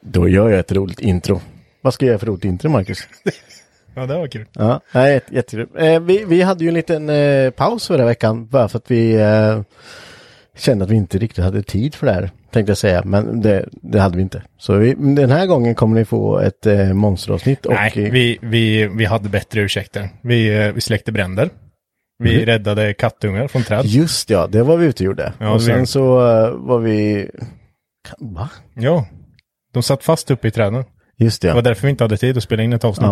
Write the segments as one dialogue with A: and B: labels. A: Då gör jag ett roligt intro. Vad ska jag göra för roligt intro, Marcus?
B: Ja, det var kul.
A: Ja, nej, jätte- jättekul. Eh, vi, vi hade ju en liten eh, paus förra veckan bara för att vi eh, kände att vi inte riktigt hade tid för det här, tänkte jag säga, men det, det hade vi inte. Så vi, den här gången kommer ni få ett eh, monsteravsnitt och...
B: Nej,
A: eh,
B: vi, vi, vi hade bättre ursäkter. Vi, eh, vi släckte bränder. Vi
A: Mhm.
B: räddade kattungar från träd.
A: Just ja, det var vi ute och gjorde.
B: Ja,
A: och
B: det var
A: sen
B: vi.
A: så eh, var vi... Kan- Va?
B: Ja, de satt fast uppe i träden.
A: Just det,
B: Det var
A: ja.
B: därför vi inte hade tid att spela in ett avsnitt.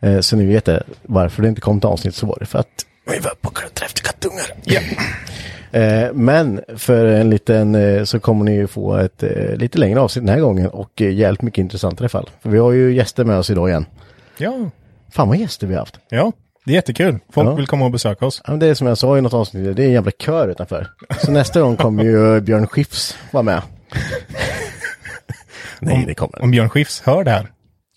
A: ja. Eh, så ni vet det, varför det inte kom till avsnitt så var det för att vi var på träff till kattungar.
B: Ja.
A: Eh, men för en liten eh, så kommer ni ju få ett eh, lite längre avsnitt den här gången och eh, jävligt mycket intressantare fall. För vi har ju gäster med oss idag igen.
B: ja.
A: Fan vad gäster vi har haft.
B: Ja, det är jättekul. Folk
A: Ja.
B: vill komma och besöka oss.
A: Ja, men Det är som jag sa i något avsnitt, det är en jävla kör utanför. Så nästa gång kommer ju eh, Björn Skifs vara med. Nej, det kommer
B: Om Björn Skifs hör det här,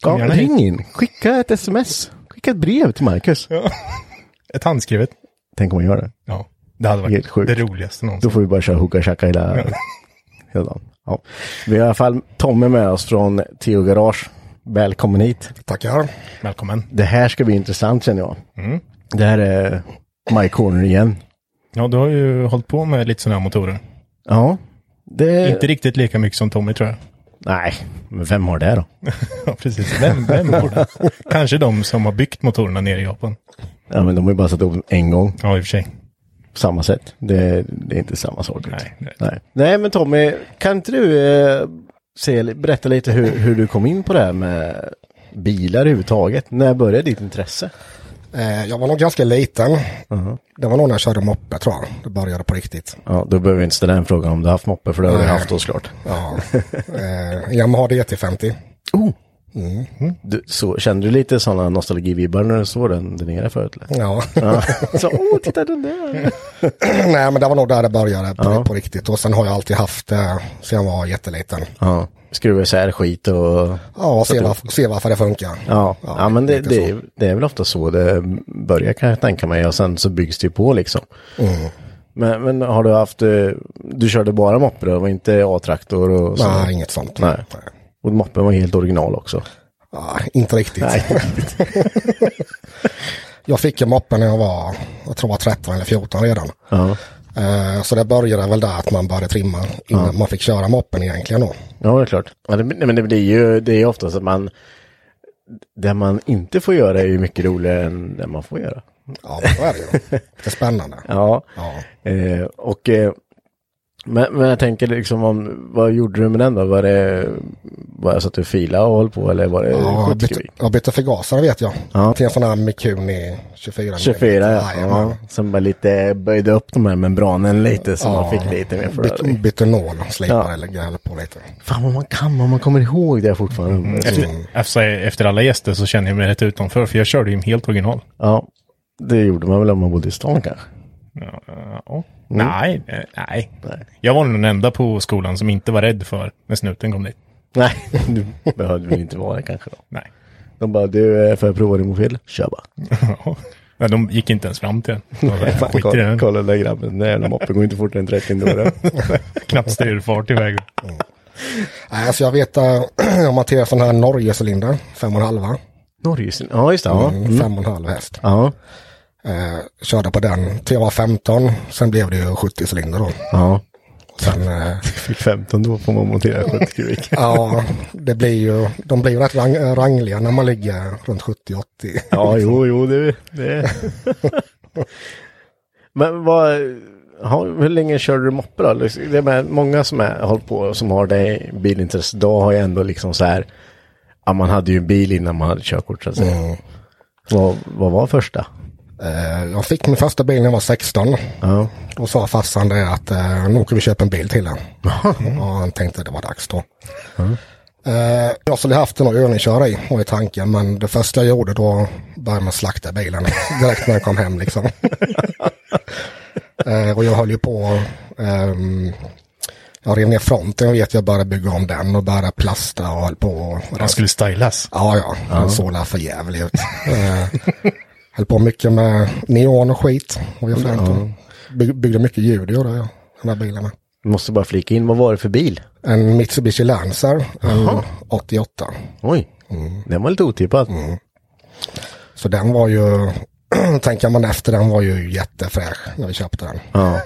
A: Ja,
B: kom gärna hit.
A: ring in, skicka ett sms, skicka ett brev till Marcus.
B: ett handskrivet.
A: Tänk om man gör det.
B: Ja, det hade
A: Helt
B: varit
A: sjukt.
B: det roligaste någonsin.
A: Då får vi bara köra hooka shaka hela, hela dagen. Ja. Vi har i alla fall Tommy med oss från Theo Garage. Välkommen hit.
B: Tackar. Välkommen.
A: Det här ska bli intressant känner jag. Det här är My Corner igen.
B: Ja, du har ju hållit på med lite sådana här motorer.
A: Ja, det...
B: Inte riktigt lika mycket som Tommy tror jag.
A: Nej, men vem har det då?
B: Ja, precis. Vem, vem borde? Kanske de som har byggt motorerna nere i Japan.
A: Ja, men de har ju bara satt upp en gång.
B: Ja, i och för sig.
A: på samma sätt. Det, det är inte samma sak.
B: Nej, det är det.
A: Nej. Nej, men Tommy, kan inte du eh, se, berätta lite hur, hur du kom in på det här med bilar överhuvudtaget? När började ditt intresse?
C: Eh, jag var nog ganska liten.
A: Mhm.
C: Det var nog när jag körde moppe tror jag. Det började på riktigt.
A: Ja, då behöver vi inte ställa den frågan om du har haft moppe, för det har du
C: Nej.
A: haft då såklart.
C: Ja. eh, Yamaha DT50.
A: Du, så, kände du lite sådana nostalgivibbar när du såg den där nere förut? Eller?
C: Ja.
A: Så, åh, titta den där!
C: Nej men det var nog där det började på, på riktigt. Och sen har jag alltid haft det sen jag var jätteliten.
A: Ja, skruva isär skit och...
C: Ja, och se, var, se varför det funkar.
A: Ja, ja, men det,
C: lite
A: det,
C: så.
A: är, det är väl ofta så det börjar kan jag tänka mig och sen så byggs det ju på liksom.
C: Mm.
A: Men, men har du haft, eh, du körde bara moppe då, var inte A-traktor och så?
C: Nej, inget sånt.
A: Nej. Och moppen var helt original också?
C: Ja, inte riktigt. jag fick en moppe när jag var, jag tror jag var 13 eller 14 redan.
A: Ja,
C: Eh, så det började väl där att man började trimma innan man fick köra moppen egentligen då.
A: ja det är klart. Ja, det, nej, men det blir ju, det är ju oftast att man, det man inte får göra är ju mycket roligare än det man får göra.
C: Ja, men så är det ju. Det är spännande.
A: Ja,
C: Ja.
A: eh, och eh, Men, men jag tänker liksom om, vad gjorde du med den då? Var det bara så att du filade och höll på eller var det
C: Ja, jag bytte,
A: skjutkubik?
C: jag bytte förgasare vet jag.
A: Ja.
C: Till en sån här Mikuni 24.
A: 24 ja.
C: Jajamän.
A: ja. Sen bara lite böjde upp de här membranen lite så man fick lite mer
C: Bytte,
A: förröring.
C: bytte nål och slipade
A: Ja.
C: eller grävde på lite.
A: Fan vad man kan, vad man kommer ihåg det fortfarande.
C: Mm.
B: Efter, efter, efter alla gäster så känner jag mig rätt utanför, för jag körde ju helt original.
A: Ja, det gjorde man väl om man bodde i stan kanske.
B: Ja, eh, ja.
C: Mm.
B: Nej, eh, nej, Jag var nog den enda på skolan som inte var rädd för när snuten kom dit.
A: Nej, du behövde väl inte vara det kanske då.
B: Nej.
A: De bara, du, eh, får jag prova din mobil? Kör bara.
B: Nej, de gick inte ens fram till den. De var
A: Fan,
B: där, Skit i
A: kolla,
B: den.
A: kolla den där grabben, den där jävla moppen går inte fortare än 30 ändå. då.
B: Knappt styrfart iväg.
C: Nej, alltså jag vet äh, om man tar sån här Norge-cylinder, fem och en halva.
A: Norge, ja just det. Ja.
C: Mm, Fem och en halv häst.
A: Ja.
C: Eh, körde på den till jag var 15, sen blev det ju 70 cylinder då.
A: ja.
C: Sen, eh,
A: Fick 15 då får man montera 70 kubik.
C: ja, det blir ju, de blir ju rätt rang, rangliga när man ligger runt 70-80.
A: Ja, jo, jo, det... det. Men vad... Ja, hur länge körde du moppe då? Liksom, Det är med många som är, har hållit på som har det bilintresse. Då har jag ändå liksom så här... Ja, man hade ju en bil innan man hade körkort så att säga.
C: Mm.
A: Vad, vad var första?
C: Eh, jag fick min första bil när jag var 16.
A: Ja.
C: Då sa farsan det att eh, nu ska vi köpa en bil till den. Och han tänkte det var dags då. Eh, jag skulle haft en att övningsköra i, var i tanken. Men det första jag gjorde då började man slakta bilen direkt när jag kom hem liksom. eh, och jag höll ju på, ehm, jag rev ner fronten vet jag började bygga om den och började plasta och höll på. och-
B: Han skulle stylas.
C: Ja, ja, han såg där för jävligt ut. Eh, höll på mycket med neon och skit. Och jag ja. Byg, byggde mycket ljud gjorde jag, de här bilarna.
A: Måste bara flika in, vad var det för bil?
C: En Mitsubishi Lancer, en 88.
A: Oj, den var lite otippad.
C: Så den var ju, tänker man efter, den var ju jättefräsch när vi köpte den.
A: Ja.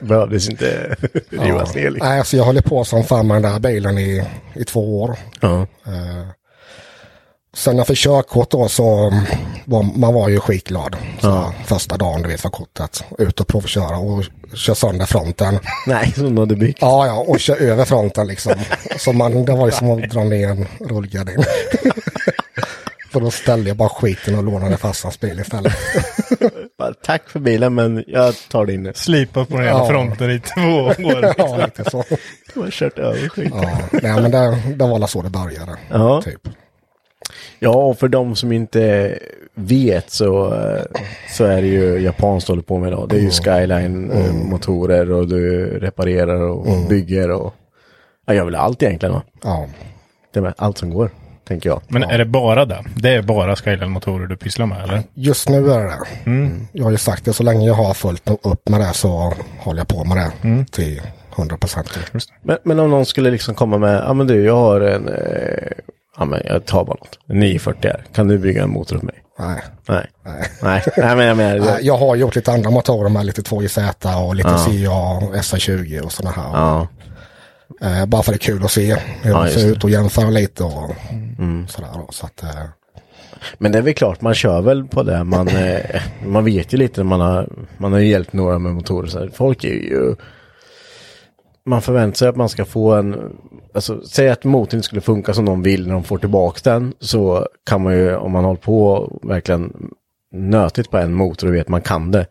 A: Behövdes inte rivas ner liksom.
C: Nej, alltså jag höll på som fan med den där bilen i, i två år.
A: Ja.
C: Eh, sen när jag fick körkort då så var man var ju skitglad. Så Första dagen du vet för kortet. Ut och provköra och köra sönder fronten.
A: Nej, som de hade byggt.
C: Ja, ja, och köra över fronten liksom. Så man, det var ju som att dra ner en rullgardin. För då ställde jag bara skiten och lånade farsans bil istället.
A: Bara, Tack för bilen, men jag tar din nu.
B: Slipa på den jävla
C: Ja.
B: fronten i två år. liksom.
C: ja, lite så.
A: Du har kört över skiten.
C: Ja, nej, men det, det var alla så det började.
A: Ja.
C: Typ.
A: Ja, och för de som inte vet så, eh, så är det ju japanskt håller på med idag. Det är ju skyline-motorer och du reparerar och bygger och ja, jag vill allt egentligen. Va?
C: Ja.
A: Det är väl allt som går, tänker jag.
B: Men är det bara det? Det är bara Skyline-motorer du pysslar med, eller?
C: Just nu är det det.
A: Mm.
C: Mm. Jag har ju sagt det, så länge jag har fullt upp med det så håller jag på med det
A: Mm.
C: till 100 procent.
A: Men, men om någon skulle liksom komma med, ja men du, jag har en, eh, ja men jag tar bara något, en 940 här. Kan du bygga en motor åt mig?
C: Nej.
A: Nej. Nej, nej, men jag menar,
C: Nej, Jag har gjort lite andra motorer med lite 2JZ och lite CA och SA20 och sådana här.
A: ja,
C: Eh, bara för det är kul att se hur
A: Ja,
C: de
A: just
C: ser
A: det. Mm.
C: ut och jämföra lite och sådär. Då. Så att, eh,
A: Men det är väl klart, man kör väl på det. Man, eh, man vet ju lite när man har, man har ju hjälpt några med motorer. Så här. Folk är ju... Man förväntar sig att man ska få en... Alltså, säg att motorn inte skulle funka som de vill när de får tillbaka den. Så kan man ju, om man håller på verkligen nötigt på en motor och vet att man kan det.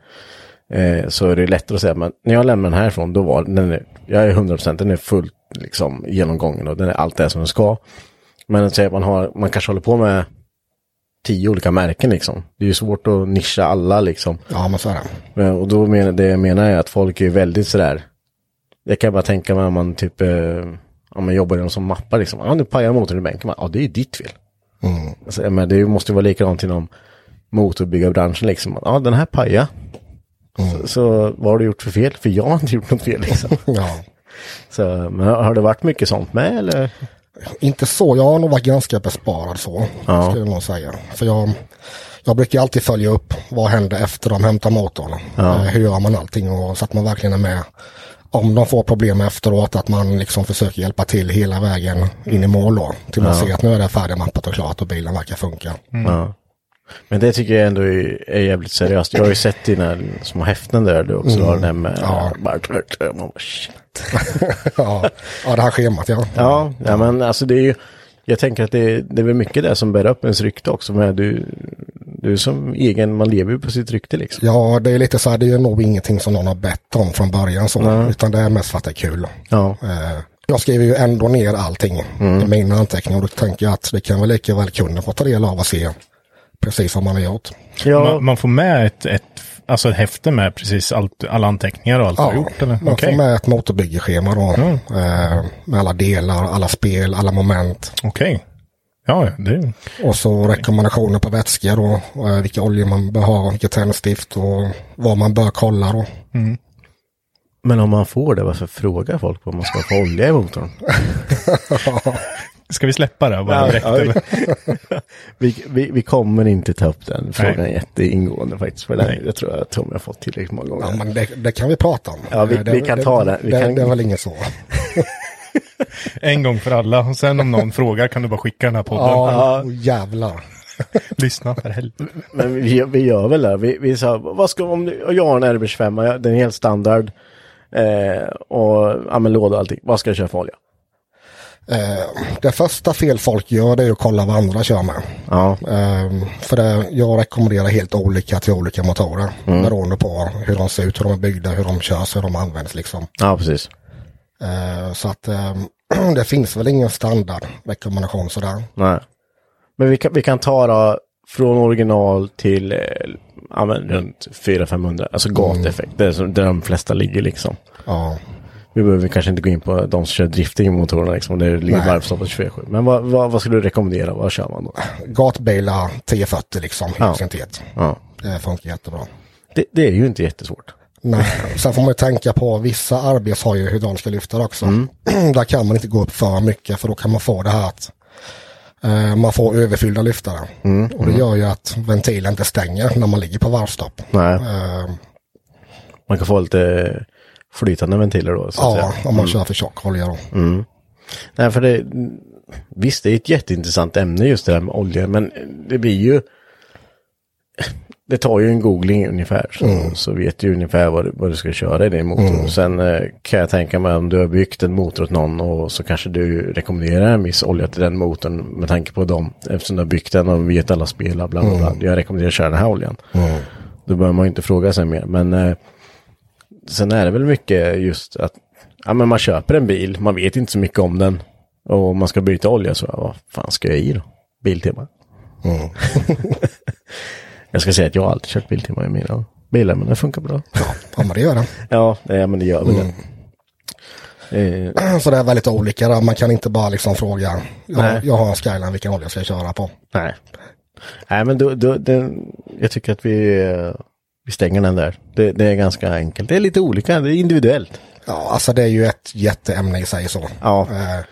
A: Eh, så är det lättare att säga, men när jag lämnar den härifrån, då var den, är- jag är 100% den är fullt liksom genomgången och den är allt det som den ska. Men att säga att man har, man kanske håller på med tio olika märken liksom. Det är ju svårt att nischa alla liksom.
C: ja, men så är det.
A: Men, och då menar, det jag menar är att folk är väldigt sådär. Jag kan bara tänka mig om man typ, eh, om man jobbar inom som mappar liksom. Ja, nu pajar motorn i bänken. Man, Ja, det är ju ditt fel.
C: Mm.
A: Alltså, men det måste ju vara likadant inom motorbyggarbranschen liksom. Ja, den här pajar. Så, så vad har du gjort för fel? För jag har inte gjort något fel liksom.
C: Ja.
A: Så, men har har det varit mycket sånt med eller?
C: Inte så, jag har nog varit ganska besparad så. Skulle jag nog säga. För jag, jag brukar ju alltid följa upp vad händer efter de hämtar motorn. Eh, Hur gör man allting och så att man verkligen är med. Om de får problem efteråt att man liksom försöker hjälpa till hela vägen in i mål då. Till man ser att nu är det färdigmappat och klart och bilen verkar funka.
A: Ja. Men det tycker jag ändå är, är jävligt seriöst. Jag har ju sett dina små häften där du också har den här med...
C: Ja.
A: Bara, man bara, shit.
C: ja. ja, det här schemat ja.
A: Ja, ja, men alltså det är ju, jag tänker att det, det är väl mycket det som bär upp ens rykte också. Men du, du är som egen, man lever ju på sitt rykte liksom.
C: Ja, det är lite så här, det är nog ingenting som någon har bett om från början så. Utan det är mest för att det är kul.
A: Ja,
C: Eh, Jag skriver ju ändå ner allting i
A: Mm.
C: mina anteckningar och då tänker jag att det kan väl lika väl kunden få ta del av och se precis vad man har gjort.
A: ja,
B: Man, man får med ett, ett, alltså ett häfte med precis allt, alla anteckningar och allt du har gjort? Eller?
C: man
B: Okej.
C: får med ett motorbyggeschema då.
A: Mm.
C: Eh, Med alla delar, alla spel, alla moment.
B: Okej. Ja, ja, det är...
C: Och så rekommendationer på vätska då. eh, Vilka oljor man bör ha, vilka tändstift och vad man bör kolla då.
A: men om man får det, varför frågar folk vad man ska få olja i motorn?
B: Ska vi släppa det? här Bara direkt, eller?
A: vi, vi, vi kommer inte ta upp den frågan
B: Nej.
A: jätteingående faktiskt. För
B: Nej.
A: den, jag tror att Tommy har fått tillräckligt många gånger.
C: Ja, men det, det kan vi prata om.
A: Ja, vi-
C: Eh, det,
A: vi kan ta det. Vi
C: det,
A: kan-
C: det är väl inget så.
B: En gång för alla. Och sen om någon frågar kan du bara skicka den här podden.
C: Ja, oh, jävlar.
B: Lyssna för helvete.
A: Men vi, vi gör väl det. Vi, vi sa, vad ska, om du, och jag har en Airbus 5, jag- den är helt standard. Eh, och ja, men låda och allting. Vad ska jag köra för olja?
C: Eh, det första fel folk gör det är att kolla vad andra kör med.
A: Ja,
C: Eh, för det, jag rekommenderar helt olika till olika motorer. Beroende på hur de ser ut, hur de är byggda, hur de körs, hur de används liksom.
A: ja precis.
C: Eh, så att eh, det finns väl ingen standardrekommendation sådär.
A: Nej. Men vi kan, vi kan ta då från original till eh, ja, men runt 400-500. Alltså gateffekt, det är som- där de flesta ligger liksom.
C: Ja.
A: Vi behöver kanske inte gå in på de som kör drifting i motorerna liksom. Det ligger
C: Nej.
A: varvstoppet 24-7. Men vad, vad, vad skulle du rekommendera? Vad kör man då?
C: Gatbilar 1040 liksom,
A: Ja.
C: ja. syntet.
A: Ja.
C: Det funkar jättebra.
A: Det, det är ju inte jättesvårt.
C: Nej. Sen får man ju tänka på vissa arbets har ju hur de ska lyfta också.
A: Mm.
C: Där kan man inte gå upp för mycket för då kan man få det här att eh, man får överfyllda lyftare.
A: Mm.
C: Och det gör ju att ventilen inte stänger när man ligger på varvstopp.
A: Nej.
C: Eh,
A: Man kan få lite flytande ventiler då. Så att
C: ja,
A: säga. Mm.
C: om man kör för tjock olja då.
A: Nej, för det, visst, det är ett jätteintressant ämne just det där med olja, men det blir ju... Det tar ju en googling ungefär, så, så vet du ungefär vad du, vad du ska köra i din motor. Sen eh, kan jag tänka mig om du har byggt en motor åt någon och så kanske du rekommenderar en viss olja till den motorn med tanke på dem. Eftersom du har byggt den och vet alla spelare, bla bla bla. Jag rekommenderar att köra den här oljan. Då behöver man ju inte fråga sig mer. Men eh, sen är det väl mycket just att ja, men man köper en bil, man vet inte så mycket om den och man ska byta olja så ja, vad fan ska jag i då? Biltema.
C: Mm.
A: jag ska säga att jag har alltid kört Biltema i mina bilar men det funkar bra.
C: Ja, men det gör det.
A: ja, nej, men det gör väl det. Eh,
C: Så det är väldigt olika. Där. Man kan inte bara liksom fråga.
A: Nej.
C: Jag, jag har en skyline, vilken olja ska jag köra på?
A: nej. Nej, men då, då, den, jag tycker att vi, eh, vi stänger den där. Det, det är ganska enkelt. Det är lite olika, det är individuellt.
C: Ja, alltså det är ju ett jätteämne i sig så.
A: Ja,
C: Eh,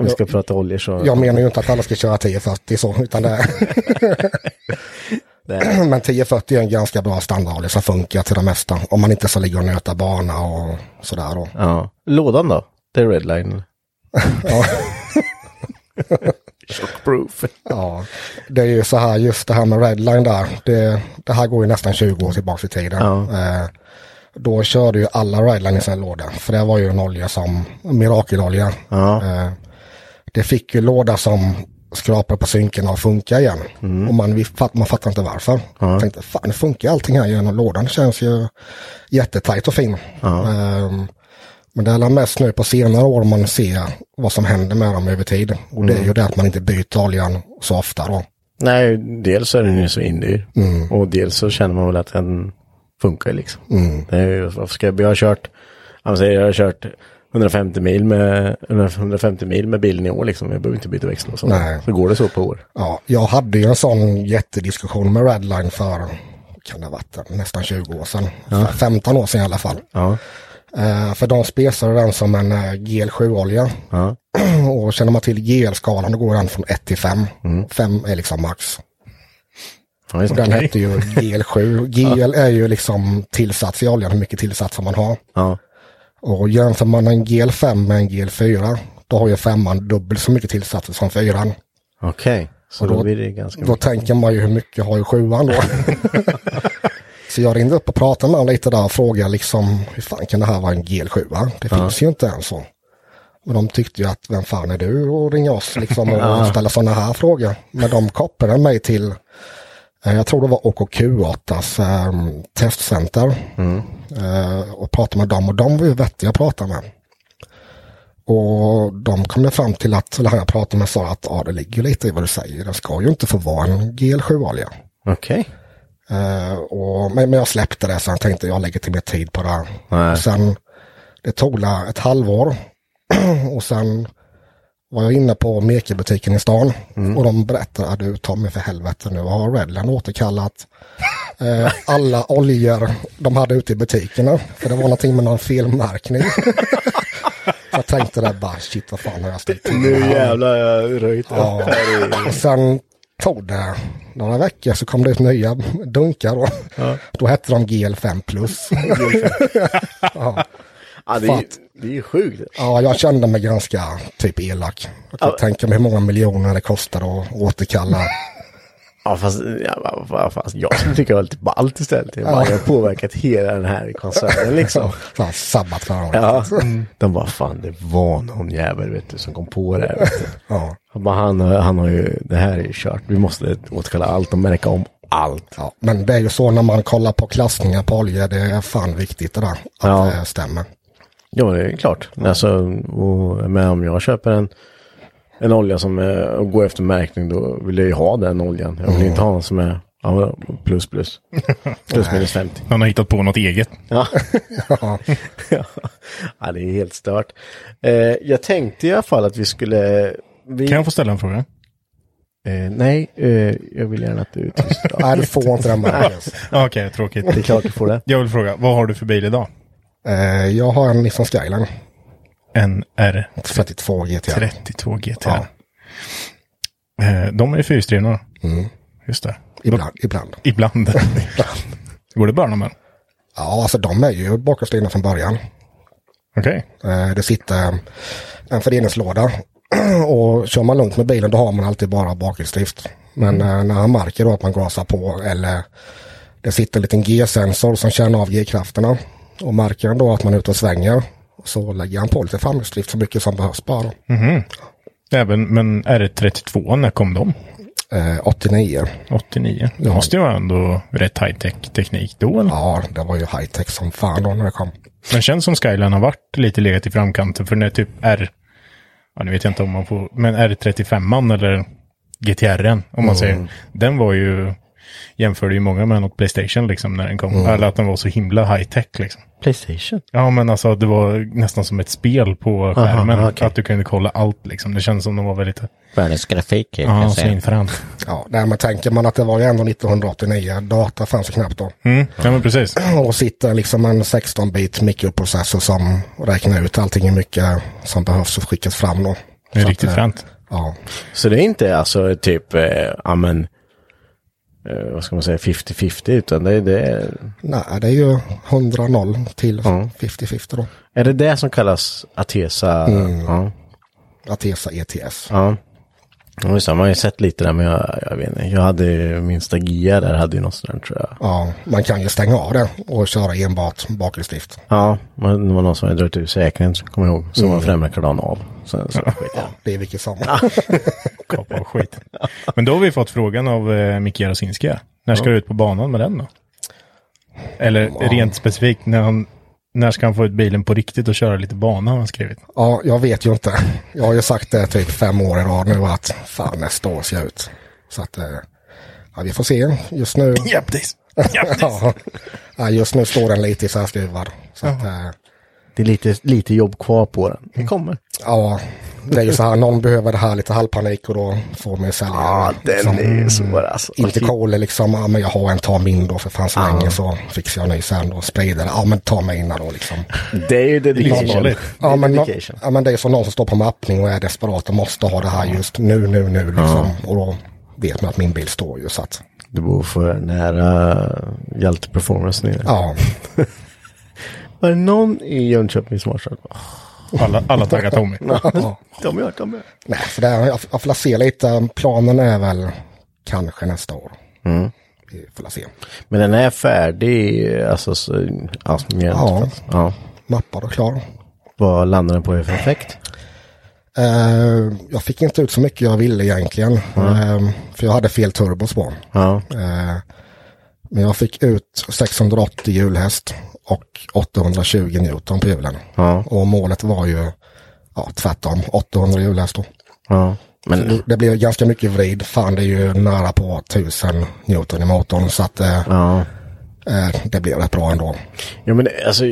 A: om vi ska prata oljor så.
C: Jag menar ju inte att alla ska köra 1040 så, utan det
A: Nej.
C: Men 1040 är en ganska bra standardolja som funkar till det mesta. Om man inte ska ligga och nöta bana och sådär då.
A: Ja. Lådan då? Det är Redline.
C: Ja,
A: Proof.
C: ja. Det är ju så här, just det här med redline där. Det, det här går ju nästan 20 år tillbaka i tiden.
A: Ja.
C: Eh, då körde ju alla redline i sin låda. För det var ju en olja som, en mirakelolja.
A: Ja.
C: Eh, det fick ju låda som skrapar på synken och funkar igen. Och man, vi fatt, man fattar inte varför. Jag tänkte, fan det funkar allting här genom lådan. Känns ju jättetajt och fin. Ehm, men det är alla mest nu på senare år man ser vad som händer med dem över tid. Och det är ju det att man inte byter oljan så ofta då.
A: Nej, dels är den ju så indyr. Och dels så känner man väl att den funkar liksom. Det är ju, varför ska jag, jag har kört, jag säger jag har kört 150 mil med, 150 mil med bilen i år liksom. Jag behöver inte byta växel och sånt.
C: Nej.
A: Så går det så på år.
C: Ja, jag hade ju en sån jättediskussion med Redline för, kan det ha varit, nästan 20 år sedan. 15 år sedan i alla fall.
A: Ja.
C: Eh, för de spesade den som en eh, GL7-olja.
A: Ja.
C: Och känner man till GL-skalan då går den från 1 till 5.
A: Mm.
C: 5 är liksom max.
A: Ja, just
C: Och
A: det.
C: den hette ju GL7. GL är ju liksom tillsats i oljan, hur mycket tillsatser man har.
A: ja.
C: Och jämför man en GL5 med en GL4, då har ju femman dubbelt så mycket tillsatser som fyran.
A: Okej. Så
C: Och då-
A: då blir det ganska
C: Då tänker man ju hur mycket har ju sjuan då? så jag ringde upp och pratade med honom lite där och frågade liksom hur fan kan det här vara en GL7? Det finns ju inte ens så. Och de tyckte ju att vem fan är du och ringa oss liksom och ställa sådana här frågor. Men de kopplade mig till, eh, jag tror det var OKQ8s eh, testcenter. Eh, och pratade med dem och de var ju vettiga att prata med. Och de kom ju fram till att, eller han jag pratade med sa att ja, det ligger lite i vad du säger. Den ska ju inte få vara en GL7-olja.
A: Okej.
C: Eh, och, men, men jag släppte det så jag tänkte jag lägger inte mer tid på det. här.
A: Nej.
C: Och sen, det tog la ett halvår. och sen var jag inne på Mekebutiken i stan. Och de berättade att du Tommy för helvete nu har Redland återkallat eh, alla oljor de hade ute i butikerna. För det var någonting med någon felmärkning. så jag tänkte där bara shit vad fan har jag ställt till med det här?
A: jag har röjt
C: Ja. Och sen tog det några veckor så kom det ut nya dunkar då. Då hette de GL5 plus.
A: Ja, det, är, ju- det är ju sjukt.
C: Ja, jag kände mig ganska typ elak. Jag kan tänka mig hur många miljoner det kostar att återkalla.
A: Ja, fast, ja, va- va- fast jag skulle tycka allt, bara allt istället. Jag bara,
C: Ja.
A: jag har påverkat hela den här koncernen liksom.
C: Så här, sabbat för honom.
A: Ja. De bara, fan det var någon jävel vet du, som kom på det här. Vet du.
C: Ja.
A: Han, bara, han, har- han har ju, det här är ju kört. Vi måste återkalla allt och märka om allt.
C: Ja, men det är ju så när man kollar på klassningar på olja, det är fan viktigt det där. Att
A: Ja.
C: det stämmer.
A: Ja, det är klart. Alltså, och, men om jag köper en, en olja som är, och går efter märkning, då vill jag ju ha den oljan. Jag vill inte ha någon som är ja, men plus plus. Plus minus 50.
B: Han har hittat på något eget.
A: Ja. ja, det är helt stört. Eh, jag tänkte i alla fall att vi skulle... Vi,
B: Kan jag få ställa en fråga?
A: eh, nej, eh, jag vill gärna att du är tyst.
C: Nej, du får inte den Marcus.
B: Ja, Okej, tråkigt.
A: Det är klart du får det.
B: Jag vill fråga, vad har du för bil idag?
C: Eh, Jag har en Nissan Skyline,
B: En R32
C: 32 GT.
B: GT.
C: Ja.
B: Eh, De är fyrhjulsdrivna.
C: Mm.
B: Just det.
C: Ibland, ibland.
B: Ibland. Går det bra med dem?
C: Ja, alltså de är ju bakhjulsdrivna från början.
B: Okej.
C: Eh, Det sitter en föreningslåda och kör man lugnt med bilen då har man alltid bara bakhjulsdrift. Men eh, när han märker då att man gasar på eller det sitter en liten G-sensor som känner av G-krafterna och märker han då att man är ute och svänger så lägger han på lite framhjulsdrift så mycket som behövs bara.
B: Även, men R32, när kom de?
C: Eh, 89,
B: 89. Det
C: Ja.
B: måste ju vara ändå rätt high tech teknik då. Eller?
C: ja det var ju high tech som fan då när det kom.
B: Men känns som Skyline har varit lite legat i framkanten. För när typ R... Ja, nu vet jag inte om man får... Men R35an eller GTR'n, om
C: Mm.
B: man säger. Den var ju... Jämförde ju många med något Playstation liksom när den kom.
C: Mm.
B: Eller att den var så himla high tech liksom.
A: Playstation?
B: Ja, men alltså det var nästan som ett spel på skärmen.
A: Aha, okej.
B: Att du kunde kolla allt liksom. Det känns som de var väldigt...
D: Världens grafik kan
B: Ja,
D: jag säga.
B: svinfränt.
C: Ja, nej, men tänker man att det var ju ändå 1989, data fanns ju knappt då.
B: Mm. Ja, men precis.
C: Och sitter liksom en 16-bit mikroprocessor som räknar ut allting hur mycket som behövs och skickas fram då.
B: Det är
C: Så att,
B: riktigt
C: eh,
B: fränt.
C: Ja,
A: Så det är inte alltså typ, eh, ja men, eh, vad ska man säga, 50-50 utan det, är- det är...
C: nej det är ju 100-0 till 50-50 då.
A: Är det det som kallas Atesa? Ja.
C: Atesa E ETS.
A: Ja. Ja, just det, man har ju sett lite där men jag, jag vet inte. Jag hade ju minsta GIA där, hade ju något sånt där, tror jag.
C: Ja, man kan ju stänga av det och köra enbart bakhjulsdrift.
A: Ja, men det var någon som hade dragit ur säkringen, så kommer jag ihåg. Så var främre kardan av. Sen så skit jag.
C: Det är vilket som.
B: Kapa av skit. Men då har vi fått frågan av eh, Micke Jarosinski. När ska du ut på banan med den då? Eller rent specifikt, när, han, när ska han få ut bilen på riktigt och köra lite bana har han skrivit.
C: Ja, jag vet ju inte. Jag har ju sagt det typ fem år i rad nu att fan nästa år ser jag ut. Så att eh, ja, vi får se. Just nu
B: Japtis!
C: ja, Ja, just nu står den lite särskruvad. Så att, eh,
A: Det är lite, lite jobb kvar på den. Det kommer.
C: Ja, det är ju så här, någon behöver det här lite halvpanik och då får man ju sälja.
A: Ja,
C: den
A: den är ju svår alltså.
C: Inte cool liksom, ja men jag har en, ta min då för fan så länge så fixar jag en ny sen och sprider det. Ja men ta mig innan då liksom.
A: Alltså, Det är ju dedication.
B: Lite farligt.
A: Det är
C: Ja men, nå-
A: dedication.
C: ja men det är som någon som står på mappning och är desperat och måste ha det här just nu, nu, nu liksom. Och då vet man att min bil står ju så att,
A: Du bor för nära Hjälte Performance nu.
C: ja.
A: Var det någon i Jönköping som har kört? Åh,
B: Alla, alla taggar Tommy.
A: Kom igen, kom igen.
C: Nej, så där, jag, jag får se lite. Planen är väl kanske nästa år.
A: Mm.
C: Vi får se.
A: Men den är färdig, alltså, så, ja, mer än
C: Ja.
A: fast. ja.
C: Mappad och klar.
A: Vad landar den på i för effekt?
C: Eh, jag fick inte ut så mycket jag ville egentligen. Eh, för jag hade fel turbos på.
A: Ja,
C: Eh, men jag fick ut 680 hjulhäst och 820 Newton på hjulen.
A: Ja.
C: Och målet var ju ja, tvärtom, 800 hjulhäst då.
A: ja.
C: Så
A: Men,
C: det, det blev ganska mycket vrid. Fan, det är ju nära på 1000 Newton i motorn. Så att eh,
A: ja.
C: eh, det blev rätt bra ändå.
A: Ja men det- alltså,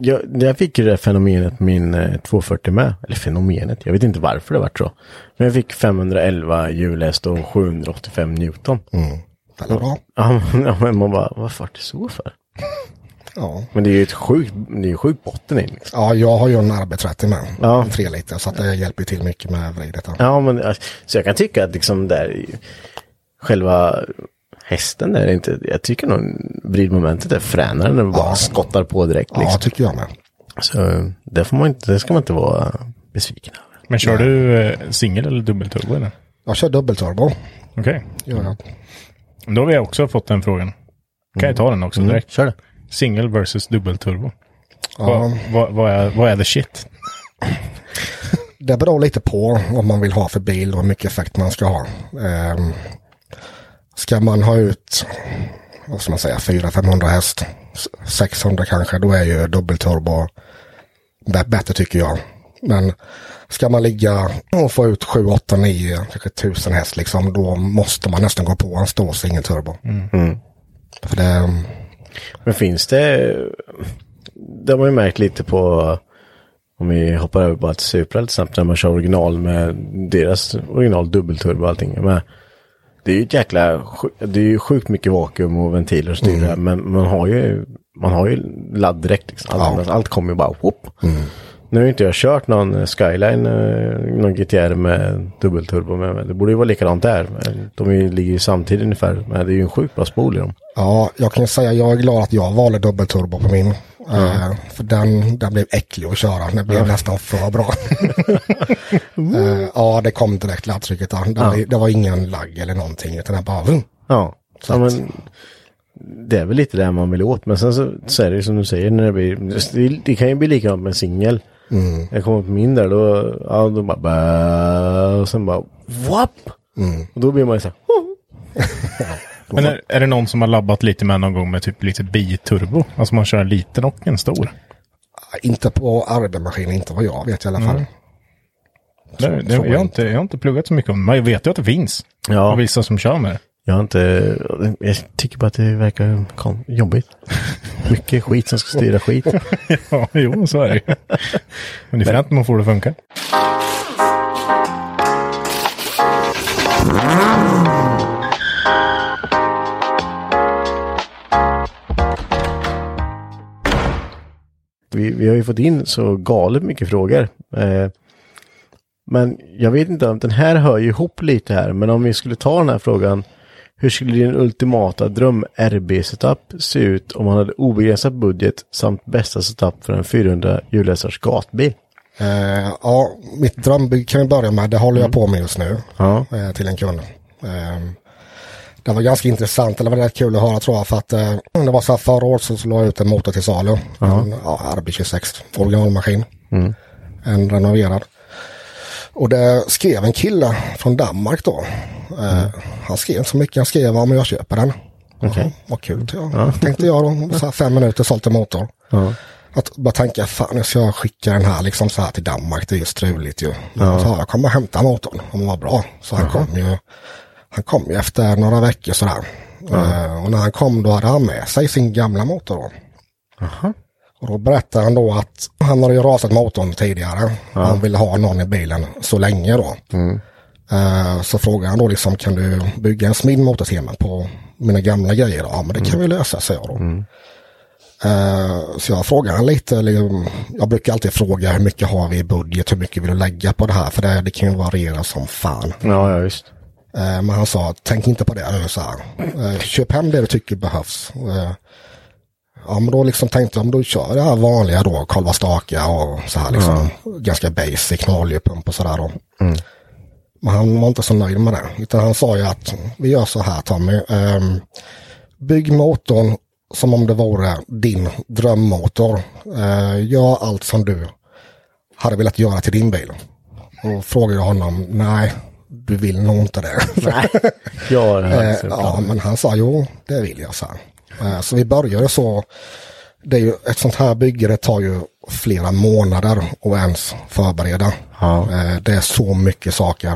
A: jag, jag fick ju det här fenomenet på min eh, 240 med. Eller fenomenet, jag vet inte varför det vart så. Men jag fick 511 hjulhäst och 785 Newton.
C: Eller Mm. bra.
A: Ja, men, ja, men man bara, vad vart det så för?
C: Ja.
A: Men det är ju ett sjukt, det är ju sjukt botten in liksom.
C: ja, jag har ju en RB30 med.
A: Ja.
C: Tre liter. Så att det hjälper ju till mycket med vridet. här.
A: Ja men, eh, så jag kan tycka att liksom där, i- själva hästen där är inte, jag tycker nog vridmomentet är fränare när det bara skottar på direkt
C: Ja,
A: liksom.
C: tycker jag med.
A: Så eh, det får man inte, det ska man inte vara besviken över.
B: Men kör du eh, singel eller dubbelturbo eller?
C: Jag kör dubbelturbo.
B: Okej.
C: Gör jag.
B: Då har vi också fått den frågan. Kan jag ta den också direkt?
A: Kör det.
B: Singel versus dubbelturbo.
C: Ja,
B: Vad, vad, vad, är, vad är the shit?
C: det beror lite på vad man vill ha för bil och hur mycket effekt man ska ha. Ehm, ska man ha ut, vad ska man säga, 400-500 häst, s- 600 kanske, då är ju dubbelturbo bä- bättre tycker jag. Men ska man ligga och få ut 7, 8, 9, kanske 1000 häst liksom, då måste man nästan gå på en stor singelturbo. För det,
A: Men finns det, det har man ju märkt lite på, om vi hoppar över bara till Supra lite snabbt, när man kör original med deras original dubbelturbo och allting. Men det är ju ett jäkla, sj- det är ju sjukt mycket vakuum och ventiler och styr där, men man har ju, man har ju ladd direkt liksom. Allt, allt kommer ju bara whoop. Nu har ju inte jag kört någon Skyline, eh, någon GTR med dubbelturbo, men det borde ju vara likadant där. De är ju- ligger ju samtidigt ungefär, men det är ju en sjukt bra spol i dem.
C: Ja, jag kan ju säga jag är glad att jag valde dubbelturbo på min. Eh, för den, den blev äcklig att köra. Den blev nästan för bra. Eh, ja, det kom direkt laddtrycket. där. Det, var- det var ingen lagg eller någonting. Utan den bara... vroom.
A: Ja,
C: Så
A: ja
C: att-
A: men det är väl lite det man vill åt. Men sen så, så är det ju som du säger, när det, blir, det, det kan ju bli likadant med en singel. Jag kommer på min där, då, ja, då bara bä, och sen bara whoop! Och då blir man ju så här, "Huh."
B: Men är, är det någon som har labbat lite med någon gång med typ lite biturbo? Alltså man kör en liten och en stor.
C: Inte på arbetsmaskin, inte vad jag vet i alla fall.
B: Det, det,
C: så är
B: jag,
C: det
B: har inte, jag har inte pluggat så mycket om det, men jag vet ju att det finns.
A: Ja.
B: Och vissa som kör med det.
A: jag har inte, jag tycker bara att det verkar kon- jobbigt. Mycket skit som ska styra skit.
B: Ja, jo, så är det ju. Men det är fränt när man får det att funka.
A: Vi, vi har ju fått in så galet mycket frågor. Eh, men jag vet inte om den här hör ju ihop lite här, men om vi skulle ta den här frågan. Hur skulle din ultimata dröm RB-setup se ut om man hade obegränsad budget samt bästa setup för en 400 hjulhästars gatbil?
C: Eh, ja, mitt drömbygg kan vi börja med. Det håller jag på med just nu. Eh, till en kund. Eh, det var ganska intressant. Eller det var rätt kul att höra tror jag. För att eh, det var så här förra året så la jag ut en motor till salu. En ja, Mm. RB26 originalmaskin. En renoverad. Och det skrev en kille från Danmark då. Eh, Han skrev inte så mycket. Han skrev om jag köper den. Jaha, Vad kul ja. tänkte jag då. Så här fem minuter sålt en motor. Att bara tänka, fan nu ska jag skicka den här liksom så här till Danmark, det är ju struligt ju. Ja. Så jag kommer och hämta motorn om den var bra. Så han kom ju, han kom ju efter några veckor sådär. Eh, och när han kom då hade han med sig sin gamla motor då. Och då berättade han då att han hade ju rasat motorn tidigare. Han ville ha någon i bilen så länge då. Eh, Så frågade han då liksom, kan du bygga en smidd motor till mig på mina gamla grejer? Ja, men det kan vi lösa, säger jag då. Eh, Så jag frågade han lite, eller, jag brukar alltid fråga hur mycket har vi i budget, hur mycket vill du lägga på det här? För det, det kan ju variera som fan.
A: Ja, ja visst.
C: Eh, Men han sa, tänk inte på det nu, så här. Eh, Köp hem det du tycker behövs. Eh, Ja, men då liksom tänkte jag, men då kör jag det här vanliga då, kolva staka och så här liksom. Ganska basic med oljepump och sådär då. Men han var inte så nöjd med det. Utan han sa ju att vi gör så här Tommy. Um, bygg motorn som om det vore din drömmotor. Eh, gör allt som du hade velat göra till din bil. Och frågade jag honom, nej, du vill nog inte det.
A: Jag har
C: Eh,
A: högt
C: ja, men han sa jo, det vill jag, så. Eh, så vi började så. Det är ju, ett sånt här bygge det tar ju flera månader att ens förbereda. Eh, det är så mycket saker.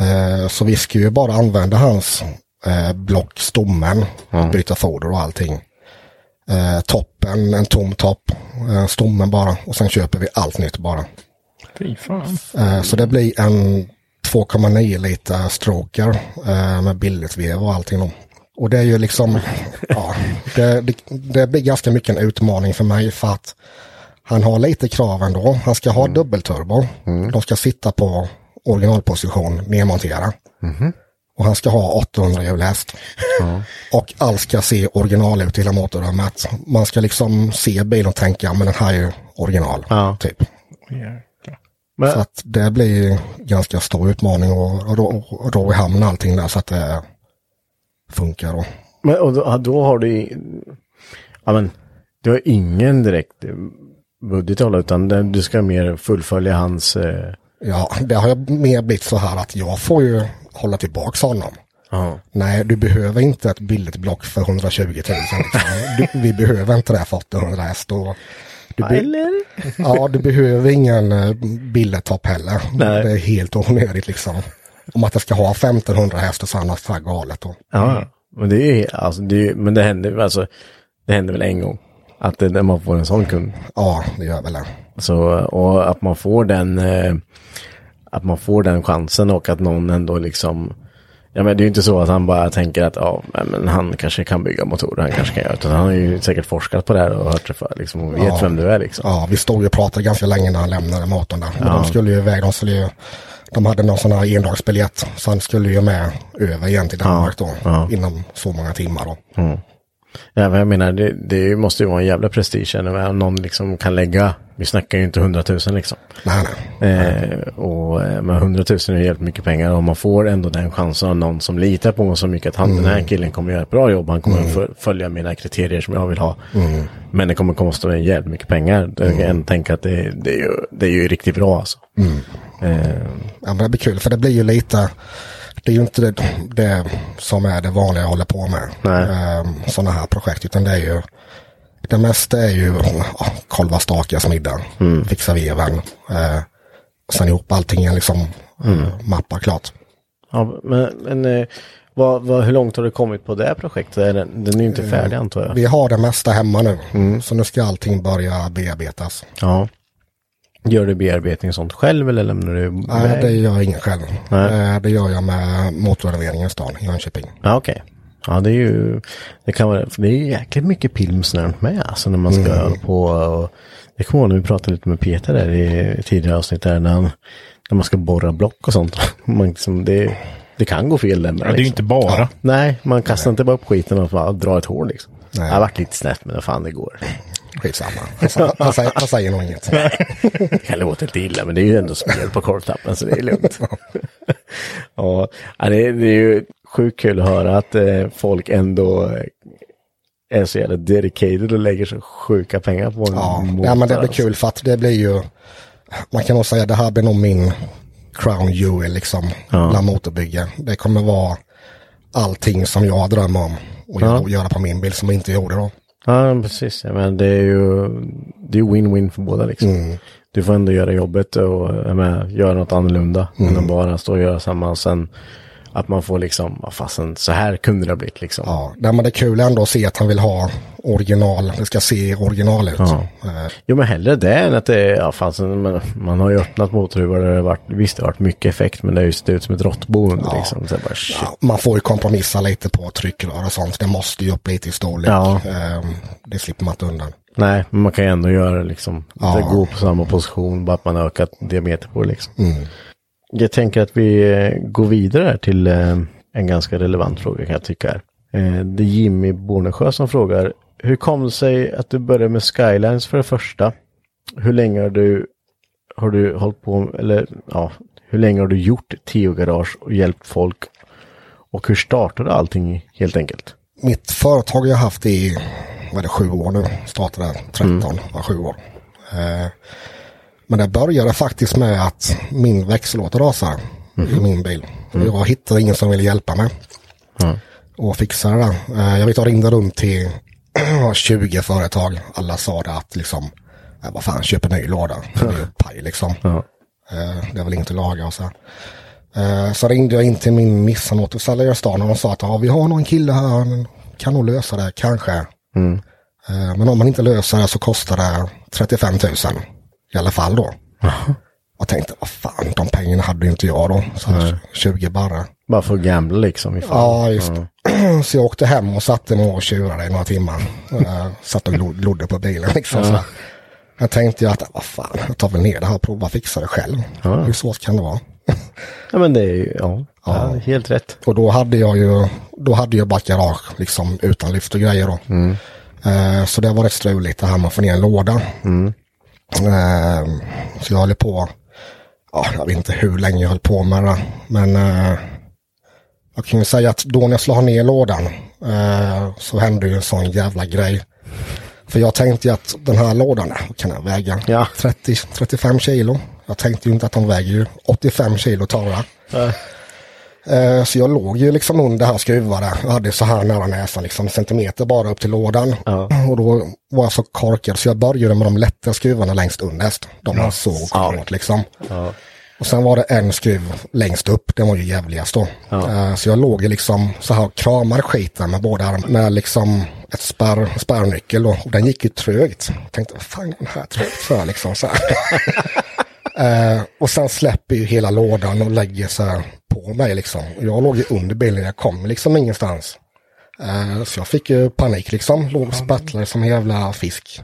C: Eh, så vi ska ju bara använda hans eh, block, stommen, byta foder och allting. Eh, toppen, en tom topp, eh, stommen bara och sen köper vi allt nytt bara.
B: Fy fan.
C: Eh, Så det blir en 2,9 liter stroker eh, med billigt vev och allting. då. Och det är ju liksom, ja, det, det, det blir ganska mycket en utmaning för mig för att han har lite krav ändå. Han ska ha dubbelturbo. De ska sitta på originalposition, nedmontera. Och han ska ha 800 hjulhäst. Och allt ska se original ut i hela motorrummet. Man ska liksom se bilen och tänka, men den här är ju original. Typ.
B: Jäklar.
A: Men-
C: Så att det blir ganska stor utmaning och rå, rå i hamn allting där så att det funkar. Och,
A: Men och då, då har du i- Ja men, du har ingen direkt eh, budget att hålla, utan det- du ska mer fullfölja hans... Eh,
C: ja, det har jag mer blivit så här att jag får ju hålla tillbaks honom. Nej, du behöver inte ett billigt block för 120 000. Liksom. Du, vi behöver inte det för 800 häst. och Du be-
A: Eller?
C: Ja, du behöver ingen eh, billigtopp heller.
A: Nej.
C: Det är helt onödigt liksom. Om att jag ska ha 1500 häst och sådana så här galet. Och,
A: Ja, men det är ju, alltså, det är, ju- men det händer, ju, alltså, det händer väl en gång. Att det, när man får en sån kund.
C: ja, det gör väl det.
A: Så, och att man får den, eh, att man får den chansen och att någon ändå liksom, ja men det är ju inte så att han bara tänker att ja, nej, men han kanske kan bygga motorer, han kanske kan göra, utan han har ju säkert forskat på det här och hört sig för liksom och vet
C: Ja.
A: vem du är liksom.
C: Ja, vi stod ju och pratade ganska länge när han lämnade motorn där. Men de skulle ju iväg, de skulle ju... De hade någon sån här endagsbiljett. Så han skulle ju med över igen till Danmark då. Inom så många timmar då.
A: Ja, men jag menar, det, det måste ju vara en jävla prestige när någon liksom kan lägga, vi snackar ju inte hundratusen liksom.
C: Nej, nej.
A: Eh, och, eh, men 100 000 är ju jävligt mycket pengar och man får ändå den chansen av någon som litar på en så mycket att han, den
C: Mm.
A: här killen kommer göra ett bra jobb, han kommer föl- följa mina kriterier som jag vill ha.
C: Mm.
A: Men det kommer kosta mig jävligt mycket pengar. Jag kan tänka att det, det, är ju, det är ju riktigt bra alltså.
C: Mm.
A: Eh,
C: Ja, men det blir kul för det blir ju lite... Det är ju inte det, det som är det vanliga jag håller på med.
A: Nej.
C: sådana här projekt. Utan det är ju... Det mesta är ju ja, kolva stakas middag. Fixa veven. Eh, sen ihop allting igen liksom. Eh, mappa klart.
A: ja, men men eh, vad, vad, hur långt har du kommit på det här projektet? Är Den, den är ju inte färdig antar jag.
C: Eh, Vi har det mesta hemma nu. Så nu ska allting börja bearbetas.
A: Ja. Gör du bearbetning och sånt själv eller lämnar du?
C: Nej, det gör jag ingen själv.
A: Nej.
C: Eh, Det gör jag med motorrenoveringen i stan, i Jönköping.
A: Ja, okej. Ja, det är ju, det kan vara, för det är ju jäkligt mycket pilsner med, alltså när man ska hålla på och, det kommer jag ihåg när vi pratade lite med Peter där i tidigare avsnitt där, när, han, när man ska borra block och sånt. Man liksom, det, det kan gå fel där med.
B: Ja, det är ju inte bara.
A: Nej, man kastar inte bara upp skiten och bara drar ett hål liksom.
C: Nej.
A: Det har varit lite snett, men vad fan det går.
C: Skitsamma. Han sa- Han säger, han säger nog inget.
A: Det kan låta lite illa, men det är ju ändå spel på korvtappen, så det är lugnt. ja, ja, det, är- det är ju sjukt kul att höra att eh, folk ändå eh, är så jävla dedicated och lägger så sjuka pengar på en
C: Ja,
A: motor,
C: ja, men det blir
A: alltså.
C: kul för att det blir ju, man kan nog säga det här blir nog min crown jewel liksom, bland motorbygge. Det kommer vara allting som jag drömmer om och göra, göra på min bil som jag inte gjorde då.
A: Ja, men precis. Ja, men det är ju det är ju win-win för båda liksom.
C: Mm.
A: Du får ändå göra jobbet och jag menar, göra något annorlunda
C: Mm.
A: än att bara stå och göra samma. Och sen att man får liksom, vad fasen, så här kunde det ha blivit liksom.
C: Ja, nej, men det är kul ändå att se att han vill ha original, det ska se original ut. Eh,
A: Jo men hellre det än att det är, ja fan, sen, men, man har ju öppnat motorhuvar där det har varit, visst det har varit mycket effekt men det har ju sett ut som ett råttbo under liksom. Så jag bara, shit.
C: Ja, man får ju kompromissa lite på tryckrör och sånt. Det måste ju upp lite i storlek.
A: Ja.
C: Ehm, det slipper man inte undan.
A: Nej, men man kan ju ändå göra liksom,
C: Ja.
A: det går på samma position, bara att man har ökat diameter på det, liksom. Jag tänker att vi eh, går vidare här till eh, en ganska relevant fråga kan jag tycka. Här. Eh, Det är Jimmy Bornesjö som frågar, Hur kom det sig att du började med Skylines för det första? Hur länge har du, har du hållit på, eller ja, hur länge har du gjort Tio Garage och hjälpt folk? Och hur startade allting helt enkelt?
C: Mitt företag har jag haft i vad är det, sju år nu. Startade 13, var sju år. Eh, men det började faktiskt med att min växellåda rasade i min bil. Jag hittade ingen som ville hjälpa mig och fixa det där. Eh, jag vet jag ringde runt till 20 företag. Alla sa det att liksom, "Nej, vad fan, köp en ny låda. Det är ju paj liksom. Eh, det är väl inget att laga och så. här. Eh, så ringde jag in till min Nissan-återförsäljare i stan och de sa att ja, vi har någon kille här, han kan nog lösa det, kanske. Eh, men om man inte löser det så kostar det 35 000 i alla fall då. Jag tänkte, vad fan, de pengarna hade ju inte jag då. Så här, 20 bara.
A: Bara för att gambla liksom? Ifall.
C: Ja, just Så jag åkte hem och satte mig och tjurade i några timmar. Eh, satt och lo- lodde på bilen liksom. sådär. Jag tänkte ju att, "Ah, vad fan, jag tar väl ner det här och provar fixa det själv. Hur svårt kan det vara?
A: Ja, men det är ju, ja, ja. helt rätt.
C: Och då hade jag ju, då hade jag bara ett garage liksom utan lyft och grejer då. Eh, så det var rätt struligt det här med att få ner en låda. Eh, så jag höll på, ja, jag vet inte hur länge jag höll på med det. Men eh, jag kan ju säga att då när jag slog ner lådan eh, så hände ju en sån jävla grej. För jag tänkte ju att den här lådan, vad kan den väga?
A: Ja.
C: 30-35 kilo. Jag tänkte ju inte att de väger ju 85 kilo torra. Eh, Så jag låg ju liksom under här skruvade och hade så här nära näsan, liksom centimeter bara upp till lådan. Och då var jag så korkad så jag började med de lätta skruvarna längst underst. De var så kort liksom. Och sen var det en skruv längst upp, den var ju jävligast då. Eh, Så jag låg ju liksom så här och kramade skiten med båda armarna, med liksom ett spärr, spärrnyckel då. Och den gick ju trögt. Jag tänkte, vad fan är den här trögt för liksom så här. Eh, och sen släpper ju hela lådan och lägger så här på mig liksom. Jag låg ju under bilen, jag kom liksom ingenstans. Eh, så jag fick ju panik liksom, låg och sprattlade som en jävla fisk.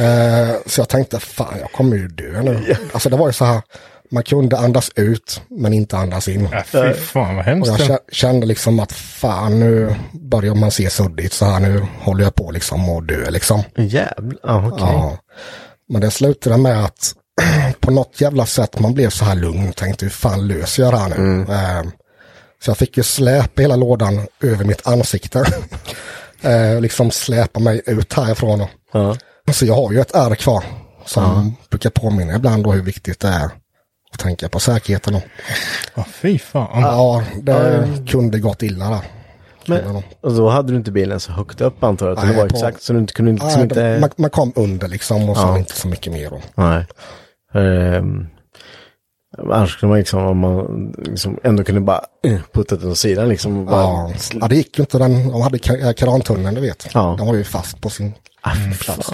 C: Eh, så jag tänkte, fan jag kommer ju dö nu. Alltså det var ju så här, man kunde andas ut men inte andas in.
B: Ja, Äh, fy fan vad
C: Och
B: hemskt.
C: jag
B: det-
C: kä- kände liksom att fan nu börjar man se suddigt så här, nu håller jag på liksom att dö liksom.
A: Jävlar, ja, okej.
C: Ja. Men det slutade med att på något jävla sätt man blev så här lugn och tänkte hur fan löser jag det här nu? Eh, Så jag fick ju släpa hela lådan över mitt ansikte. Eh, liksom släpa mig ut härifrån. Så jag har ju ett ärr kvar som brukar påminna ibland då hur viktigt det är att tänka på säkerheten. Då.
B: Ja, fy fan.
C: Ja, det kunde gått illa där. Kunde nog.
A: Men, och då hade du inte bilen så högt upp antar jag, utan
C: Nej,
A: det var
C: på-
A: exakt så du inte kunde liksom
C: Ja,
A: inte...
C: det- man, man kom under liksom och så inte så mycket mer. Då.
A: Nej. Ehm, annars skulle man liksom, om man liksom ändå kunde bara eh, putta den åt sidan liksom. och Bara,
C: Ja, ja, det gick ju inte. Den, de hade ka- eh, krantunneln, du vet.
A: Ja.
C: Den var ju fast på sin plats.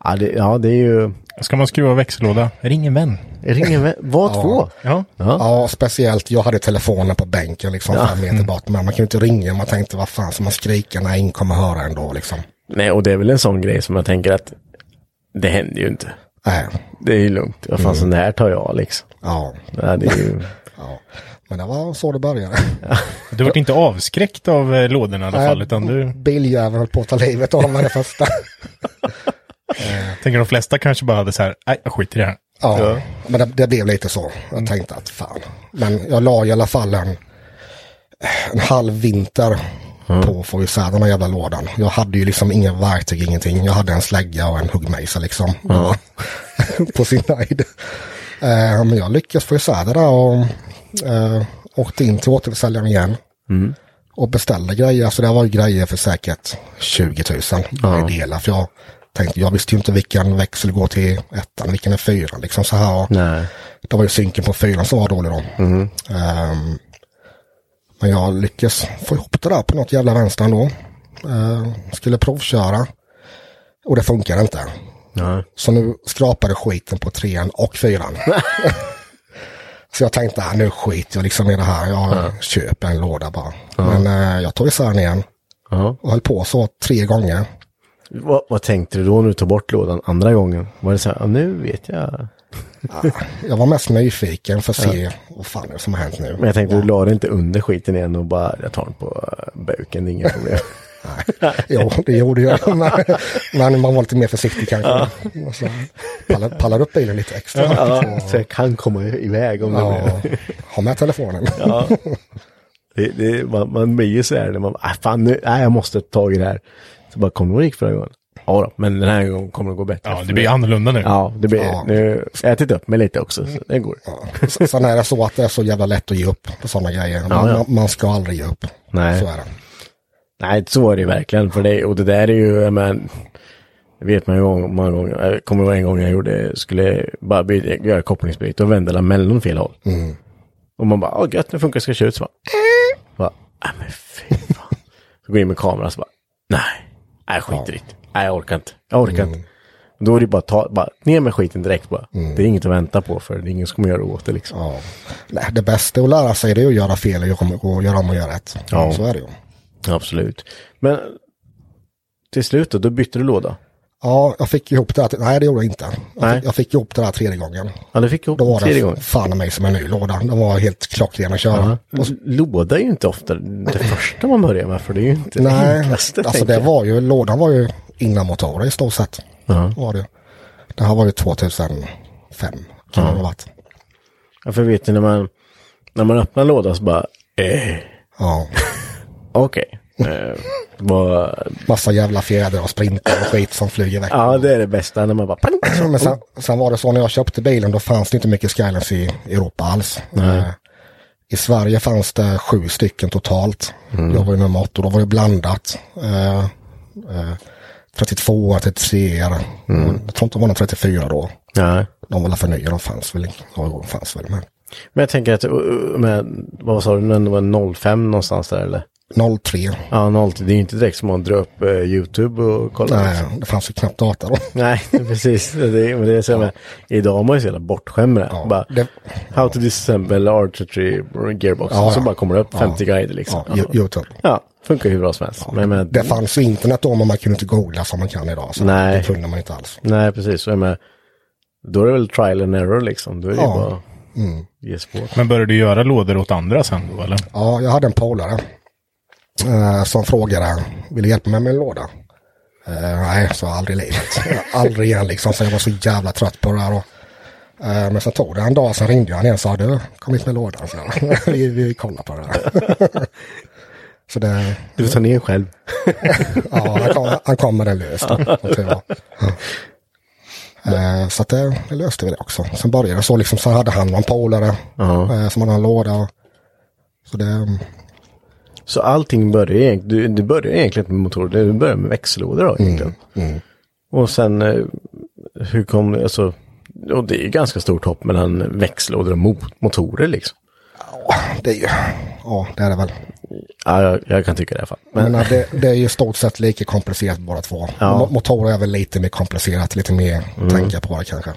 A: Ah, ja, det, ja, det är ju...
B: Ska man skruva växellåda? Ring en vän.
A: Ring en vän. Var två.
B: Ja.
C: Ja, speciellt. Jag hade telefonen på bänken liksom fem meter bort. Men man kunde inte ringa. Man tänkte, vad fan ska man skrika när ingen kommer höra ändå liksom.
A: Nej, och det är väl en sån grej som jag tänker att det händer ju inte.
C: Nej,
A: Det är ju lugnt. Vad
C: Mm.
A: fan, sån här tar jag liksom.
C: Äh, ja,
A: Ja, det är ju...
C: ja. Men det var så det började.
B: Du vart inte avskräckt av eh, lådorna i alla fall, utan du
C: Biljäveln höll på att ta livet av mig det första.
B: tänker de flesta kanske bara hade så här, nej, jag skiter i det här.
C: Ja, men det, det blev lite så. Jag tänkte att fan. Men jag la i alla fall en, en halv vinter på att få isär den här jävla lådan. Jag hade ju liksom inga verktyg, ingenting. Jag hade en slägga och en huggmejsel liksom. på sin höjd. Eh, men jag lyckades få isär det där och eh, åkte in till återförsäljaren igen. Och beställde grejer. Alltså det var ju grejer för säkert 20 000. Bara i delar. För jag tänkte, jag visste ju inte vilken växel går till ettan, vilken är fyran. Liksom så här.
A: Nej. Mm-hmm.
C: Det var ju synken på fyran som var dålig då. Ehm, men jag lyckades få ihop det där på något jävla vänster ändå. Ehm, skulle provköra. Och det funkar inte.
A: Nej.
C: Så nu skrapade skiten på trean och fyran. så jag tänkte, "Ah, nu skiter jag liksom i det här. Jag köper en låda bara. Men eh, jag tog isär den igen.
A: Ja.
C: Och höll på så tre gånger.
A: Vad, vad tänkte du då när du tog bort lådan andra gången? Var det så här, ja, nu vet jag.
C: Jag var mest nyfiken för att se vad fan är det som har hänt nu.
A: Men jag tänkte, du la det inte under skiten igen och bara, jag tar den på eh, buken, det är inga problem.
C: Nej. Jo, det gjorde jag. Men, men man var lite mer försiktig kanske. Och Så pallar, pallar upp bilen lite extra.
A: Ja,
C: Så-
A: så jag kan komma iväg om det blir.
C: ja, ha med telefonen.
A: Det, det, man, man blir ju så här när man, ah, fan nu, nej jag måste ta tag i det här. Så bara, kommer det gå gick förra gången? Ja då, men den här gången kommer det gå bättre.
B: Ja, det blir annorlunda nu.
A: Ja, det blir,
C: Ja.
A: nu, jag har ätit upp mig lite också, så det går.
C: Ja. S- Sen är det så att det är så jävla lätt att ge upp på sådana grejer. Man,
A: Ja, ja.
C: man- man ska aldrig ge upp.
A: Nej.
C: Så är det.
A: Nej, så är det ju verkligen. För det, och det där är ju, men det vet man ju gång- många gånger. Jag kommer ihåg en gång jag gjorde, skulle bara byta, göra kopplingsbyte och vända lamellen fel håll. Och man bara, åh gött, nu funkar det, ska jag köra ut. Så bara, bara nej men fy fan. Så går jag in med kameran så bara, nej, nej skit i det. Nej, jag orkar inte. Jag orkar inte. Då är det bara, ta, bara ner med skiten direkt bara. Det är inget att vänta på för det är ingen som kommer göra åt det liksom.
C: Ja. Nej, det bästa att lära sig det är att göra fel och göra- och göra om och göra rätt.
A: Ja.
C: Så är det ju.
A: Absolut. Men till slut då, då bytte du låda.
C: Ja, jag fick ihop det. här till- Nej, det gjorde jag inte. Jag
A: Nej.
C: fick, jag fick ihop det här tredje gången.
A: Ja, du fick ihop
C: Då
A: det
C: var
A: tredje
C: det
A: gången.
C: fan i mig som en ny låda. Den var helt klockren att köra.
A: Och så- Alltså, Låda är ju inte ofta det första man börjar med för det är ju inte det
C: Nej,
A: enklaste.
C: alltså
A: tänker
C: det
A: jag.
C: var ju, lådan var ju innan motorer i stort sett. Var det. ju. det här var ju 2005 kan det ha varit.
A: Ja, för vet ni när man, när man öppnar lådan så bara, eh,
C: Ja,
A: okej. Eh, vad-
C: massa jävla fjädrar och sprintar och skit som flyger iväg.
A: ja, det är det bästa när man bara, pang,
C: Men sen, sen var det så när jag köpte bilen då fanns det inte mycket Skylines i Europa alls. Eh, I Sverige fanns det sju stycken totalt. Jag var ju nummer åtta och då var det blandat. Eh, eh, 32, 33, mm. jag tror inte det var någon 34 då.
A: Nej.
C: De var väl för nya, de fanns väl. inte. Ja, jo, de fanns väl. Men
A: Men jag tänker att, uh, uh, med, vad sa du, när det var 05 någonstans där eller?
C: 03.
A: Ja, 03, det är ju inte direkt som man drar upp eh, YouTube och liksom. kollar.
C: Nej, Eh, det fanns ju knappt data då.
A: Nej, precis. Det, är- men det är så här med, idag har man ju så jävla bortskämd med det.
C: Ja,
A: bara,
C: det-
A: How to disassemble artistry gearbox.
C: Ja,
A: så
C: ja.
A: bara kommer det upp
C: Ja.
A: 50 guider liksom.
C: Ja, Yo- Youtube.
A: Ja, funkar hur bra som helst. men, men,
C: Det fanns ju internet då, men man kunde inte googla som man kan idag. Så
A: Nej.
C: Det kunde man inte alls.
A: Nej, precis. Så jag menar, då är det väl trial and error liksom. Då är det
C: Ja. Mm.
A: ju bara ge sig på.
B: Men började du göra lådor åt andra sen då, eller?
C: Ja, jag hade en polare eh, som frågade, vill du hjälpa mig med en låda? Eh, nej, så aldrig i livet. aldrig igen liksom, så jag var så jävla trött på det här. Och, eh, men sen tog det en dag, sen ringde han igen och sa, du, kom hit med lådan. Så, vi, vi kollar på det här. så det,
A: Du får ta ner själv.
C: Ja, han kom, han kom med den löst. då, som tur var. Eh, Så att det, det löste vi det också. Sen började det så liksom, sen hade han någon polare eh, som hade en låda. och- Så det,
A: Så allting börjar egentligen, du, du börjar egentligen inte med motorer, du börjar med växellådor då egentligen.
C: Mm,
A: Och sen, eh, hur kom det, alltså, och det är ju ganska stort hopp mellan växellådor och mot- motorer liksom.
C: det är ju, ja det är det väl.
A: Ja, jag, jag kan tycka det i alla fall. Men,
C: Men eh, det, det är ju i stort sett lika komplicerat båda två. Mo- Motorer är väl lite mer komplicerat, lite mer
A: Mm.
C: tänka på det kanske.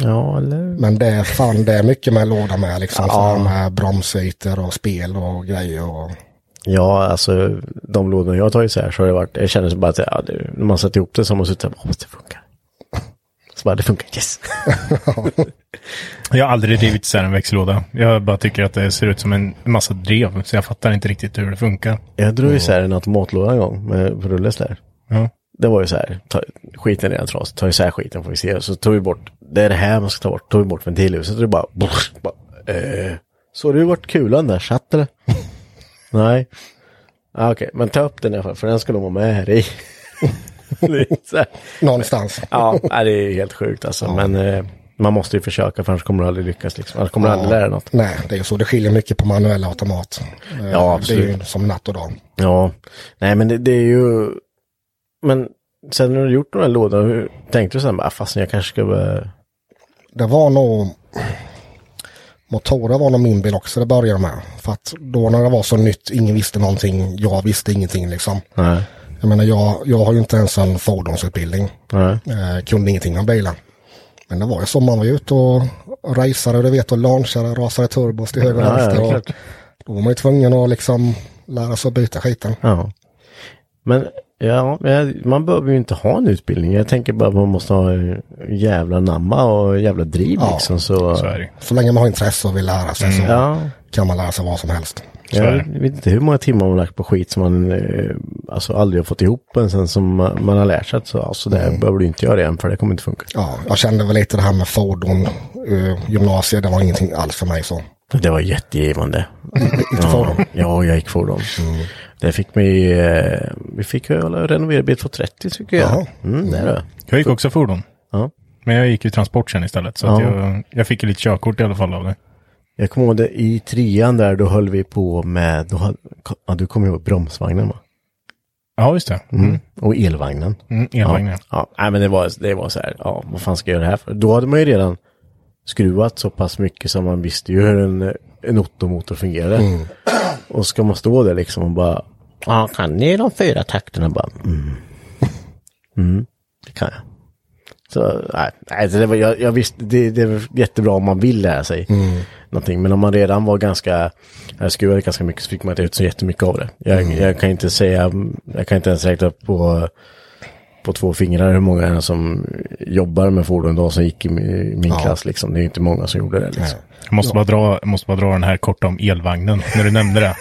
A: ja, eller?
C: Men det är fan, det är mycket med låda med liksom. Så här med bromsytor och spel och grejer och
A: Ja, alltså de lådorna jag har tagit så här så har det varit, jag känner så bara att ja, det, när man sätter ihop det så har man suttit och bara, "Åh, det funkar. Så bara, det funkar, yes.
B: Jag har aldrig drivit isär en växellåda. Jag bara tycker att det ser ut som en massa drev, så jag fattar inte riktigt hur det funkar.
A: Jag drog ju så här en automatlåda en gång med på rulles där.
B: Ja.
A: Det var ju så här, ta, skiten är redan trasig, ta isär skiten får vi se. Så tog vi bort, det är det här man ska ta bort, tog vi bort ventilhuset och det bara, boff, bara eh. Så du vart kulan där satt eller? Nej. Ah, Okej, men ta upp den i alla fall, för den ska de vara med här i. Det är så här.
C: någonstans.
A: Ja, nej, det är helt sjukt alltså. Men eh, man måste ju försöka för annars kommer du aldrig lyckas. Liksom. Annars kommer du aldrig lära dig något.
C: Nej, det är ju så. Det skiljer mycket på manuell och automat. Eh,
A: Ja,
C: Det är ju
A: absolut.
C: som natt och dag.
A: Ja, nej men det, det är ju... Men sen när du gjort de här lådorna, hur tänkte du sen bara, "Ah, fast jag kanske ska börja...
C: Det var nog... Motorer var nog min bil också det började med. För att då när det var så nytt, ingen visste någonting, jag visste ingenting liksom.
A: Nej.
C: Jag menar, jag, jag har ju inte ens en fordonsutbildning.
A: Nej.
C: Eh, kunde ingenting om bilar. Men det var ju så, man var ju ute och raceade, du vet, och launchade, rasade turbos till höger och
A: Ja, ja,
C: vänster. och
A: klart.
C: då var man ju tvungen att liksom lära sig att byta skiten.
A: Ja. Men ja, jag- man behöver ju inte ha en utbildning. Jag tänker bara att man måste ha en jävla namma och en jävla driv
C: Ja,
A: liksom. Så,
B: Så är det.
C: Så länge man har intresse och vill lära sig så
A: Mm, Ja,
C: kan man lära sig vad som helst.
B: Så är
A: Jag
B: det.
A: vet inte hur många timmar man har lagt på skit som man eh, alltså aldrig har fått ihop men sen som man, man har lärt sig att så, alltså, det här behöver du inte göra igen för det kommer inte funka.
C: Ja, jag kände väl lite det här med fordon, eh, gymnasiet, det var ingenting alls för mig så.
A: Det var jättegivande. ja,
C: fordon?
A: ja, jag gick fordon. Det fick mig, eh, vi fick ju alla renovera bil 230 tycker jag.
C: Jaha.
A: Mm, det är det.
B: Jag gick också fordon.
A: Ja.
B: Men jag gick ju transport sen istället. Så att
A: Ja.
B: jag, jag fick ju lite körkort i alla fall av det.
A: Jag kommer ihåg det, i trean där då höll vi på med, då hade, ja, du kommer ihåg bromsvagnen va?
B: Ja, just det. Mm.
A: Och elvagnen.
B: Mm,
A: Ja,
B: elvagnen.
A: ja. Nej, men det var, det var så här, ja, vad fan ska jag göra det här för? Då hade man ju redan skruvat så pass mycket som man visste ju hur en, en ottomotor fungerade. Och ska man stå där liksom och bara, ja, kan ni de fyra takterna? Bara, mm. mm, det kan jag. Så, nej, nej, så det var, jag, jag visste, det, det är jättebra om man vill lära sig någonting. Men om man redan var ganska, jag skruvade ganska mycket så fick man inte ut så jättemycket av det. Jag, jag kan inte säga, jag kan inte ens räkna upp på på två fingrar hur många är det som jobbar med fordon idag som gick i mi- min klass liksom. Det är inte många som gjorde det liksom.
B: Jag måste, bara dra, jag måste bara dra den här korta om elvagnen, när du nämnde det.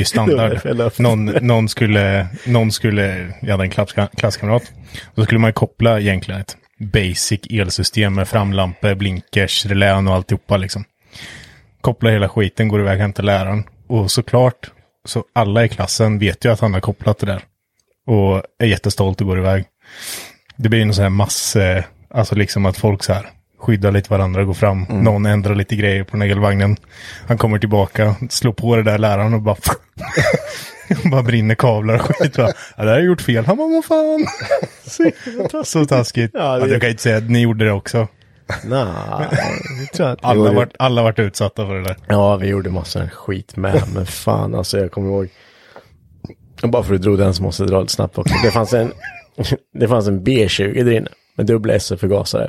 A: Det
B: är ju
A: var
B: standard.
A: därför jag la upp.
B: Någon, någon, skulle, någon skulle, jag hade en klass- klasskamrat, då skulle man ju koppla egentligen ett basic elsystem med framlampor, blinkers, relän och alltihopa liksom. Kopplar hela skiten, går iväg och hämtar läraren. Och såklart, så alla i klassen vet ju att han har kopplat det där. Och är jättestolt och går iväg. Det blir ju någon sån här mass, eh, alltså liksom att folk så här skyddar lite varandra, går fram,
A: Mm.
B: någon ändrar lite grejer på den här elvagnen. Han kommer tillbaka, slår på det där läraren och bara... bara brinner kablar och skit. Va? Ja, det här har jag gjort fel. Han bara, vad fan. Så taskigt.
A: Ja,
B: Ja,
A: det-
B: du kan ju inte säga att ni gjorde det också.
A: Nej, det tror jag inte.
B: Alla
A: Jo,
B: varit, alla varit utsatta för det där.
A: Ja, vi gjorde massor av skit med, men fan alltså jag kommer ihåg. Och Bara för att du drog den så måste jag dra lite snabbt också. Det fanns en, det fanns en B20 där inne med dubbla SF-förgasare.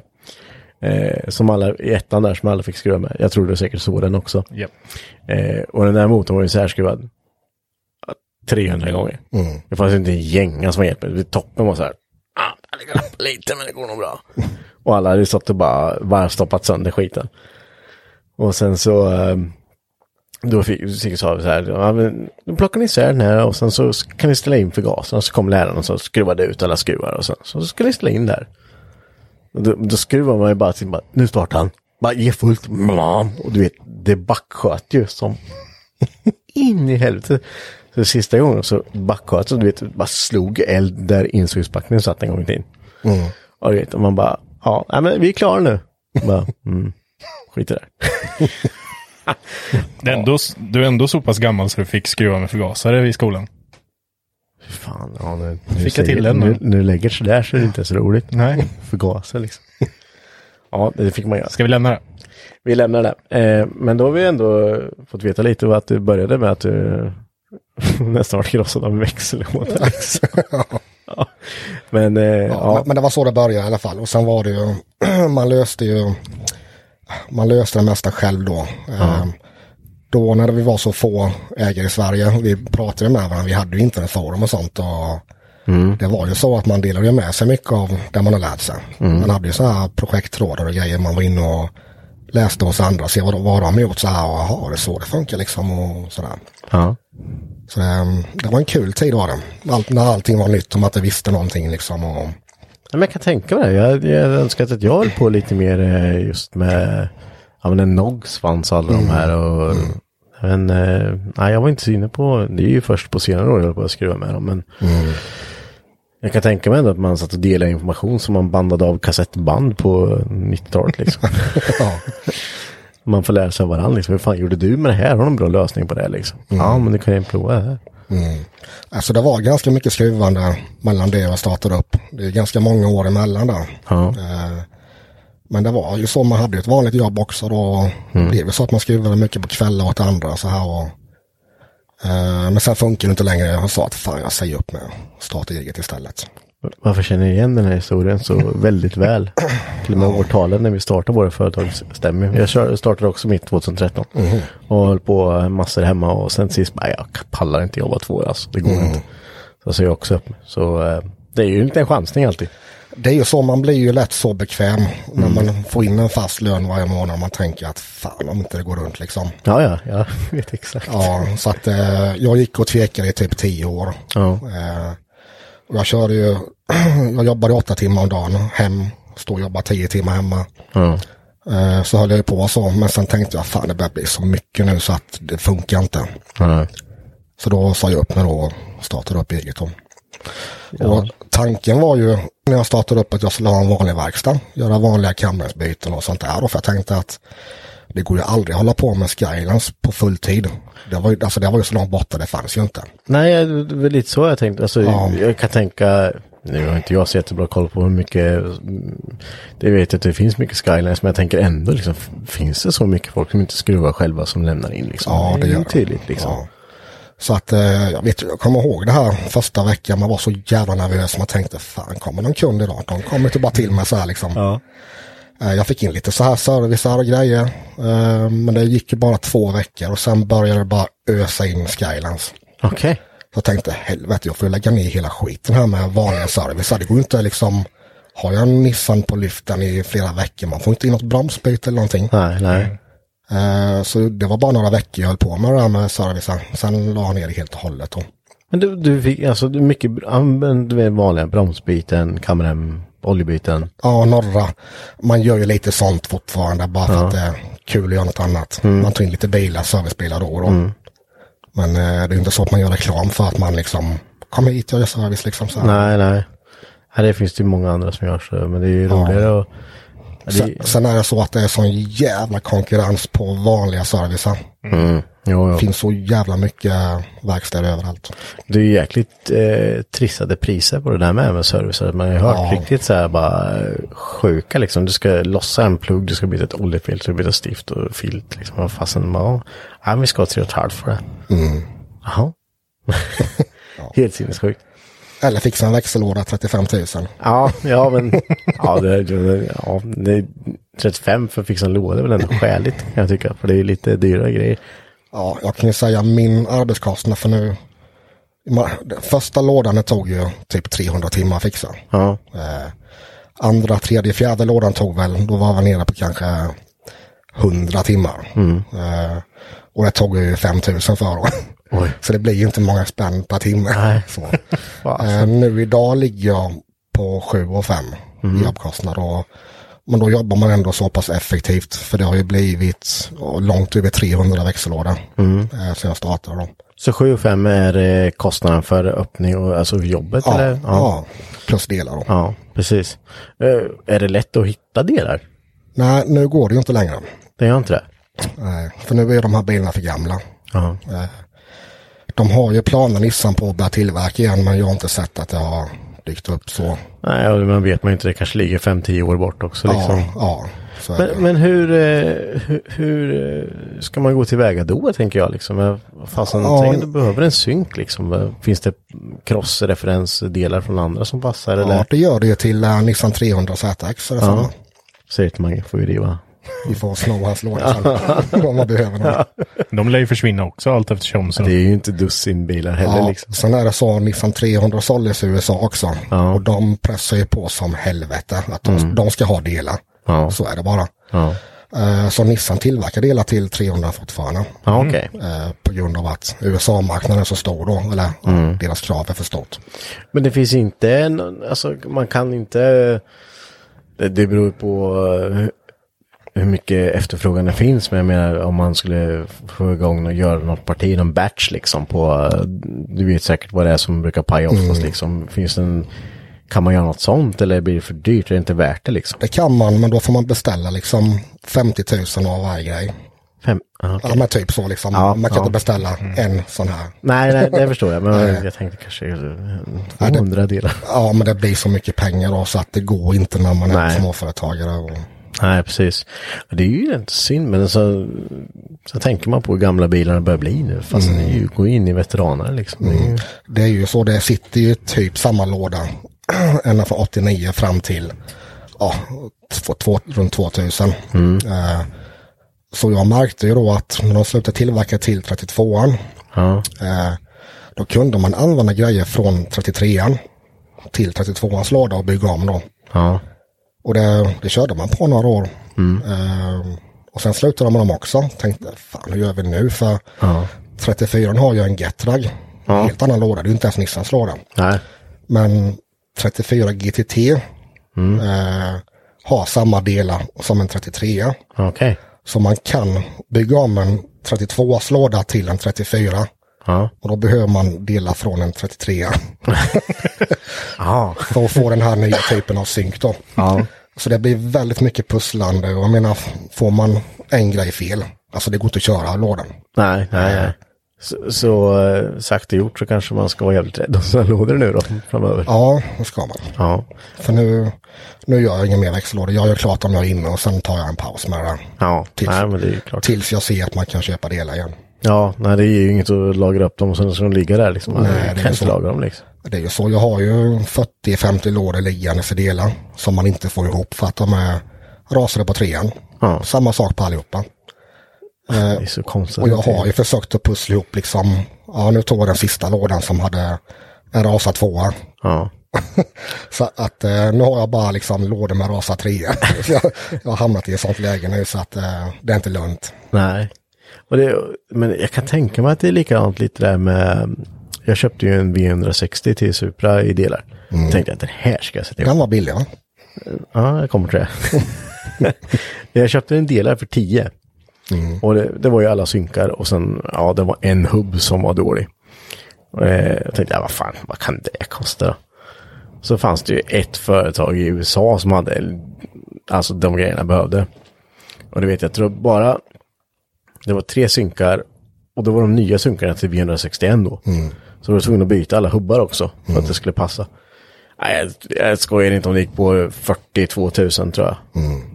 A: Eh, som alla, i ettan där som alla fick skruva med. Jag tror du säkert såg den också.
B: Japp.
A: Eh, och den där motorn var ju särskruvad 300 gånger. Det fanns ju inte en gänga som var hjälp mig. Toppen var så här. Ah, det går upp lite men det går nog bra. och alla hade stått och bara varvstoppat sönder skiten. Och sen så eh, då fick Sigge sa vi så här, ja, men, då plockar ni isär den här och sen så kan ni ställa in för gasen. Och så kom läraren och så skruvade ut alla skruvar och sen så ska ni ställa in där. Och då, då skruvar man ju bara till, bara, nu startar han. Bara ge fullt, mam. och du vet, det backsköt ju som in i helvete. Så sista gången så backsköt så du vet, bara slog eld där insugsbacken satt en gång i tiden. Och du vet, och man bara, ja, nej, men vi är klara nu. Bara, mm, skit i det här.
B: Det är ändå, du är ändå så pass gammal så du fick skruva med förgasare i skolan.
A: Fan, ja, nu, nu,
B: Fick jag
A: säger-
B: till den då?
A: nu, nu lägger det sådär så är det inte så roligt.
B: Nej.
A: Förgasa liksom. Ja, det fick man göra.
B: Ska vi lämna det?
A: Vi lämnar det. Eh, men då har vi ändå fått veta lite vad att du började med att du nästan var krossad av en växellåda. Liksom. ja. Men eh,
C: Ja.
A: ja,
C: Men, men det var så det började i alla fall. Och sen var det ju, man löste ju, man löste det mesta själv då. Ehm, Då när vi var så få ägare i Sverige, vi pratade med varandra, vi hade ju inte en forum och sånt. Och Det var ju så att man delade ju med sig mycket av det man har lärt sig. Man hade ju så här projekttrådar och grejer, man var inne och läste hos andra, se vad de, vad de gjort, så här, och, jaha, det är så det funkar liksom och sådär.
A: ja.
C: Så det, det var en kul tid var det. Allt, när allting var nytt och man inte visste någonting liksom. Och,
A: Ja, Men jag kan tänka mig det. Jag, jag önskar att jag höll på lite mer eh, just med, ja men en Noggs fanns alla de här och, men eh, nej jag var inte så inne på, det är ju först på senare år jag höll på att skruva med dem men
C: Mm.
A: jag kan tänka mig ändå att man satt och delade information som man bandade av kassettband på 90-talet liksom.
C: ja.
A: man får lära sig av varandra liksom, hur fan gjorde du med det här? Har du en bra lösning på det här, liksom? Ja men du kan ju prova det här.
C: Alltså det var ganska mycket skruvande mellan det jag startade upp. Det är ganska många år emellan där.
A: Ja.
C: Eh, Men det var ju så man hade ett vanligt jobb också då. Det är väl så att man skruvade mycket på kvällar åt andra så här och. eh, Men sen funkar det inte längre. Jag sa att fan jag säger upp med att starta eget istället.
A: Varför känner jag igen den här historien så väldigt väl? Till och med årtalen när vi startade våra företag stämmer. Jag kör- startade också mitt 2013. Och höll på massor hemma och sen sist bara, jag pallar inte jobba två år alltså. Det går inte. Så jag säger jag också upp mig. Så eh, Det är ju en liten chansning alltid.
C: Det är ju så, man blir ju lätt så bekväm när man får in en fast lön varje månad. Man tänker att fan om inte det går runt liksom.
A: Ja, ja, jag vet exakt.
C: Ja, så att eh, jag gick och tvekade i typ tio år.
A: Ja.
C: Eh, och jag körde ju, jag jobbade åtta timmar om dagen hem, stod och jobbade tio timmar hemma.
A: Ja.
C: Eh, så höll jag ju på så, men sen tänkte jag fan det börjar bli så mycket nu så att det funkar inte.
A: Ja.
C: Så då sa jag upp mig då och startade upp eget då. Och tanken var ju när jag startade upp att jag skulle ha en vanlig verkstad, göra vanliga kamringsbyten och sånt där. Och för jag tänkte att det går ju aldrig att hålla på med Skylines på full tid. Det var, ju- alltså det var ju så långt borta, det fanns ju inte.
A: Nej, det var lite så jag tänkte. Alltså,
C: Ja.
A: Jag kan tänka, nu har inte jag så jättebra koll på hur mycket, mm, det vet jag att det finns mycket skylines, men jag tänker ändå liksom, f- finns det så mycket folk som inte skruvar själva som lämnar in liksom?
C: Ja, det
A: är
C: gör
A: ju
C: det.
A: tydligt liksom.
C: Ja. Så att eh, jag, vet, jag kommer ihåg det här första veckan, man var så jävla nervös. Man tänkte, fan kommer någon kund idag? De kommer inte bara till mig så här liksom. Eh, jag fick in lite så här servicer och grejer. Eh, men det gick ju bara två veckor och sen började det bara ösa in Skylands.
A: Okej.
C: Så jag tänkte, helvete jag får ju lägga ner hela skiten här med vanliga servicer. Det går ju inte liksom, har jag en Nissan på lyften i flera veckor, man får inte in något bromsbyte eller någonting.
A: Nej, nej.
C: Eh, Så det var bara några veckor jag höll på med det här med servicen. Sen la jag ner det helt och hållet. då.
A: Men du, du fick alltså du mycket, använde du vanliga bromsbyten, kameran, oljebyten?
C: Ja, norra. Man gör ju lite sånt fortfarande bara för att det är kul att göra något annat.
A: Mm.
C: Man tar in lite bilar, servicebilar då och då. Men eh, det är ju inte så att man gör reklam för att man liksom, kom hit jag gör service liksom. Så här.
A: Nej, nej. Ja, det finns det ju många andra som gör så, men det är ju roligare och... Ja, det,
C: Sen, sen är det så att det är sån jävla konkurrens på vanliga servicen.
A: jo,
C: Det
A: jo.
C: finns så jävla mycket verkstäder överallt.
A: det är ju jäkligt eh, trissade priser på det där med, med service. Man har ju hört
C: Ja.
A: riktigt så här bara eh, sjuka liksom. Du ska lossa en plugg, du ska byta ett oljefilter, du ska byta stift och filt liksom. Och Fastän bara, ja, nej, men vi ska ha tre och ett halvt för det.
C: Mm.
A: Jaha. Helt sinnessjukt.
C: Eller fixa en växellåda 35 000.
A: Ja, ja men ja, det, det, ja, det, 35 för att fixa en låda är väl ändå skäligt kan jag tycka. För det är ju lite dyra grejer.
C: Ja, jag kan ju säga min arbetskostnad för nu. ma- den Första lådan det tog ju typ 300 timmar att fixa.
A: Ja,
C: Eh, andra, tredje, fjärde lådan tog väl, då var vi nere på kanske 100 timmar. Eh, och det tog ju 5000 för då.
A: Oj.
C: Så det blir ju inte många spänn per timme.
A: Nej.
C: Så.
A: Fasen.
C: Eh, nu idag ligger jag på 7 och 5 i jobbkostnad. Och, men då jobbar man ändå så pass effektivt. För det har ju blivit ja, långt över 300 växellådor eh, sen jag startade. Då.
A: så 7 5 är eh, kostnaden för öppning och alltså jobbet
C: Ja,
A: eller?
C: ja. plus delar då.
A: Ja, precis. Eh, Är det lätt att hitta delar?
C: Nej, nu går det ju inte längre.
A: Det gör inte det?
C: Nej, för nu är de här bilarna för gamla.
A: Ja.
C: Eh, De har ju planer Nissan på att börja tillverka igen men jag har inte sett att det har dykt upp så.
A: Nej, och man vet man ju inte. Det kanske ligger 5-10 år bort också. Liksom.
C: Ja, ja. Så är det.
A: Men, men hur, eh, hur, hur eh, ska man gå tillväga då, tänker jag liksom? Eh, vad Fasen,
C: Ja.
A: tänk att du behöver en synk liksom. Eh, Finns det crossreferensdelar från andra som passar?
C: ja,
A: Eller?
C: det gör det ju till eh, Nissan 300 ZX. Eller så.
A: Säger till Mange, får ju riva.
C: Vi får sno hans låda sen om man behöver någon.
B: De lär ju försvinna också allt eftersom. Så.
A: Det är ju inte dussin bilar heller
C: Ja,
A: liksom.
C: Sen är det så Nissan 300 såldes i USA också. Och de pressar ju på som helvete att de, de ska ha delar.
A: Mm. Ja.
C: Så är det bara.
A: Ja,
C: Eh, Så Nissan tillverkar delar till 300 fortfarande.
A: ja okej.
C: Eh, På grund av att USA-marknaden är så stor då. Eller ja,
A: Mm.
C: deras krav är för stort.
A: Men det finns inte en, alltså man kan inte, det, det beror ju på eh, hur- hur mycket efterfrågan det finns. Men jag menar om man skulle få igång och göra något parti, någon batch liksom på, eh, du vet säkert vad det är som brukar paja oftast
C: Mm.
A: liksom. Finns det en, kan man göra något sånt eller blir det för dyrt? Är det inte värt det liksom?
C: Det kan man, men då får man beställa liksom 50 000 av varje grej.
A: Fem, ah, okej.
C: Ja, men typ så liksom.
A: Ja,
C: man kan
A: ja.
C: inte beställa en sån här.
A: Nej, nej, det förstår jag. Men jag tänkte kanske eh, 200 delar.
C: Ja, men det blir så mycket pengar då så att det går inte när man är
A: Nej.
C: småföretagare. Och,
A: Nej, precis. Och Det är ju inte synd, men så, så tänker man på hur gamla bilarna börjar bli nu. Fast det är ju
C: Mm.
A: går in i veteraner liksom. Det är ju,
C: det är ju så, det sitter ju typ samma låda ända från 89 fram till ja, två, två, runt 2000. Eh, så jag märkte ju då att när de slutade tillverka till 32an
A: ja,
C: eh, då kunde man använda grejer från 33an. till 32ans lada och bygga om då.
A: Ja.
C: Och det, det körde man på några år. Ehm, och sen slutade man dem också. Tänkte, fan hur gör vi nu? För 34 har ju en Getrag. Helt annan låda, det är ju inte ens Nissans låda.
A: Nej.
C: Men 34 GTT eh, har samma delar som en 33.
A: Okej.
C: Så man kan bygga om en 32 låda till en 34.
A: Ja.
C: Och då behöver man delar från en 33
A: Ja.
C: för att få den här nya typen av synk då.
A: Ja.
C: Så det blir väldigt mycket pusslande och jag menar får man en grej fel, alltså det går inte att köra lådan.
A: Nej, nej, nej. Så, så eh, sagt och gjort så kanske man ska vara jävligt rädd om sina lådor nu då framöver.
C: Ja, det ska man.
A: Ja.
C: För nu, nu gör jag inga mer växellådor. Jag gör klart om jag är inne och sen tar jag en paus med det.
A: Ja,
C: Tills-
A: nej men det är ju klart.
C: Tills jag ser att man kan köpa delar igen.
A: Ja, nej det är ju inget att lagra upp dem och sen ska de ligga där liksom.
C: Nej, det är
A: Nej, kan
C: så.
A: inte lagra dem liksom.
C: Det är ju så, jag har ju 40-50 lådor liggande för delar som man inte får ihop för att de är rasade på trean.
A: Ja.
C: Samma sak på allihopa. Eh,
A: Det är så konstigt.
C: Och jag har ju försökt att pussla ihop liksom, ja nu tog jag den sista lådan som hade en rasa tvåa.
A: Ja.
C: Så att eh, nu har jag bara liksom lådor med rasa trea. Så jag, jag har hamnat i ett sånt läge nu så att eh, det är inte lönt.
A: Nej. Och det, men jag kan tänka mig att det är likadant lite där med... Jag köpte ju en V160 till Supra i delar. Tänkte att den här ska jag sätta ihop.
C: Den var billig va?
A: Ja, jag kommer till det. Mm. jag köpte en delar för 10. Och det, det var ju alla synkar och sen, ja, det var en hubb som var dålig. Och, eh, jag tänkte, ja, vad fan, vad kan det kosta då? Så fanns det ju ett företag i USA som hade, alltså de grejerna jag behövde. Och du vet, jag tror bara, det var tre synkar och då var de nya synkarna till V161 då. Så då var jag tvungen att byta alla hubbar också för att det skulle passa. Nej, jag, jag skojar inte om det gick på 42 000 tror jag.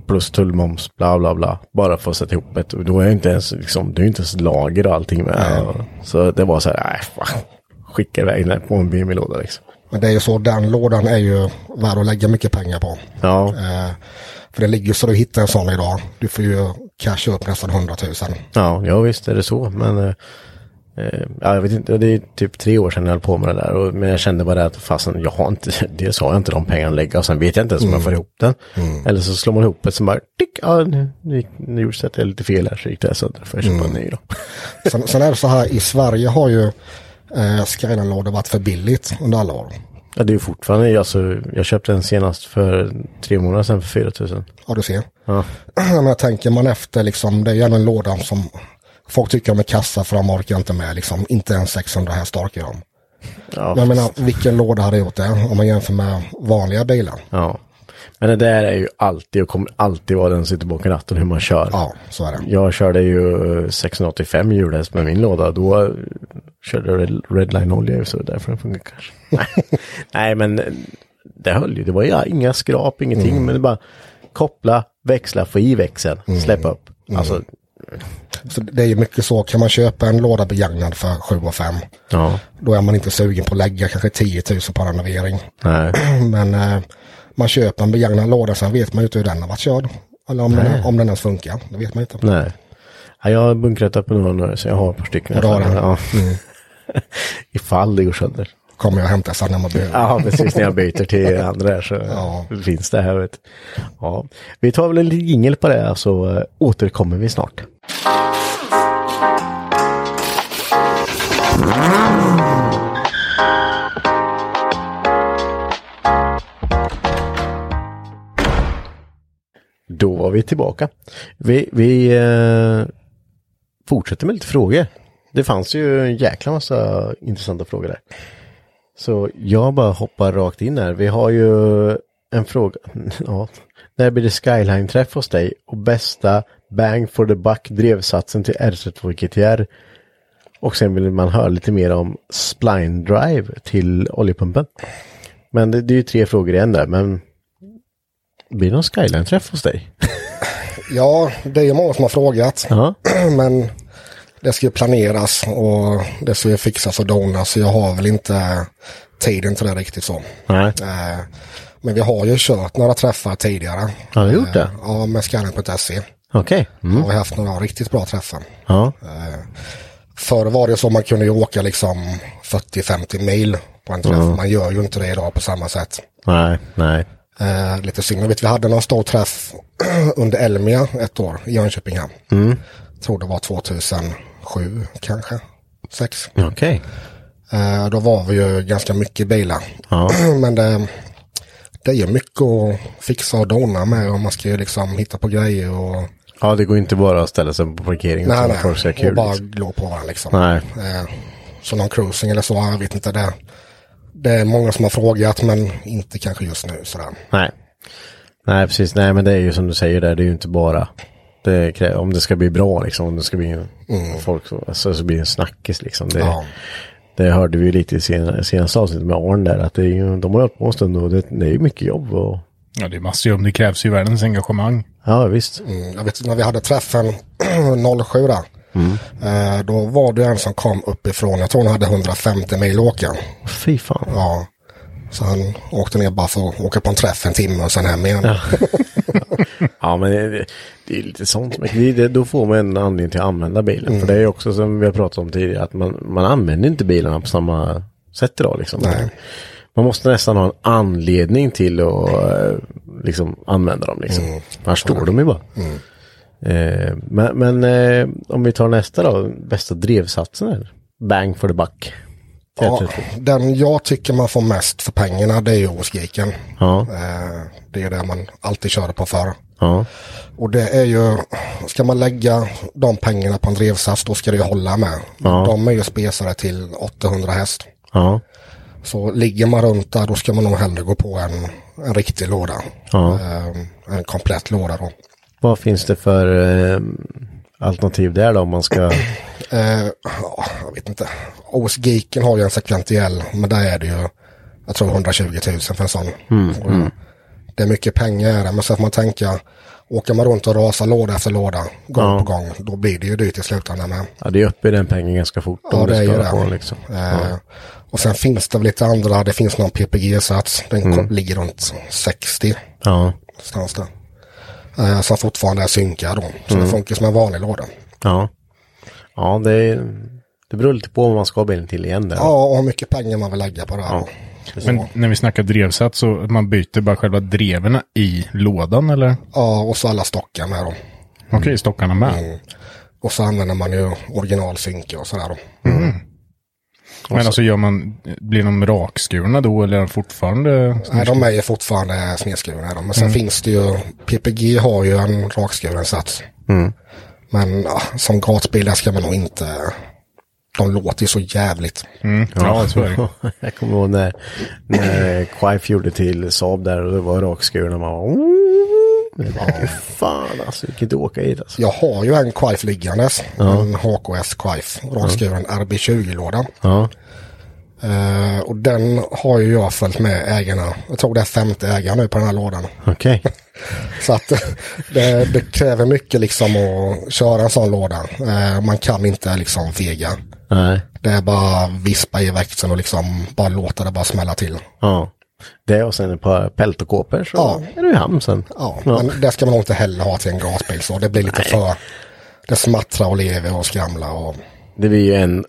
A: Plus tullmoms, bla bla bla. Bara för att sätta ihop ett. Och då är jag inte ens, liksom, det är ju inte ens lager och allting med. Så det var så här, nej fan. Skicka iväg den här på en BMW-låda liksom.
C: Men det är ju så, den lådan är ju värd att lägga mycket pengar på.
A: Ja,
C: Eh, för det ligger ju så du hittar en sån idag. Du får ju casha upp nästan 100 000.
A: ja, ja visst är det så. Men eh, eh, ja, jag vet inte, det är typ tre år sedan jag höll på med det där. Och, men jag kände bara att fasen, jag har inte, dels har jag inte de pengarna att lägga och sen vet jag inte ens om jag får ihop den. Eller så slår man ihop det som bara, tick, ja, nu, nu, gick- nu gjorde jag lite fel här så gick det här sönder. Får jag köpa en ny då?
C: Sen, sen är det så här, i Sverige har ju eh, Skyline-lådor varit för billigt under alla år.
A: Ja, det är ju fortfarande, alltså, jag köpte den senast för tre månader sedan för 4000.
C: Ja, du ser.
A: Ja.
C: Men jag tänker man efter liksom, det är ju ändå en låda som folk tycker om är kassa för de orkar inte med liksom, inte ens 600 här starkar de.
A: Ja,
C: Jag menar, vilken låda hade gjort det om man jämför med vanliga bilar?
A: ja. Men det där är ju alltid och kommer alltid vara den som sitter bakom ratten hur man kör.
C: Ja, så är det.
A: Jag körde ju eh, 685 hjulhäst med min låda. Då eh, körde jag Red- Redline-olja så det är därför den funkar kanske. Nej, men eh, det höll ju. Det var ju inga skrap, ingenting. Men det bara koppla, växla, få i växeln, släppa upp. Alltså,
C: Så det är ju mycket så, kan man köpa en låda begagnad för 7 och 5
A: ja.
C: då är man inte sugen på att lägga kanske 10 000 på renovering.
A: Nej.
C: Men eh, man köper en begagnad låda, sen vet man ju inte hur den har varit körd. Eller om, den, om den ens funkar, det vet man inte.
A: Nej. Ja, jag har bunkrat upp några nu, så jag har ett par stycken.
C: Ja, det har du.
A: Ja. Ifall det går sönder.
C: Kommer jag hämta sen när man behöver.
A: Ja, precis när jag byter till andra här så
C: Ja.
A: finns det här. Vet. du. Ja. Vi tar väl en liten jingel på det här, så eh, återkommer vi snart. Då var vi tillbaka. Vi, vi eh, fortsätter med lite frågor. Det fanns ju en jäkla massa intressanta frågor där. Så jag bara hoppar rakt in här. Vi har ju en fråga. Ja. När blir det skyline-träff hos dig? Och bästa bang for the buck drevsatsen till R32 GTR. Och sen vill man höra lite mer om spline drive till oljepumpen. Men det, det är ju tre frågor i en där. Men blir det någon skyline-träff hos dig?
C: Ja, det är ju många som har frågat.
A: Ja.
C: Men det ska ju planeras och det ska ju fixas och donas. Så jag har väl inte tiden till det riktigt så.
A: Nej.
C: Eh, Men vi har ju kört några träffar tidigare. Eh,
A: Har du gjort det?
C: Ja, med scannet.se.
A: Okej. Mm.
C: Har vi haft några riktigt bra träffar.
A: Ja.
C: Förr var det så man kunde ju åka liksom 40-50 mil på en träff. Man gör ju inte det idag på samma sätt.
A: Nej, nej.
C: Eh, lite synd. Jag vet, vi hade någon stor träff under Elmia ett år i Jönköping. här.
A: Mm.
C: Tror det var 2007 kanske. Sex.
A: Okej.
C: Eh, då var vi ju ganska mycket i bilar.
A: Ja.
C: Men det, det är ju mycket att fixa och dona med. Och man ska ju liksom hitta på grejer och...
A: Ja, det går inte bara att ställa sig på parkeringen och tro att folk ska ha
C: och
A: kul.
C: bara
A: liksom.
C: glå på varandra liksom.
A: Nej.
C: Eh, så någon cruising eller så, jag vet inte. Det, det är många som har frågat men inte kanske just nu. Sådär.
A: Nej. Nej, precis. Nej, men det är ju som du säger där, det är ju inte bara. Det krä- om det ska bli bra liksom, om det ska bli en, folk så, alltså, så blir det en snackis liksom. Det,
C: Mm. Ja.
A: det hörde vi ju lite i sen, senaste avsnittet med Arn där, att det är ju, de har hållit på en stund och det, det är ju mycket jobb och
B: Ja, det är massor om det krävs ju världens engagemang.
A: ja visst.
C: Mm, jag vet när vi hade träffen 07 där.
A: Mm.
C: Eh, då var det en som kom uppifrån, jag tror han hade 150 mil åka.
A: Fy fan.
C: Ja. Så han åkte ner bara för att åka på en träff en timme och sen hem igen.
A: Ja, men det, det är lite sånt. som- Det, det, då får man en anledning till att använda bilen. För det är ju också som vi har pratat om tidigare, att man, man använder inte bilarna på samma sätt idag. Liksom.
C: Nej.
A: Man måste nästan ha en anledning till att eh, liksom, använda dem. Liksom.
C: Mm.
A: Annars står de ju bara. Eh, men men eh, om vi tar nästa då, bästa drevsatsen här. Bang for the buck.
C: Ja,
A: Ja.
C: den jag tycker man får mest för pengarna det är ju Åsgiken.
A: Ja.
C: Eh, det är det man alltid körde på förr.
A: ja.
C: Och det är ju, ska man lägga de pengarna på en drevsats då ska det ju hålla med. De är ju spesade till 800 häst.
A: Ja.
C: Så ligger man runt där då ska man nog hellre gå på en, en riktig låda.
A: Ja.
C: Ehm, en komplett låda då.
A: Vad finns det för eh, alternativ där då om man ska...
C: Eh, ja, jag vet inte. OS Geeken har ju en sekventiell, men där är det ju, jag tror 120 000 för en sån. Och Det är mycket pengar är det, men så får man tänka, åker man runt och rasar låda efter låda, gång på gång, då blir det ju dyrt i slutändan med.
A: Ja, det är uppe i den pengen ganska fort. om
C: Ja,
A: du
C: det är ju
A: ska
C: det.
A: hålla på, liksom.
C: Eh, Och sen finns det väl lite andra, det finns någon PPG-sats, den kom- ligger runt 60
A: Ja,
C: någonstans där. Eh, Som fortfarande är synkad då, så det funkar som en vanlig låda.
A: ja. Ja, det, är- det beror lite på vad man ska ha bilen till igen där.
C: Ja, och hur mycket pengar man vill lägga på det här. då.
B: Men när vi snackar drevsats så att man byter bara själva dreverna i lådan eller?
C: Ja, och så alla stockar med då.
B: Okej, stockarna med.
C: Mm. Och så använder man ju originalsynke och sådär då.
B: Men alltså gör man, blir de rakskurna då eller är de fortfarande?
C: Nej, de är ju fortfarande snedskurna då. Men sen finns det ju, PPG har ju en rakskuren sats. Men ja, som gatbilar ska man nog inte, de låter ju så jävligt.
B: Mm. Ja, så är det.
A: Jag kommer ihåg när, när Quaif gjorde till Saab där och det var rakskuren och man var... Men det var ju fan alltså, vi kan inte åka hit alltså.
C: Jag har ju en Quife liggandes, en HKS Quife, rakskuren RB20-låda.
A: Ja,
C: Eh, och den har ju jag följt med ägarna, jag tror det är femte ägaren nu på den här lådan.
A: okej.
C: Så att det, det kräver mycket liksom att köra en sån låda. Eh, Man kan inte liksom fega.
A: Nej,
C: Det är bara vispa i växeln och liksom bara låta det bara smälla till.
A: ja. Det och sen ett par peltokåpor så
C: Ja.
A: är du i hamn sen.
C: Ja, Men det ska man nog inte heller ha till en gasbil så. Det blir lite för... Det smattrar och lever och skramlar och...
A: Det blir ju en,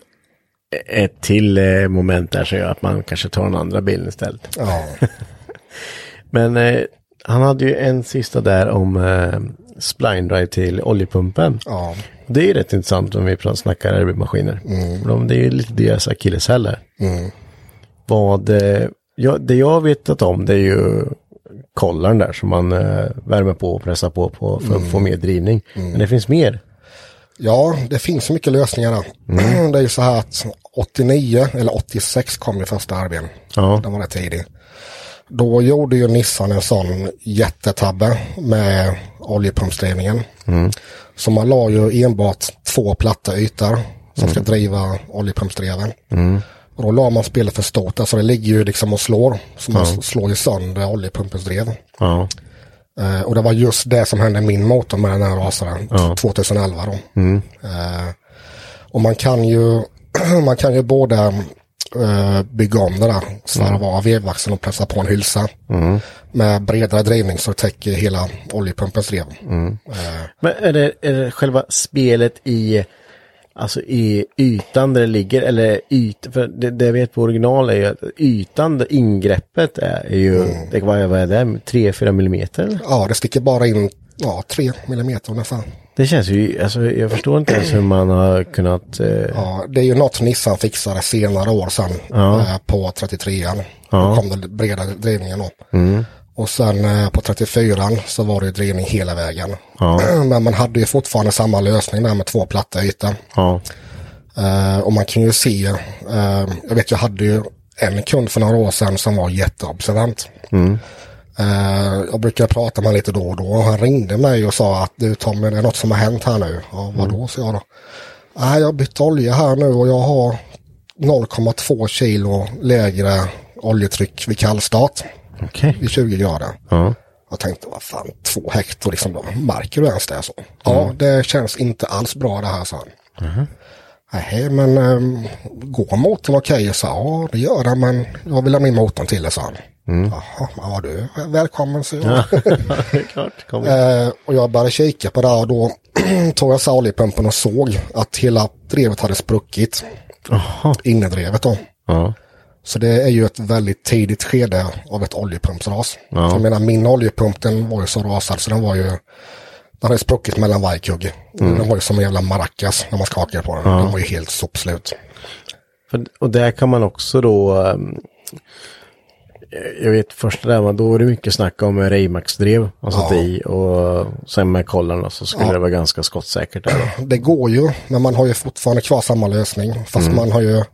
A: ett till eh, moment där som gör att man kanske tar den andra bilen istället.
C: Ja,
A: Men eh, han hade ju en sista där om eh, spline drive till oljepumpen.
C: ja.
A: Det är ju rätt intressant om vi pratar- snackar RB-maskiner. De, det är ju lite deras akilleshäl där. Vad, eh, jag, det jag har vetat om det är ju kollaren där som man eh, värmer på och pressar på, på för att få mer drivning. Men det finns mer.
C: Ja, det finns så mycket lösningar där. Det är ju så här att 89 eller 86 kom ju första RBn.
A: Ja.
C: Den var rätt tidig. Då gjorde ju Nissan en sån jättetabbe med oljepumpsdrivningen. Så man la ju enbart två platta ytor som ska driva oljepumpsdreven. Och då la man spelet för stort, så alltså det ligger ju liksom och slår. Så man slår ju sönder oljepumpens drev.
A: Ja.
C: Eh, och det var just det som hände min motor med den här rasaren 2011 då. Eh, och man kan ju, man kan ju både eh, bygga om det där, svarva av vevaxeln och pressa på en hylsa. Med bredare drivning så täcker hela Eh, oljepumpens drev.
A: Men är det, är det själva spelet i Alltså i ytan där det ligger, eller yt, för det, det jag vet på original är ju att ytan, där ingreppet är, är ju, det, vad, vad är det, 3-4 millimeter? eller?
C: Mm. Ja, det sticker bara in ja, 3 millimeter ungefär.
A: Det känns ju, alltså jag förstår inte ens hur man har kunnat, eh,
C: Ja, det är ju något Nissan fixade senare år sedan eh, på 33an. Då kom den breda drivningen då. Och sen eh, på 34an så var det ju drivning hela vägen. Men man hade ju fortfarande samma lösning där med två platta ytor.
A: ja,
C: Eh, och man kan ju se, eh, jag vet jag hade ju en kund för några år sedan som var jätteobservant. Eh, jag brukar prata med honom lite då och då och han ringde mig och sa att du Tommy, det är något som har hänt här nu. Ja, vadå, sa jag då. Nej, jag har bytt olja här nu och jag har 0,2 kilo lägre oljetryck vid kallstart
A: okej.
C: vid 20 grader.
A: Ja.
C: Jag tänkte, vad fan, två hekto, liksom, då. märker du ens det? Så? Ja, det känns inte alls bra det här, sa han. Nej, men um, går motorn okej? Okay? sa jag, ja, det gör den, men jag vill ha min motorn till det, sa han. Jaha, ja du, välkommen, sa jag.
A: Det är klart, kom.
C: Eh, och jag började kika på det här och då tog jag sauliepumpen och såg att hela drevet hade spruckit. Innerdrevet då.
A: Ja,
C: Så det är ju ett väldigt tidigt skede av ett oljepumpsras.
A: Ja.
C: För Jag menar min oljepump den var ju så rasad så den var ju, den hade spruckit mellan varje kugg.
A: Mm.
C: Den var ju som en jävla maracas när man skakade på den. Den var ju helt sopslut.
A: För, och där kan man också då, ehm, jag vet första där, man, då var det mycket snack om Raymax-drev man satte
C: Ja.
A: i och sen med kollen och så skulle det vara ganska skottsäkert där då.
C: Det går ju, men man har ju fortfarande kvar samma lösning. Fast man har ju äh,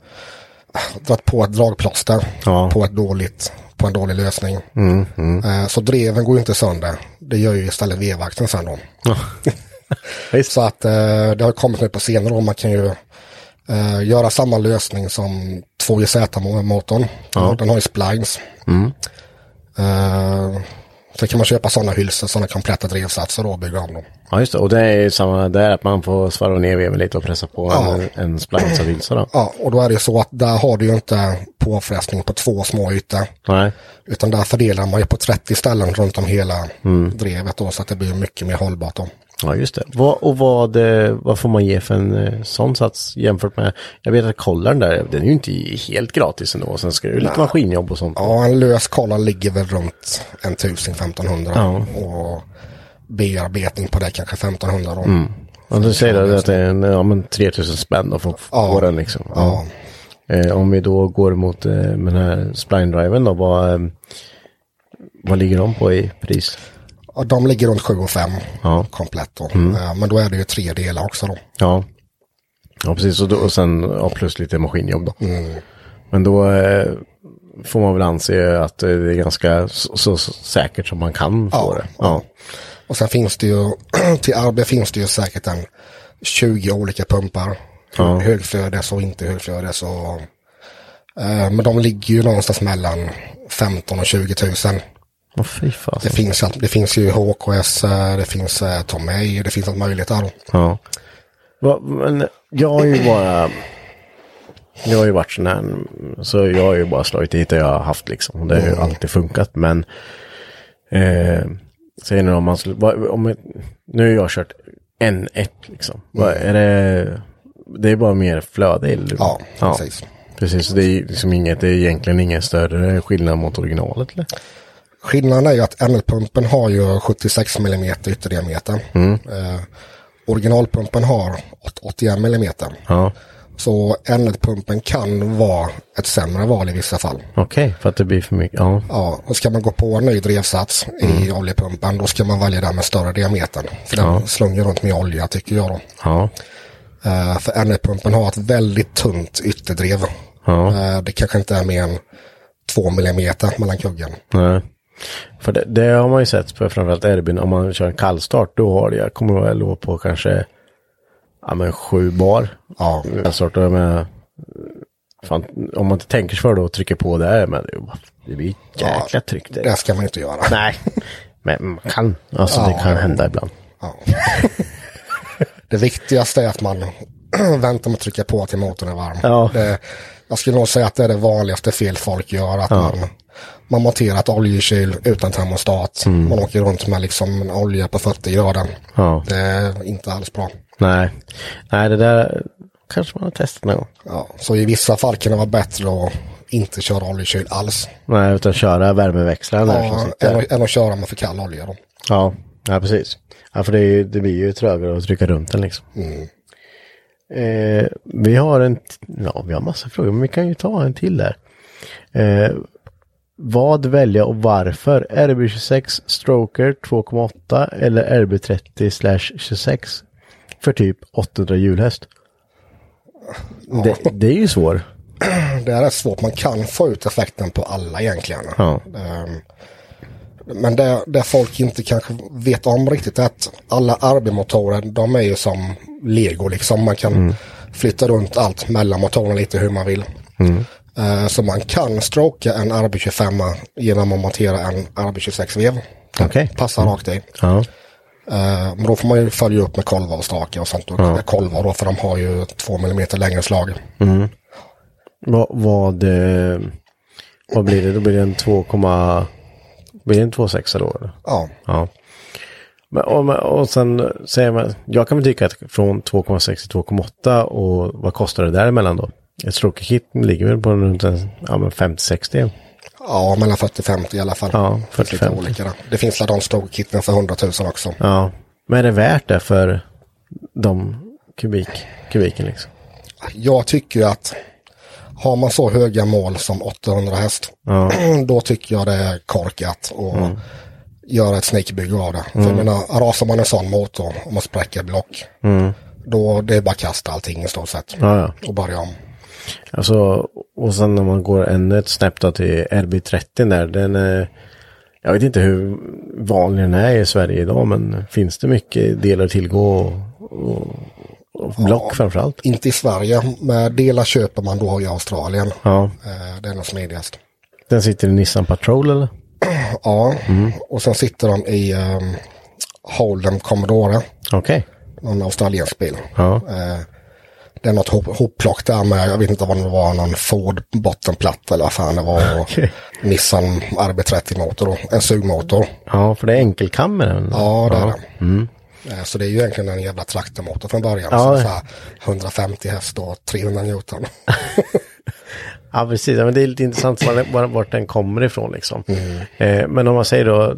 C: dragit på ett dragplåster
A: Ja.
C: på, ett dåligt, på en dålig lösning. Eh, Så dreven går ju inte sönder. Det gör ju istället vevakten sen då. Så att eh, det har kommit nu på senare år. Man kan ju eh, göra samma lösning som 2JZ-motorn. Den har ju splines. Eh, Sen kan man köpa sådana hylsor, sådana kompletta drevsatser då och bygga om dem.
A: Ja just det, och det är ju samma där att man får svarva ner veven lite och pressa på
C: Ja.
A: en, en splines av hylsa då.
C: Ja, och då är det ju så att där har du ju inte påfrestning på två små ytor.
A: Nej,
C: Utan där fördelar man ju på 30 ställen runt om hela drevet då, så att det blir mycket mer hållbart då.
A: ja just det. Vad, och vad, eh, vad får man ge för en eh, sån sats jämfört med, jag vet att kollaren där, den är ju inte helt gratis ändå, sen ska det ju lite maskinjobb och sånt.
C: Ja, en lös kolla ligger väl runt en 1500 och bearbetning på det kanske 1500 då.
A: Ja, du säger det, att det är en, ja, men 3000 spänn då för att få
C: Ja.
A: den liksom.
C: Ja.
A: Eh, om vi då går mot eh, med den här spline-driven då, vad, eh, vad ligger de på i pris?
C: Och de ligger runt 7 och 5
A: Ja.
C: komplett då. Eh, Men då är det ju tre delar också då.
A: Ja, ja precis. Och, då, och sen ja, plus lite maskinjobb då. Men då eh, får man väl anse att eh, det är ganska så, så, så säkert som man kan få
C: Ja.
A: det. Ja.
C: Och sen finns det ju, till Arbe finns det ju säkert en 20 olika pumpar.
A: Ja.
C: Högflödes och inte högflödes. Och, eh, men de ligger ju någonstans mellan 15 och 20 tusen.
A: Åh fy
C: Det,
A: fasen.
C: finns, allt- det finns ju HKS, eh, det finns eh, Tomei, det finns allt möjligt där. då.
A: Ja. Va, men jag har ju bara... Jag har ju varit sån här, så jag har ju bara slagit dit det jag har haft liksom. Och Det har ju
C: Mm.
A: alltid funkat, men... Eh, säger ni om man skulle... vad- Om, ett- nu har jag kört en ett liksom. Vad är det... Det är bara mer flöde eller?
C: Mm. Ja, precis.
A: Precis, så det är ju liksom inget, det är egentligen ingen större skillnad mot originalet eller?
C: Skillnaden är ju att NL-pumpen har ju 76 mm ytterdiameter.
A: Mm.
C: Eh, originalpumpen har 81 mm.
A: Ja,
C: Så NL-pumpen kan vara ett sämre val i vissa fall.
A: okej, för att det blir för mycket, ja.
C: Ja, och ska man gå på en ny drevsats i
A: Mm.
C: oljepumpen då ska man välja den med större diametern. För den slung ju runt med olja tycker jag då.
A: Ja,
C: Eh, för NL-pumpen har ett väldigt tunt ytterdrev.
A: ja.
C: Eh, det kanske inte är mer än 2 millimeter mellan kuggen.
A: Nej. För det, det har man ju sett på framförallt Erbyn, om man kör en kallstart, då har det, jag kommer ihåg, jag låg på kanske, ja men sju bar.
C: Ja,
A: Kallstart, och med, fan, om man inte tänker sig för då och trycker på där, men det, det blir jäkla
C: Ja,
A: tryck där.
C: det ska man inte göra.
A: Nej, men man kan, alltså det kan hända ibland.
C: Ja. det viktigaste är att man väntar med att trycka på till motorn är varm.
A: Ja.
C: Det, jag skulle nog säga att det är det vanligaste fel folk gör. Att man, man monterar ett oljekyl utan termostat.
A: Mm.
C: Man åker runt med liksom en olja på 40 grader.
A: Ja.
C: Det är inte alls bra.
A: Nej, nej det där kanske man har testat någon gång.
C: Ja, så i vissa fall kan det vara bättre att inte köra oljekyld alls.
A: Nej, utan köra värmeväxlaren där som
C: Ja, än,
A: sitter.
C: att, än att köra med för kall olja då.
A: Ja, ja precis. Ja, för det, är ju, det blir ju trögare att trycka runt den liksom. Eh, vi har en, t- ja vi har massa frågor, men vi kan ju ta en till där. Eh, vad välja och varför? RB26 Stroker 2,8 eller RB30 slash 26 för typ 800 hjulhäst? Det, det är ju svår.
C: Det är rätt svårt, man kan få ut effekten på alla egentligen.
A: Ja.
C: Ehm, Men det, det folk inte kanske vet om riktigt är att alla RB-motorer de är ju som lego liksom. Man kan flytta runt allt mellan motorerna lite hur man vill. Eh, Så man kan stroka en RB25 genom att montera en RB26-vev.
A: Okej.
C: Passar rakt i.
A: Ja.
C: Eh, Men då får man ju följa upp med kolvarvstakar och sånt. Och kolvar då, för de har ju två millimeter längre slag.
A: Vad, vad, eh, vad blir det? Då blir det en 2, blir det en 2,6 då? Eller?
C: Ja.
A: Ja. Men, och, men- och sen säger man, jag kan väl tycka att från 2,6 till 2,8 och vad kostar det däremellan då? Ett stroke-kit ligger väl på runt en- ja, men 50-60.
C: Ja, mellan 40-50 i alla fall.
A: Ja,
C: Det finns lite
A: 40-50.
C: olika där. Det finns väl de stokitten för 100 000 också.
A: Ja. Men är det värt det för de kubik, kubiken liksom?
C: Jag tycker ju att har man så höga mål som 800 häst, då tycker jag det är korkat och göra ett sneakbygge av det. För jag menar, rasar man en sån motor och man spräcker block, då det är bara att kasta allting i stort sett
A: Ja, ja.
C: och börja om.
A: Alltså, och sen när man går ännu ett snäpp då till RB30 där, den är, jag vet inte hur vanlig den är i Sverige idag, men finns det mycket delar att tillgå och, och, och block framförallt?
C: Inte i Sverige, men delar köper man då i Australien.
A: Ja.
C: Eh, Det är nog smidigast.
A: Den sitter i Nissan Patrol eller?
C: Ja, och sen sitter de i um, Holden Commodore,
A: Okej.
C: någon australiensk bil.
A: Ja.
C: Eh, det är något hop- hopplock där med, jag vet inte vad det var, någon Ford bottenplatta eller vad fan det var. Och
A: Okej.
C: Nissan RB30-motor, då, en sugmotor.
A: Ja, för det är enkelkammaren.
C: Ja, det är det. Eh, Så det är ju egentligen en jävla traktormotor från början.
A: Mm. Ja.
C: Så, så här, 150 häst och 300 Newton.
A: Ja, precis. Ja, men det är lite intressant var, var, vart den kommer ifrån liksom. Eh, men om man säger då,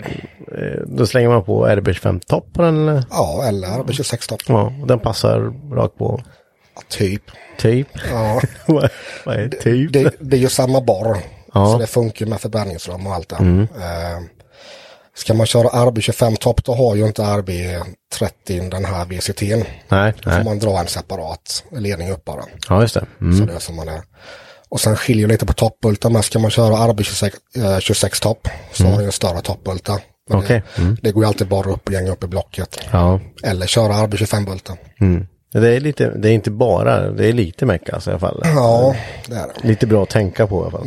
A: eh, då slänger man på RB25 topp på den eller?
C: Ja, eller RB26 topp.
A: Ja, och den passar rakt på.
C: Typ.
A: Typ.
C: Ja.
A: Vad vad är typ?
C: Det, det är ju samma borr.
A: Ja. Mm.
C: Så det funkar med förbränningsrum och allt det. Eh, ska man köra RB25 topp då har ju inte RB30 den här VCT'n.
A: Nej,
C: Då får
A: nej.
C: man dra en separat ledning upp bara.
A: Ja, just det. Mm.
C: Så det är som man är. Och sen skiljer lite på toppbultar men ska man köra RB26 eh, 26 topp så har den en större toppbulta. Men
A: Mm. Okej. Mm.
C: det, det går ju alltid bara upp och gänga upp i blocket.
A: Ja. mm.
C: Eller köra RB25-bulta.
A: Det är lite, det är inte bara, det är lite meck alltså, i alla fall.
C: Ja, Mm. det är det.
A: Lite bra att tänka på i alla fall.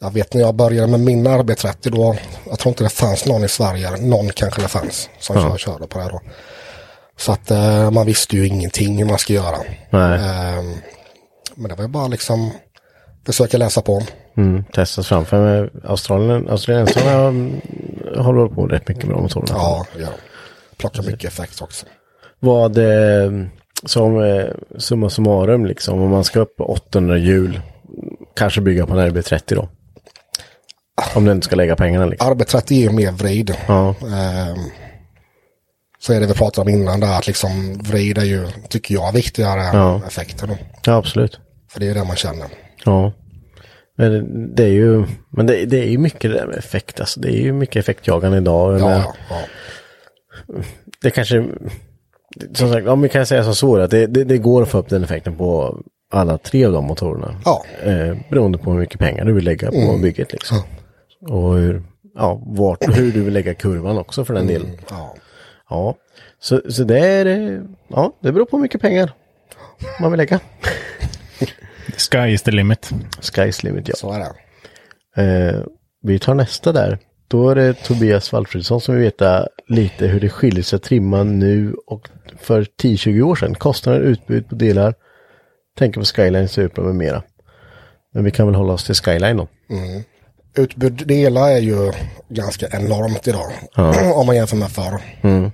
C: Jag vet när jag började med min RB30 då, jag tror inte det fanns någon i Sverige, eller någon kanske det fanns som kör, körde på det här då. Så att eh, man visste ju ingenting hur man ska göra.
A: Nej.
C: Ehm, men det var ju bara liksom försöka läsa på.
A: Mm. Testas framför mig. Australien, australiensarna mm, håller på rätt mycket med de motorerna.
C: Ja, ja. Plocka mycket effekt också.
A: Vad, eh, som eh, summa summarum liksom, om man ska upp på 800 hjul, kanske bygga på en RB30 då. Om den ska lägga pengarna liksom.
C: RB30 är ju mer vrid.
A: Ja,
C: Ehm, så är det vi pratade om innan där, att liksom vrid är ju, tycker jag, viktigare än
A: Ja.
C: effekter då.
A: ja absolut.
C: För det är ju det man känner.
A: Ja. Men det är ju, men det, det är ju mycket det där med effekt alltså. Det är ju mycket effektjagande idag.
C: Ja,
A: Eller,
C: ja, ja.
A: Det kanske, som sagt, om vi kan säga som så att det, det, det går att få upp den effekten på alla tre av de motorerna.
C: Ja. Mm.
A: Eh, beroende på hur mycket pengar du vill lägga på bygget liksom. Och hur, ja, vart, hur du vill lägga kurvan också för den
C: Mm.
A: delen.
C: ja.
A: Ja, så, så det är, eh, ja, det beror på hur mycket pengar man vill lägga.
B: Sky is the limit.
A: Sky's limit, ja.
C: Så är det.
A: Eh, vi tar nästa där. Då är det Tobias Valfridsson som vill veta lite hur det skiljer sig att trimma nu och för 10-20 år sedan. Kostnader, utbud på delar, tänker på Skyline, Supra med mera. Men vi kan väl hålla oss till Skyline då.
C: Utbud delar
A: Mm.
C: är ju ganska enormt idag. Om man jämför med förr. Eh,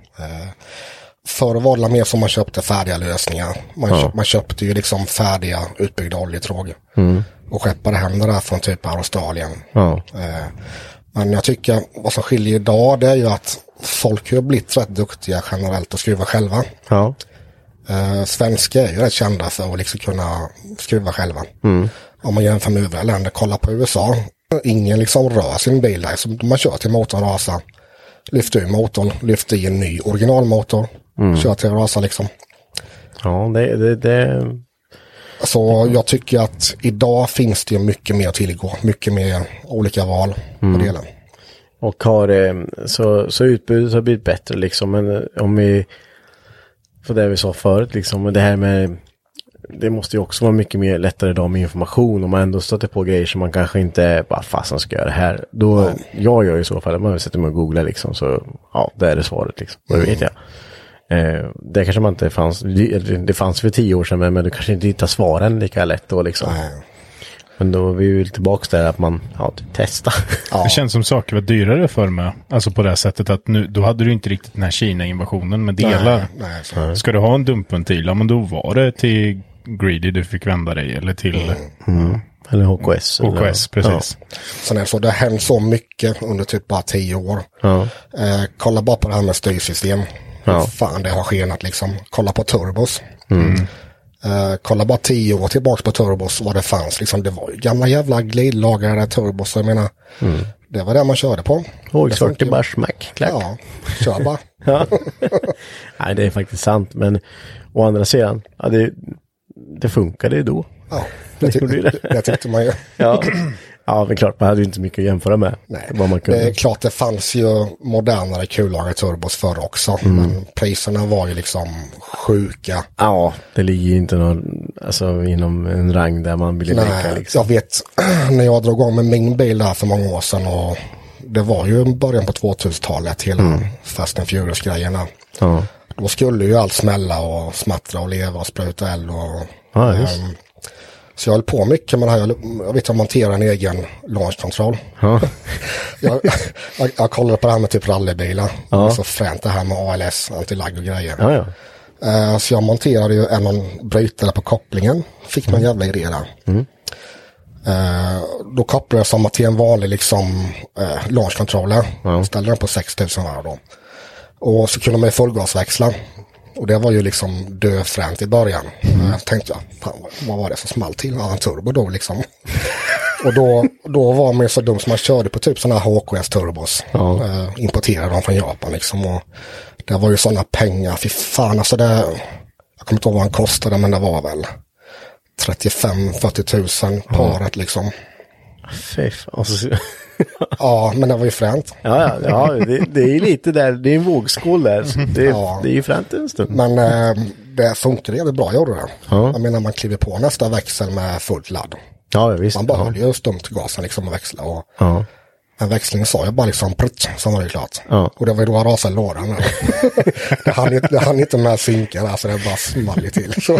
C: Förr var det mer som man köpte färdiga lösningar. Man,
A: Ja.
C: köp, man köpte ju liksom färdiga utbyggda oljetråg. Och skeppade hem det där från typ Australien.
A: Mm. Ja.
C: Eh, Men jag tycker vad som skiljer idag det är ju att folk har blivit rätt duktiga generellt att skruva själva.
A: Ja.
C: Eh, svenskar är ju rätt kända för att liksom kunna skruva själva. Om man jämför med övriga länder, kolla på USA. Ingen liksom rör sin bil där, så man kör till motorn rasar. Lyfter ur motorn, lyfter i en ny originalmotor. Kör till rasa liksom.
A: Ja, det, det, det...
C: Så jag tycker att idag finns det mycket mer att tillgå. Mycket mer olika val på delen.
A: Och har, eh, så, så utbudet har blivit bättre liksom. Men eh, om vi, för det vi sa förut liksom, och det här med, det måste ju också vara mycket mer lättare idag med information. Om man ändå stöter på grejer som man kanske inte, bara fasen ska jag göra det här. Då, jag gör i så fall, man sätter mig och googlar liksom, så ja, det är det svaret liksom. Då vet jag. Eh, det kanske man inte fanns, det, det fanns för tio år sedan, men, men du kanske inte hittar svaren lika lätt då liksom.
C: Eh,
A: Men då är vi ju tillbaka där att man, ja, typ testa.
C: Ja,
B: Det känns som saker var dyrare för mig. Alltså på det här sättet att nu, då hade du inte riktigt den här Kina-invasionen med delar.
C: nej, nej, så-
B: Ska du ha en dumpventil, ja men då var det till Greedy du fick vända dig eller till
A: Mm. Eller HKS. eller-
B: OKS, precis.
C: Sen är det så, det har hänt så mycket under typ bara tio år.
A: Ja.
C: Eh, kolla bara på det här med styrsystem. Hur fan det har skenat liksom. Kolla på turbos.
A: Mm.
C: Eh, kolla bara tio år tillbaka på turbos vad det fanns. Liksom, det var ju gamla jävla glidlagrade turbos. så Jag menar,
A: Mm.
C: det var det man körde på. Det funkar
A: HX40
C: ju.
A: bara smack, klack.
C: Ja, kör bara.
A: Ja. Nej, det är faktiskt sant, men å andra sidan, ja, det, det funkade ju då.
C: Ja, det, tyck-
A: gjorde ju
C: det.
A: det.
C: tyckte man ju.
A: Ja. ja, men klart, man hade ju inte mycket att jämföra med.
C: Nej,
A: Vad man kunde.
C: det är klart det fanns ju modernare kullagrade turbos förr också.
A: Mm.
C: Men priserna var ju liksom sjuka.
A: Ja, det ligger ju inte någon, alltså inom en rang där man ville leka
C: Nej,
A: liksom.
C: jag vet när jag drog igång med min bil där för många år sedan och det var ju början på 2000-talet hela Fast and Furious-grejerna.
A: Mm. Ja.
C: Då skulle ju allt smälla och smattra och leva och spruta eld och
A: Ja, just.
C: ehm, så jag höll på mycket med det här. Jag, jag vet jag monterade en egen launch control.
A: Ja.
C: jag, jag, jag kollade på det här med typ rallybilar. Det är så fränt det här med ALS, antilagg och grejer.
A: ja, ja.
C: Eh, Så jag monterade ju en någon brytare på kopplingen. Fick man en jävla idé där. Eh, Då kopplade jag samma till en vanlig liksom eh, launch controller. Ställde den på 6000 varv då. Och så kunde man ju fullgasväxla. Och det var ju liksom döfränt i början. Eh, Tänkte jag, fan, vad- vad var det som small till? Ja, en turbo då liksom. och då, då var man ju så dum som man körde på typ sådana här HKS turbos. Eh, importerade dem från Japan liksom. Och det var ju sådana pengar, fy fan alltså det. Jag kommer inte ihåg vad den kostade men det var väl 35-40 000 paret liksom.
A: Fy fan, och så-
C: Ja, men det var ju fränt.
A: ja, ja, ja det, det är ju lite där, det är en vågskål där. så Det,
C: Ja.
A: det är ju fränt en stund.
C: Men eh, det funkade jävligt bra, gjorde det.
A: Ja.
C: Jag menar man kliver på nästa växel med fullt ladd.
A: Ja, ja, visst.
C: Man bara höll ju stumt gasen liksom och växla och
A: Ja.
C: en växling sa jag bara liksom prutt, så var det klart.
A: Ja.
C: Och det var ju då jag rasade lådan. det, hann, inte- det hann inte med synkar alltså det bara small ju till. Så,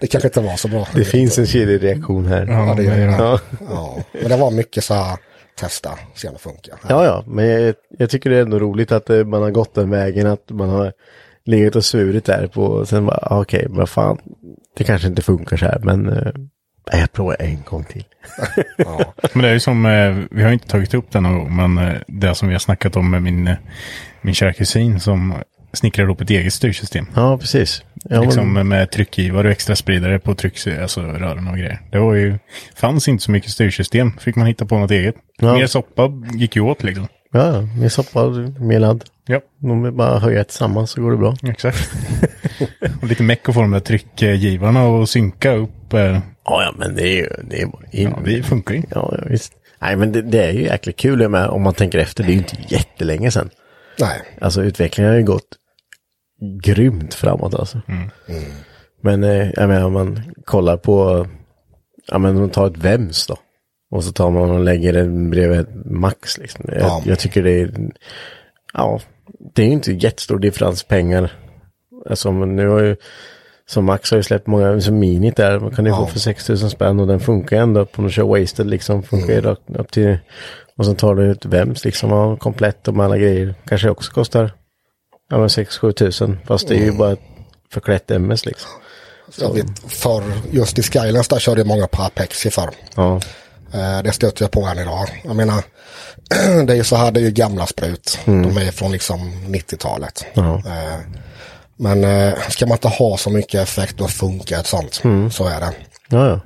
C: det kanske inte var så bra.
A: Det finns en kedjereaktion här.
B: Ja, det gör det.
A: Ja.
C: Ja, men det var mycket så här, testa, se om det funkar.
A: Ja, ja, men jag, jag tycker det är ändå roligt att eh, man har gått den vägen, att man har legat och svurit där på, och sen bara, ah, okej, men fan, det kanske inte funkar så här, men eh, nej, jag provar en gång till.
C: Ja.
B: Men det är ju som, eh, vi har ju inte tagit upp det någon gång, men eh, det som vi har snackat om med min, eh, min kära kusin som snickrar ihop ett eget styrsystem.
A: Ja, precis. Ja,
B: liksom
A: men,
B: eh, med tryckgivare och extra spridare på tryck, alltså rören och grejer. Det var ju, fanns inte så mycket styrsystem, fick man hitta på något eget.
A: Ja.
B: Mer soppa gick ju åt liksom.
A: ja, ja, mer soppa, mer ladd.
B: Ja,
A: De vill bara höja tillsammans så går det bra.
B: exakt. och lite meck att få de där tryckgivarna och synka upp. eh,
A: Ja, ja, men det är ju, det är bara in.
B: Ja, det funkar ju.
A: Ja, ja, visst. Nej, men det, det är ju jäkligt kul, jag menar, om man tänker efter, det är ju inte jättelänge sedan.
C: Nej,
A: Alltså utvecklingen har ju gått grymt framåt alltså. Men eh, jag menar om man kollar på, ja men om man tar ett Vems då. Och så tar man och lägger den bredvid ett Max liksom. Jag,
C: Ja.
A: jag tycker det är, ja, det är ju inte jättestor differens pengar. Alltså men nu har ju, som Max har ju släppt många, som Minit där, man kan ju få för 6000 spänn och den funkar ju ändå upp om du kör wasted liksom. Funkar ju rakt upp till, och så tar du ut Vems liksom, ja, komplett och med alla grejer. Kanske också kostar ja, men 6-7 tusen. Fast det är ju bara ett förklätt MS liksom.
C: Jag vet, för just i Skylands där körde jag många parapexi förr.
A: Ja,
C: Eh, Det stöter jag på än idag. Jag menar, det är ju så här, det är ju gamla sprut.
A: Mm.
C: De är från liksom 90-talet. Eh, Men eh, ska man inte ha så mycket effekt och funka ett sånt,
A: Mm.
C: så är det.
A: ja. ja.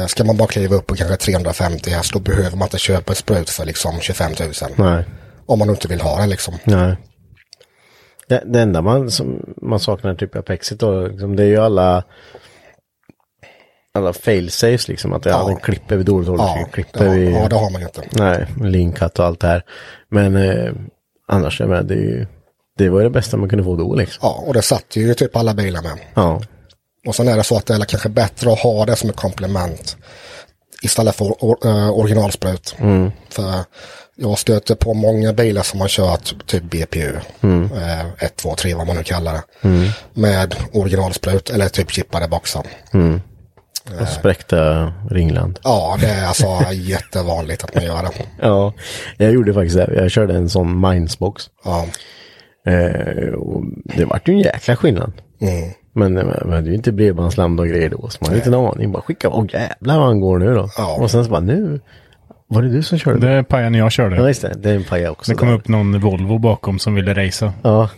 C: Eh, Ska man bara kliva upp på kanske 350 häst, då behöver man inte köpa ett sprut för liksom 25 000.
A: Nej,
C: Om man inte vill ha det liksom.
A: nej. Det, det enda man, som, man saknar typ i Apexit då, liksom, det är ju alla alla failsafes liksom. Att det ja. den klipper vid dåligt håll, liksom.
C: Ja, det
A: klipper
C: har,
A: vid...
C: ja, det har man ju inte.
A: Nej, linkat och allt det här. Men eh, annars, jag menar, det är ju... Det var ju det bästa man kunde få då liksom.
C: Ja, och det satt ju typ alla bilar med.
A: Ja,
C: Och sen är det så att det är kanske bättre att ha det som ett komplement istället för or, eh, originalsprut. För jag stöter på många bilar som har kört typ BPU, eh, 1, 2, 3 vad man nu kallar det, med originalsprut eller typ chippade boxar.
A: och spräckta Ringland.
C: Ja, det är alltså jättevanligt att man gör det.
A: Ja, jag gjorde faktiskt det. Jag körde en sån Minesbox.
C: Ja,
A: Eh, och det vart ju en jäkla skillnad.
B: Mm.
A: Men, men men det är ju inte bredbandsland och grejer då, så man har inte en aning. Bara skicka, åh jävlar vad han går nu då.
C: Ja.
A: Och sen så bara nu, var det du som körde?
B: Det är pajen jag
A: Ja
B: körde.
A: just det, det är en paja också.
B: Det kom
A: där.
B: upp någon Volvo bakom som ville racea.
A: Ja.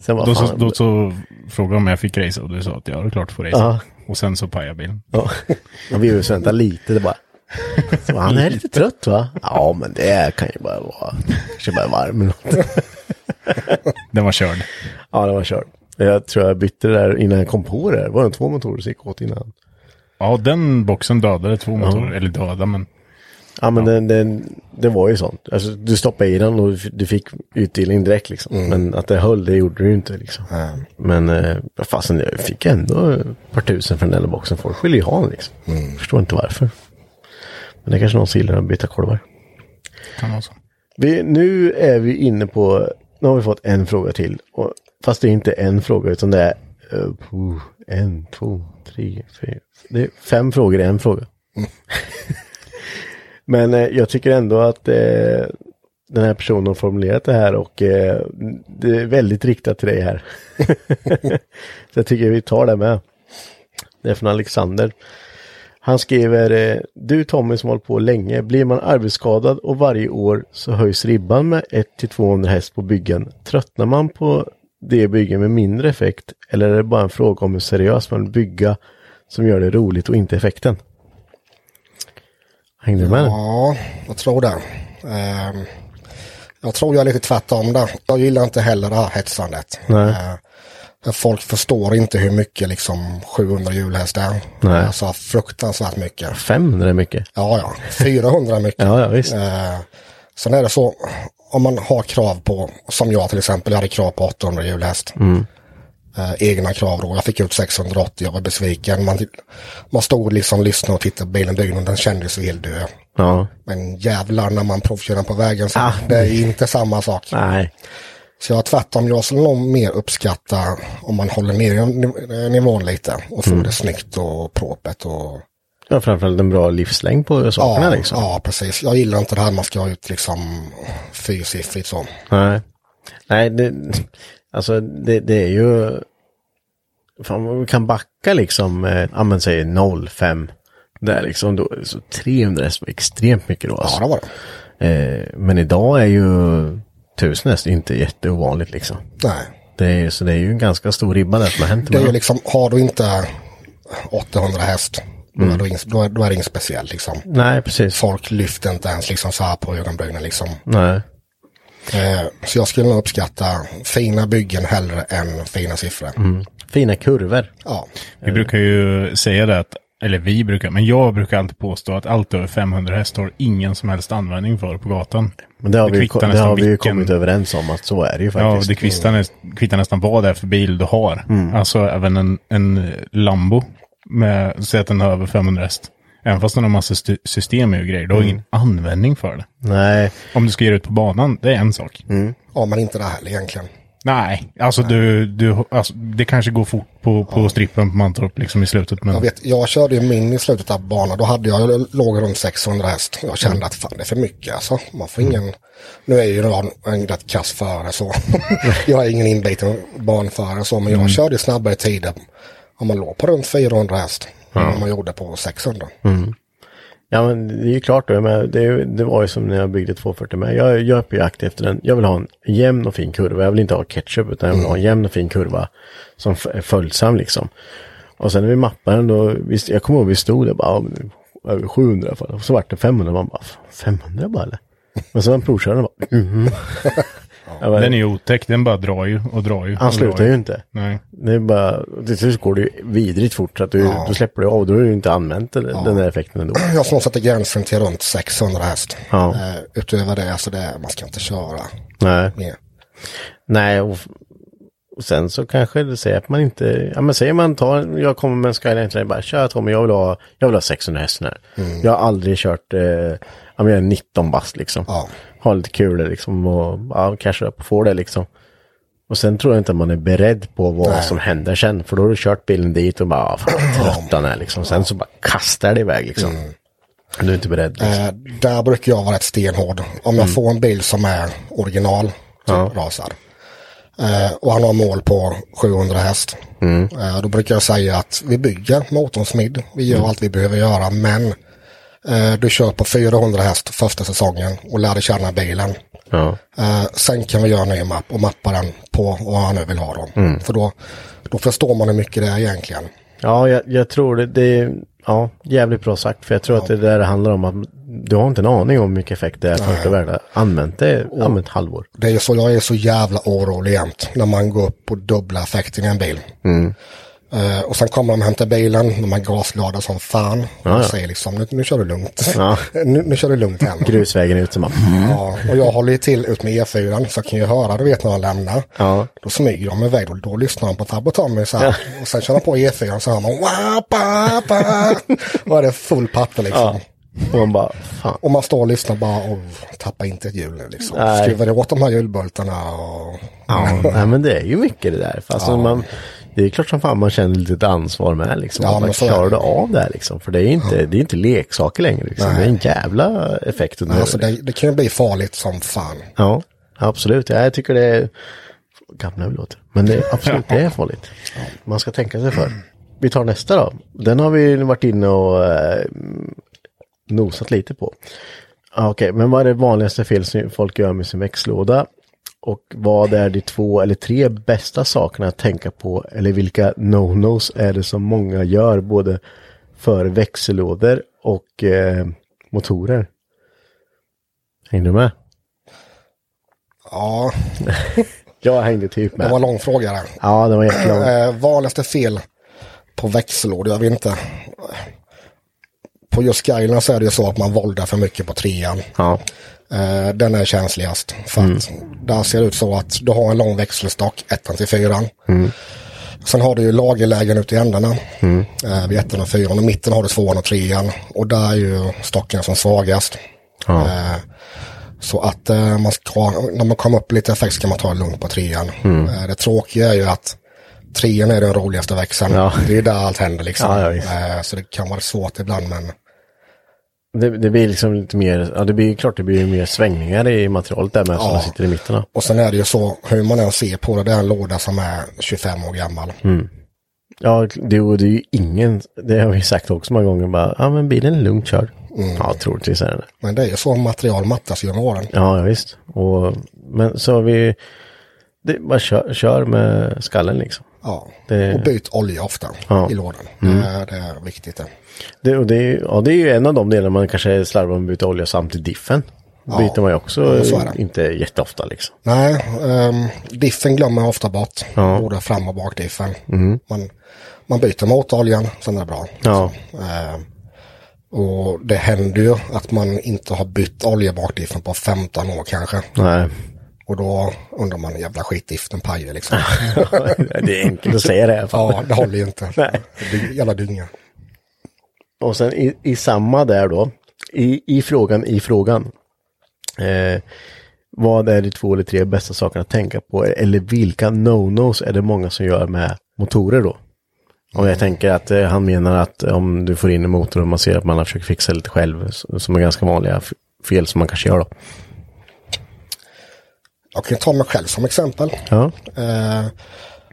A: Sen bara,
B: Då så,
A: fan,
B: då så frågade jag om jag fick racea och du sa att jag är klart får racea.
A: Ja.
B: Och sen så pajade bilen.
A: Ja. Och vi behöver vänta lite, det bara. Så bara, han är lite trött va? Ja men det kan ju bara vara, kanske bara är varm eller något.
B: Den var körd.
A: Ja det var kört. Jag tror jag bytte det där innan jag kom på det. här. Det var det två motorer som gick åt innan?
B: Ja, den boxen dödade två motorer. Eller döda, men
A: Ja men Den, den, det var ju sånt. Alltså, du stoppade i den och du f- du fick utdelning direkt liksom. Men att det höll det gjorde du ju inte liksom. Men eh, vad fasen jag fick ändå ett par tusen för den där boxen. Folk vill ju ha den liksom. Förstår inte varför. Men det är kanske någon som gillar att byta kolvar.
B: kan vara så.
A: Vi, nu är vi inne på, nu har vi fått en fråga till. Och, fast det är inte en fråga utan det är eh, puh, en, två, tre, fyra. Det är fem frågor i en fråga. Men eh, jag tycker ändå att eh, den här personen har formulerat det här och eh, det är väldigt riktat till dig här. Så jag tycker vi tar det med. Det är från Alexander. Han skriver, eh, du Tommy som hållit på länge, blir man arbetsskadad och varje år så höjs ribban med 1-200 häst på byggen. Tröttnar man på det byggen med mindre effekt eller är det bara en fråga om hur seriöst man vill bygga som gör det roligt och inte effekten? Hängde du med?
C: ja jag tror det. Ehm, jag tror jag är lite tvärtom där. Jag gillar inte heller det här hetsandet.
A: Nej.
C: Eh, För folk förstår inte hur mycket liksom 700 hjulhäst är.
A: Nej.
C: Alltså fruktansvärt mycket.
A: 500 är mycket.
C: Ja, ja. 400 är mycket.
A: Ja, ja visst.
C: Eh, sen är det så, om man har krav på, som jag till exempel, jag hade krav på 800 hjulhäst.
A: Mm.
C: Eh, egna krav då, jag fick ut 680, jag var besviken. Man, man stod liksom, lyssnade och tittade på bilen dygn och den kändes ju helt död.
A: Ja.
C: Men jävlar när man provkör den på vägen så
A: Ah.
C: det är inte samma sak.
A: Nej.
C: Så jag tvärtom, jag skulle nog mer uppskatta om man håller ner niv- nivån lite och får det snyggt och propert och
A: Ja, framförallt en bra livslängd på sakerna
C: ja,
A: liksom.
C: Ja, precis. Jag gillar inte det här man ska ha ut liksom fyrsiffrigt så.
A: Nej. Nej, det, alltså det, det är ju... Fan, vad vi kan backa liksom, eh, ja men säg 05. Där liksom, då, så 300 häst var extremt mycket då.
C: Ja,
A: Alltså.
C: det var det.
A: eh, men idag är ju 1000 häst inte jätteovanligt liksom.
C: Nej.
A: Det är, ju- så det är ju en ganska stor ribba där som har hänt.
C: Det är ju
A: med.
C: liksom, har du inte 800 häst, då, är du ing- då, är, då är det inget speciellt liksom.
A: Nej, precis.
C: Folk lyfter inte ens liksom så här på ögonbrynen liksom.
A: Nej.
C: Eh, så jag skulle nog uppskatta fina byggen hellre än fina siffror.
A: Fina kurvor.
C: Ja.
A: Eh.
B: Vi brukar ju säga det att, eller vi brukar, men jag brukar alltid påstå att allt över 500 häst har ingen som helst användning för på gatan.
A: Men det har, vi, ju ko-
B: kvittar
A: det
B: nästan
A: har vi ju
B: vilken-
A: kommit överens om att så är det ju
B: Ja,
A: faktiskt.
B: det kvittar, nä- kvittar nästan vad det är för bil du har. Alltså även en, en Lambo, med, säg att den har över 500 häst. Även fast den har massa stu- system och grejer, du har ingen användning för det.
A: Nej,
B: Om du ska ge dig ut på banan, det är en sak.
C: ja, men inte det här egentligen.
B: Nej, alltså du, du alltså, det kanske går fort på, på strippen på Mantorp liksom i slutet. Men
C: Jag, vet, jag körde ju min i slutet av banan. Då hade jag, jag låg runt 600 häst. Jag kände att fan det är för mycket alltså. Man får ingen... Nu är ju jag en rätt kass förare så. jag är ingen inbiten banförare så. Men jag körde snabbare tider. Om man låg på runt 400 häst. Än vad man gjorde på 600.
A: Ja men det är ju klart då, men det, är ju- det var ju som när jag byggde 240 med. Jag, jag är på jakt efter den, jag vill ha en jämn och fin kurva. Jag vill inte ha ketchup utan jag vill ha en jämn och fin kurva som f- är följsam liksom. Och sen när vi mappade den då, visst, jag kommer ihåg vi stod där bara, ja, men över 700 i alla fall. Och så vart det 500, man bara, 500 bara eller? Men så var provköraren bara, mhm. Jag bara,
B: den är ju otäck, den bara drar ju och drar ju.
A: Han
B: och drar
A: slutar ju inte.
B: Nej.
A: Det är bara, till slut går det ju vidrigt fort så att du,
C: Ja.
A: då släpper du av, då är du inte använt den, den där effekten ändå.
C: Jag som sätter gränsen till runt 600 häst.
A: Ja.
C: Eh, utöver det, alltså det, man ska inte köra
A: Nej.
C: mer.
A: Nej, och, och sen så kanske det säger att man inte, ja men säger man tar, jag kommer med en Skyline till dig bara, tja Tommy, jag vill ha, jag vill ha 600 hästen här.
C: Mm.
A: Jag har aldrig kört, eh, ja men jag är 19 bast liksom.
C: Ja.
A: Har lite kul där, liksom och ja, cashar upp och får det liksom. Och sen tror jag inte att man är beredd på vad
C: Nej.
A: som händer sen, för då har du kört bilen dit och bara, ah, fan vad trött han är liksom. Sen så bara kastar det iväg liksom.
C: Mm.
A: Du är inte beredd. Liksom.
C: Eh, där brukar jag vara rätt stenhård. Om jag får en bil som är original, typ rasad. Eh, och han har mål på 700 häst. Eh, då brukar jag säga att vi bygger motorn smidd. Vi gör allt vi behöver göra, men eh, du kör på 400 häst första säsongen och lär dig känna bilen.
A: Ja.
C: Eh, sen kan vi göra en ny mapp och mappa den på vad han nu vill ha då. För då, då förstår man hur mycket det är egentligen.
A: Ja, jag, jag tror det. det är, ja, jävligt bra sagt. För jag tror att det där det handlar om att du har inte en aning om hur mycket effekt det är första världen. Använt det om ett halvår.
C: Det är ju så, jag är så jävla orolig jämt när man går upp på dubbla effekten i en bil.
A: Mm.
C: Eh, och sen kommer de och hämtar bilen, de är gasglada som fan. De säger liksom, nu, nu kör du lugnt.
A: Ja.
C: nu, nu kör du lugnt hem.
A: Grusvägen ut som man...
C: Ja, och jag håller ju till ut med E4 så jag kan ju höra, du vet när han lämnar. Då smyger de iväg och då lyssnar han på Tab och Tommy så här. Och sen kör han på E4 så hör man "Wah, pa, pa." Och är det full patte liksom.
A: Och man bara, fan.
C: Och man står och lyssnar bara och tappa inte ett hjul nu liksom.
A: Nej.
C: Skruvar åt de här hjulbultarna och...
A: Ja, nej, men det är ju mycket det där. Fast man, det är klart som fan man känner lite ett ansvar med liksom.
C: Ja,
A: att man
C: men så är det.
A: klarar det av det här liksom. För det är inte, det är inte leksaker längre liksom. Det är en jävla effekt under
C: Alltså det, det kan ju bli farligt som fan.
A: Ja, absolut. Ja, jag tycker det är... Gamla vi låter. Men det är absolut, det är farligt. Man ska tänka sig för. Vi tar nästa då. Den har vi varit inne och eh, nosat lite på. Ah, Okej, men vad är det vanligaste fel som folk gör med sin växellåda? Och vad är de två eller tre bästa sakerna att tänka på? Eller vilka no-nos är det som många gör både för växellådor och eh, motorer? Hänger du med?
C: Ja,
A: Jag hängde typ
C: det var en
A: med.
C: lång fråga där.
A: Ja, det var jättelångt.
C: Eh, vanligaste fel på växellådor, jag vet inte. På just Skyline så är det ju så att man våldar för mycket på trean.
A: Ja.
C: Eh, den är känsligast. För att där ser det ut så att du har en lång växelstock, ettan till fyran. Sen har du ju lagerlägen ute i ändarna.
A: Mm.
C: Eh, vid ettan och fyran. Och mitten har du tvåan och trean. Och där är ju stocken som svagast. Eh, så att eh, man ska, när man kommer upp lite effekt ska man ta det lugnt på trean.
A: Mm.
C: Eh, det tråkiga är ju att trean är den roligaste växeln.
A: Ja.
C: Det är där allt händer liksom.
A: Ja, ja, visst.
C: eh, så det kan vara svårt ibland men
A: Det, det blir liksom lite mer, ja det blir klart det blir mer svängningar i materialet där med som sitter i mitten. då.
C: Och sen är det ju så, hur man än ser på det, det är en låda som är 25 år gammal.
A: Mm. Ja, det, och det är ju ingen, det har vi sagt också många gånger bara, ja men bilen är lugnt körd.
C: Mm.
A: Ja, troligtvis är den det.
C: Men det är ju så material mattas genom åren.
A: Ja, ja visst. Och, men så har vi, det, bara kör, kör med skallen liksom.
C: Ja.
A: Det-
C: Och byt olja ofta
A: Ja. Mm.
C: i lådan. Det, är, det är viktigt. Det.
A: Det, och det, är ju- ja, det är ju en av de delar man kanske slarvar med att byta olja samt i diffen. Byter man ju också
C: Ja, så är det.
A: inte jätteofta liksom.
C: Nej, ehm, diffen glömmer jag ofta bort. Både fram och bakdiffen.
A: Mm.
C: Man, man byter motoroljan, sen är det bra.
A: Ja,
C: Ehm, och det händer ju att man inte har bytt olja bakdiffen på 15 år kanske.
A: nej.
C: Och då undrar man, jävla skitdiff, den pajar liksom.
A: det är enkelt att säga det i alla fall.
C: ja, det håller ju inte.
A: Nej.
C: Det är Jävla dynga.
A: Och sen i, i samma där då, i, i frågan i frågan. Eh, Vad är de två eller tre bästa sakerna att tänka på? Eller vilka no-nos är det många som gör med motorer då? Och jag tänker att eh, han menar att om du får in en motor och man ser att man har försökt fixa lite själv, s- som är ganska vanliga f- fel som man kanske gör då.
C: Jag kan ju ta mig själv som exempel.
A: Ja,
C: Eh,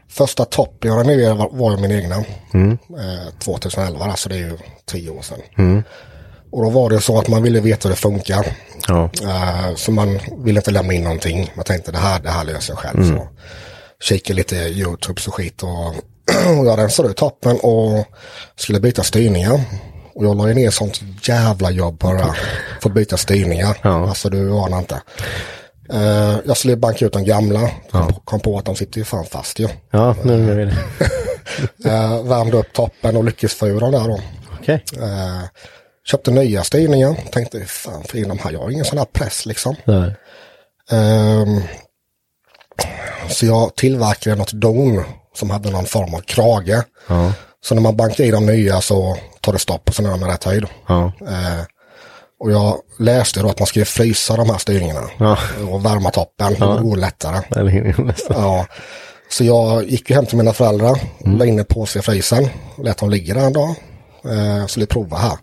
C: första topp jag renoverade var, var ju min egna. Eh, 2011, alltså det är ju tio år sedan. Och då var det så att man ville veta hur det funkar.
A: ja,
C: Eh, så man ville inte lämna in någonting. Man tänkte det här, det här löser jag själv. Så kikade lite YouTube och skit och, och jag rensade ut toppen och skulle byta styrningar. Och jag la ju ner sånt jävla jobb bara för att byta styrningar.
A: Ja.
C: Alltså du anar inte. Eh, jag skulle banka ut de gamla. Kom, på- kom på att de sitter ju fan fast ju.
A: ja, nu gör vi det.
C: Eh, värmde upp toppen och lyckades få ur dem där då.
A: Okej.
C: Eh, köpte nya styrningar. Tänkte fan för in de här. Jag har ingen sån här press liksom.
A: Där.
C: Ehm, så jag tillverkade något don som hade någon form av krage.
A: Ja,
C: Så när man bankar i de nya så tar det stopp och sen är de i rätt höjd.
A: ja,
C: Eh, och jag läste då att man skulle frysa de här styrningarna
A: Ja.
C: och värma toppen. Det går lättare.
A: eller hur? Nästan.
C: Ja. Så jag gick ju hem till mina föräldrar,
A: Mm.
C: la in en påse i frysen, lät dem ligga där en dag. Eh, skulle prova här.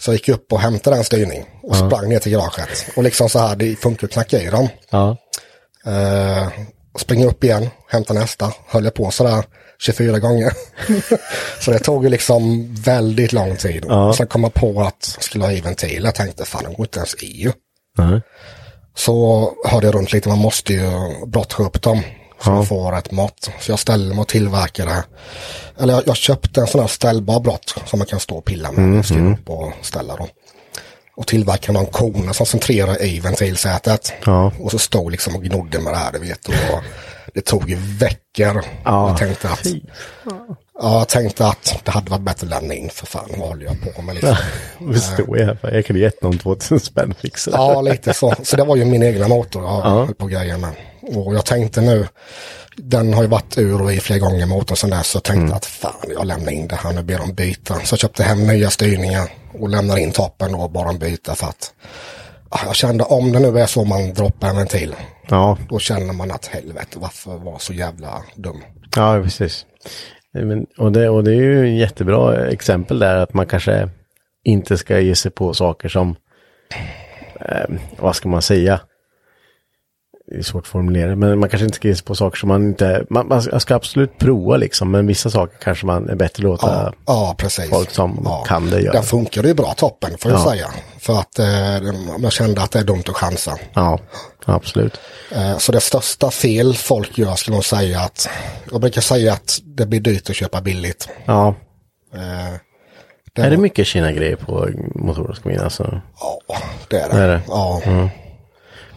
C: Så jag gick upp och hämtade en styrning och sprang ner till garaget. Och liksom så här, det funkar att knacka i dem.
A: Ja,
C: Eh, springer upp igen, hämtar nästa. Höll jag på sådär 24 gånger. så det tog ju liksom väldigt lång tid.
A: Ja.
C: Sen kom jag på att jag skulle ha i ventil. Jag tänkte fan, de går inte ens i ju.
A: nej,
C: Så hörde jag runt lite, man måste ju brotta upp dem. Så man får rätt mått. Så jag ställde mig och tillverkade. Eller jag, jag köpte en sån här ställbar brott som man kan stå och pilla med. Mm, upp och ställa dem. Och tillverkade någon kona som centrerar i ventilsätet.
A: Ja.
C: Och så stod liksom och gnodde med det här, du vet. Och det tog ju veckor.
A: Ja.
C: Jag tänkte att... Ja, jag tänkte att det hade varit bättre att lämna in för fan, vad håller jag på med liksom.
A: nu står jag här. för Jag kunde gett någon 2000 spänn fixar.
C: Ja, lite så. Så det var ju min egna motor jag höll på grejer med. Och jag tänkte nu, den har ju varit ur och i flera gånger motorn sedan dess, så jag
A: Mm.
C: tänkte att fan, jag lämnar in det här, nu ber de byta. Så jag köpte hem nya styrningar och lämnar in toppen och bara byta för att ah, jag kände om det nu är så man droppar en ventil,
A: Ja,
C: då känner man att helvete, varför var jag så jävla dum?
A: Ja, precis. Nej, Men, och, det, och det är ju en jättebra exempel där att man kanske inte ska ge sig på saker som, eh, vad ska man säga? Det är svårt att formulera, men man kanske inte ska ge sig på saker som man inte, man, man ska- ska absolut prova liksom, men vissa saker kanske man är bättre att låta.
C: Ja, ja precis.
A: folk som
C: ja.
A: kan det göra.
C: Den funkade ju bra toppen, får jag
A: Ja.
C: säga. För att eh, den- jag kände att det är dumt att chansa.
A: Ja, absolut.
C: Eh, Så det största fel folk gör skulle nog säga att, jag brukar säga att det blir dyrt att köpa billigt.
A: Ja.
C: Eh,
A: Är det mycket Kina-grejer på motorer ska mina, alltså?
C: Ja, det är det.
A: Är det? Mm.
C: Ja.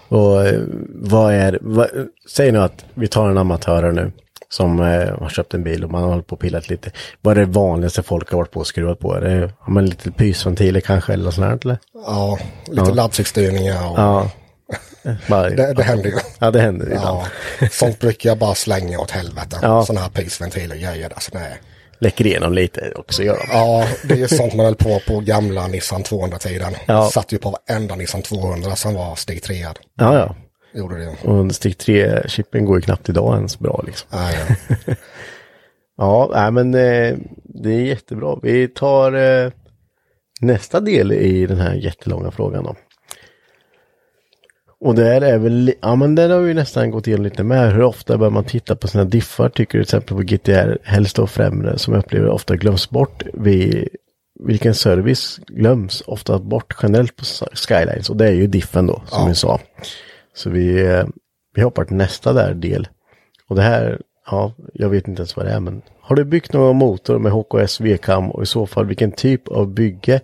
A: Och eh, vad är, vad, säg nu att vi tar en amatör här nu som eh, har köpt en bil och man har hållit på och pillat lite. Vad är det vanligaste folk har varit på och skruvat på? Är det ja, men lite pysventiler kanske eller något sånt här, eller?
C: ja, lite laddsiktstyrningar och
A: Ja. Eh, Bara,
C: det, det händer ju.
A: ja, det händer ibland.
C: Ja, sånt brukar jag bara slänga åt helvete.
A: Ja.
C: Sådana här pysventiler och grejer. Alltså, nej.
A: Läcker igenom lite också gör de.
C: Ja, det är ju sånt man höll på på gamla Nissan 200-tiden.
A: Ja.
C: Satt ju på varenda Nissan 200 som var steg 3
A: Ja, ja.
C: Gjorde det.
A: Och stick 3-chippen går ju knappt idag ens bra liksom.
C: Nej,
A: Ja, nej, men eh, det är jättebra. Vi tar eh, nästa del i den här jättelånga frågan då. Och där är väl, li- ja men där har vi nästan gått igenom lite med. Hur ofta bör man titta på sina diffar tycker du till exempel på GTR, helst då främre, som jag upplever ofta glöms bort vid vilken service glöms ofta bort generellt på Skylines och det är ju diffen då som
C: Ja.
A: vi sa. Så vi, eh, vi hoppar till nästa där del. Och det här, ja, jag vet inte ens vad det är, men har du byggt någon motor med HKS V-kam och i så fall vilken typ av bygge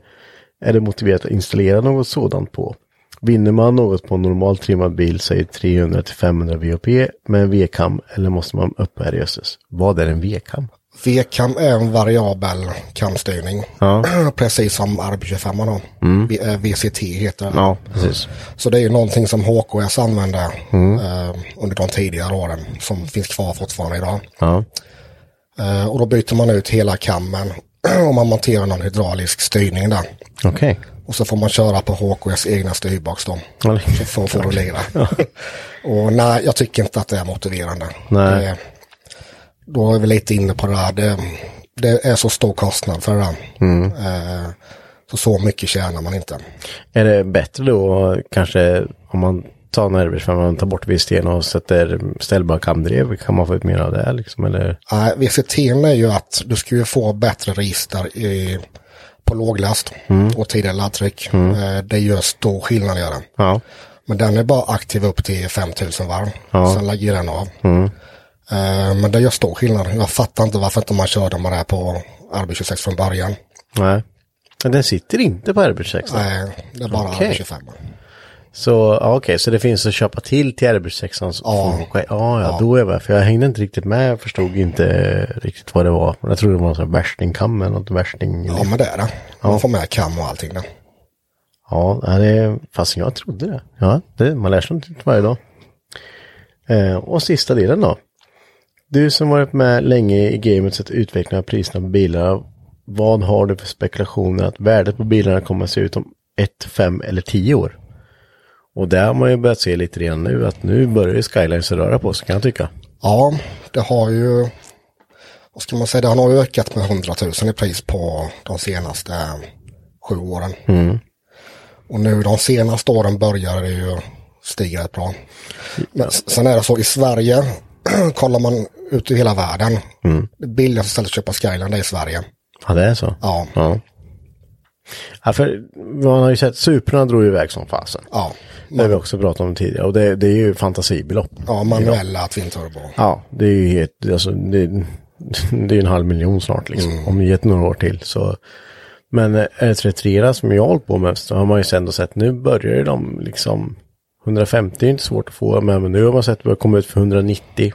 A: är det motiverat att installera något sådant på? Vinner man något på en normalt trimmad bil, säg 300-500 VOP med en V-kam eller måste man upp här i jösses? Vad är en V-kam?
C: VCAM är en variabel kamstyrning.
A: Ja. Mm.
C: Precis som ARB 25 har. V- eh, VCT heter det.
A: precis.
C: Så det är ju någonting som HKS använde
A: Mm.
C: eh, under de tidigare åren som finns kvar fortfarande idag.
A: Ja,
C: Eh, och då byter man ut hela kammen och man monterar någon hydraulisk styrning där.
A: okej.
C: Och Och så får man köra på HKS egna styrbox då. Så får, får du lira. och nej, jag tycker inte att det är motiverande.
A: Nej.
C: Det, då är vi lite inne på det här. Det, det är så stor kostnad för det där. Eh, så, så mycket tjänar man inte.
A: Är det bättre då kanske om man tar nerver för man tar bort VST'n och sätter ställbara kamdrev? Kan man få ut mer av det liksom? Eller?
C: Nej, VCT'n är ju att du ska ju få bättre register i, på låglast och tidigare laddtryck. Eh, det gör stor skillnad gör det.
A: Ja.
C: Men den är bara aktiv upp till 5000 varv. Sen lägger den av.
A: Mm.
C: Eh, men det gör stor skillnad. Jag fattar inte varför inte man körde med det här på RB26 från början.
A: Nej. Men den sitter inte på RB6?
C: Eh, det är bara
A: Okej.
C: RB25.
A: Så ja, okej, så det finns att köpa till till RB6?
C: Ja.
A: Ja. ja, ja, då är jag med. För jag hängde inte riktigt med, jag förstod inte riktigt vad det var. Jag trodde det var någon sån här värstingkam eller något värsting...
C: Ja,
A: Ja,
C: men det är det. Man får med kam och allting där.
A: ja nej, det, fastän jag trodde det. Ja, det, man lär sig något nytt varje dag. Eh, och sista delen då. Du som varit med länge i gamet sett utvecklingen av priserna på bilar. Vad har du för spekulationer att värdet på bilarna kommer att se ut om ett, fem eller tio år? Och där har man ju börjat se lite redan nu att nu börjar ju Skylines röra på sig kan jag tycka.
C: Ja, det har ju, vad ska man säga, det har nog ökat med 100 000 i pris på de senaste sju åren. Och nu de senaste åren börjar det ju stiga rätt bra. Men s- sen är det så i Sverige, kollar man ut i hela världen, det billigaste stället att köpa Skyline det är i Sverige.
A: Ja det är så.
C: Ja,
A: Ja. ja för man har ju sett Suprorna drog ju iväg som fasen.
C: ja,
A: Det har vi också pratat om tidigare och det, det är ju fantasibelopp.
C: ja manuella Twin Turbo.
A: Ja, det är ju helt, alltså, det, det är ju en halv miljon snart liksom, om ett några år till. Så. Men eh, R33 som jag har hållit på med, så har man ju sen då sett, nu börjar ju de liksom, 150 är inte svårt att få, men men nu har man sett att börjar komma ut för 190,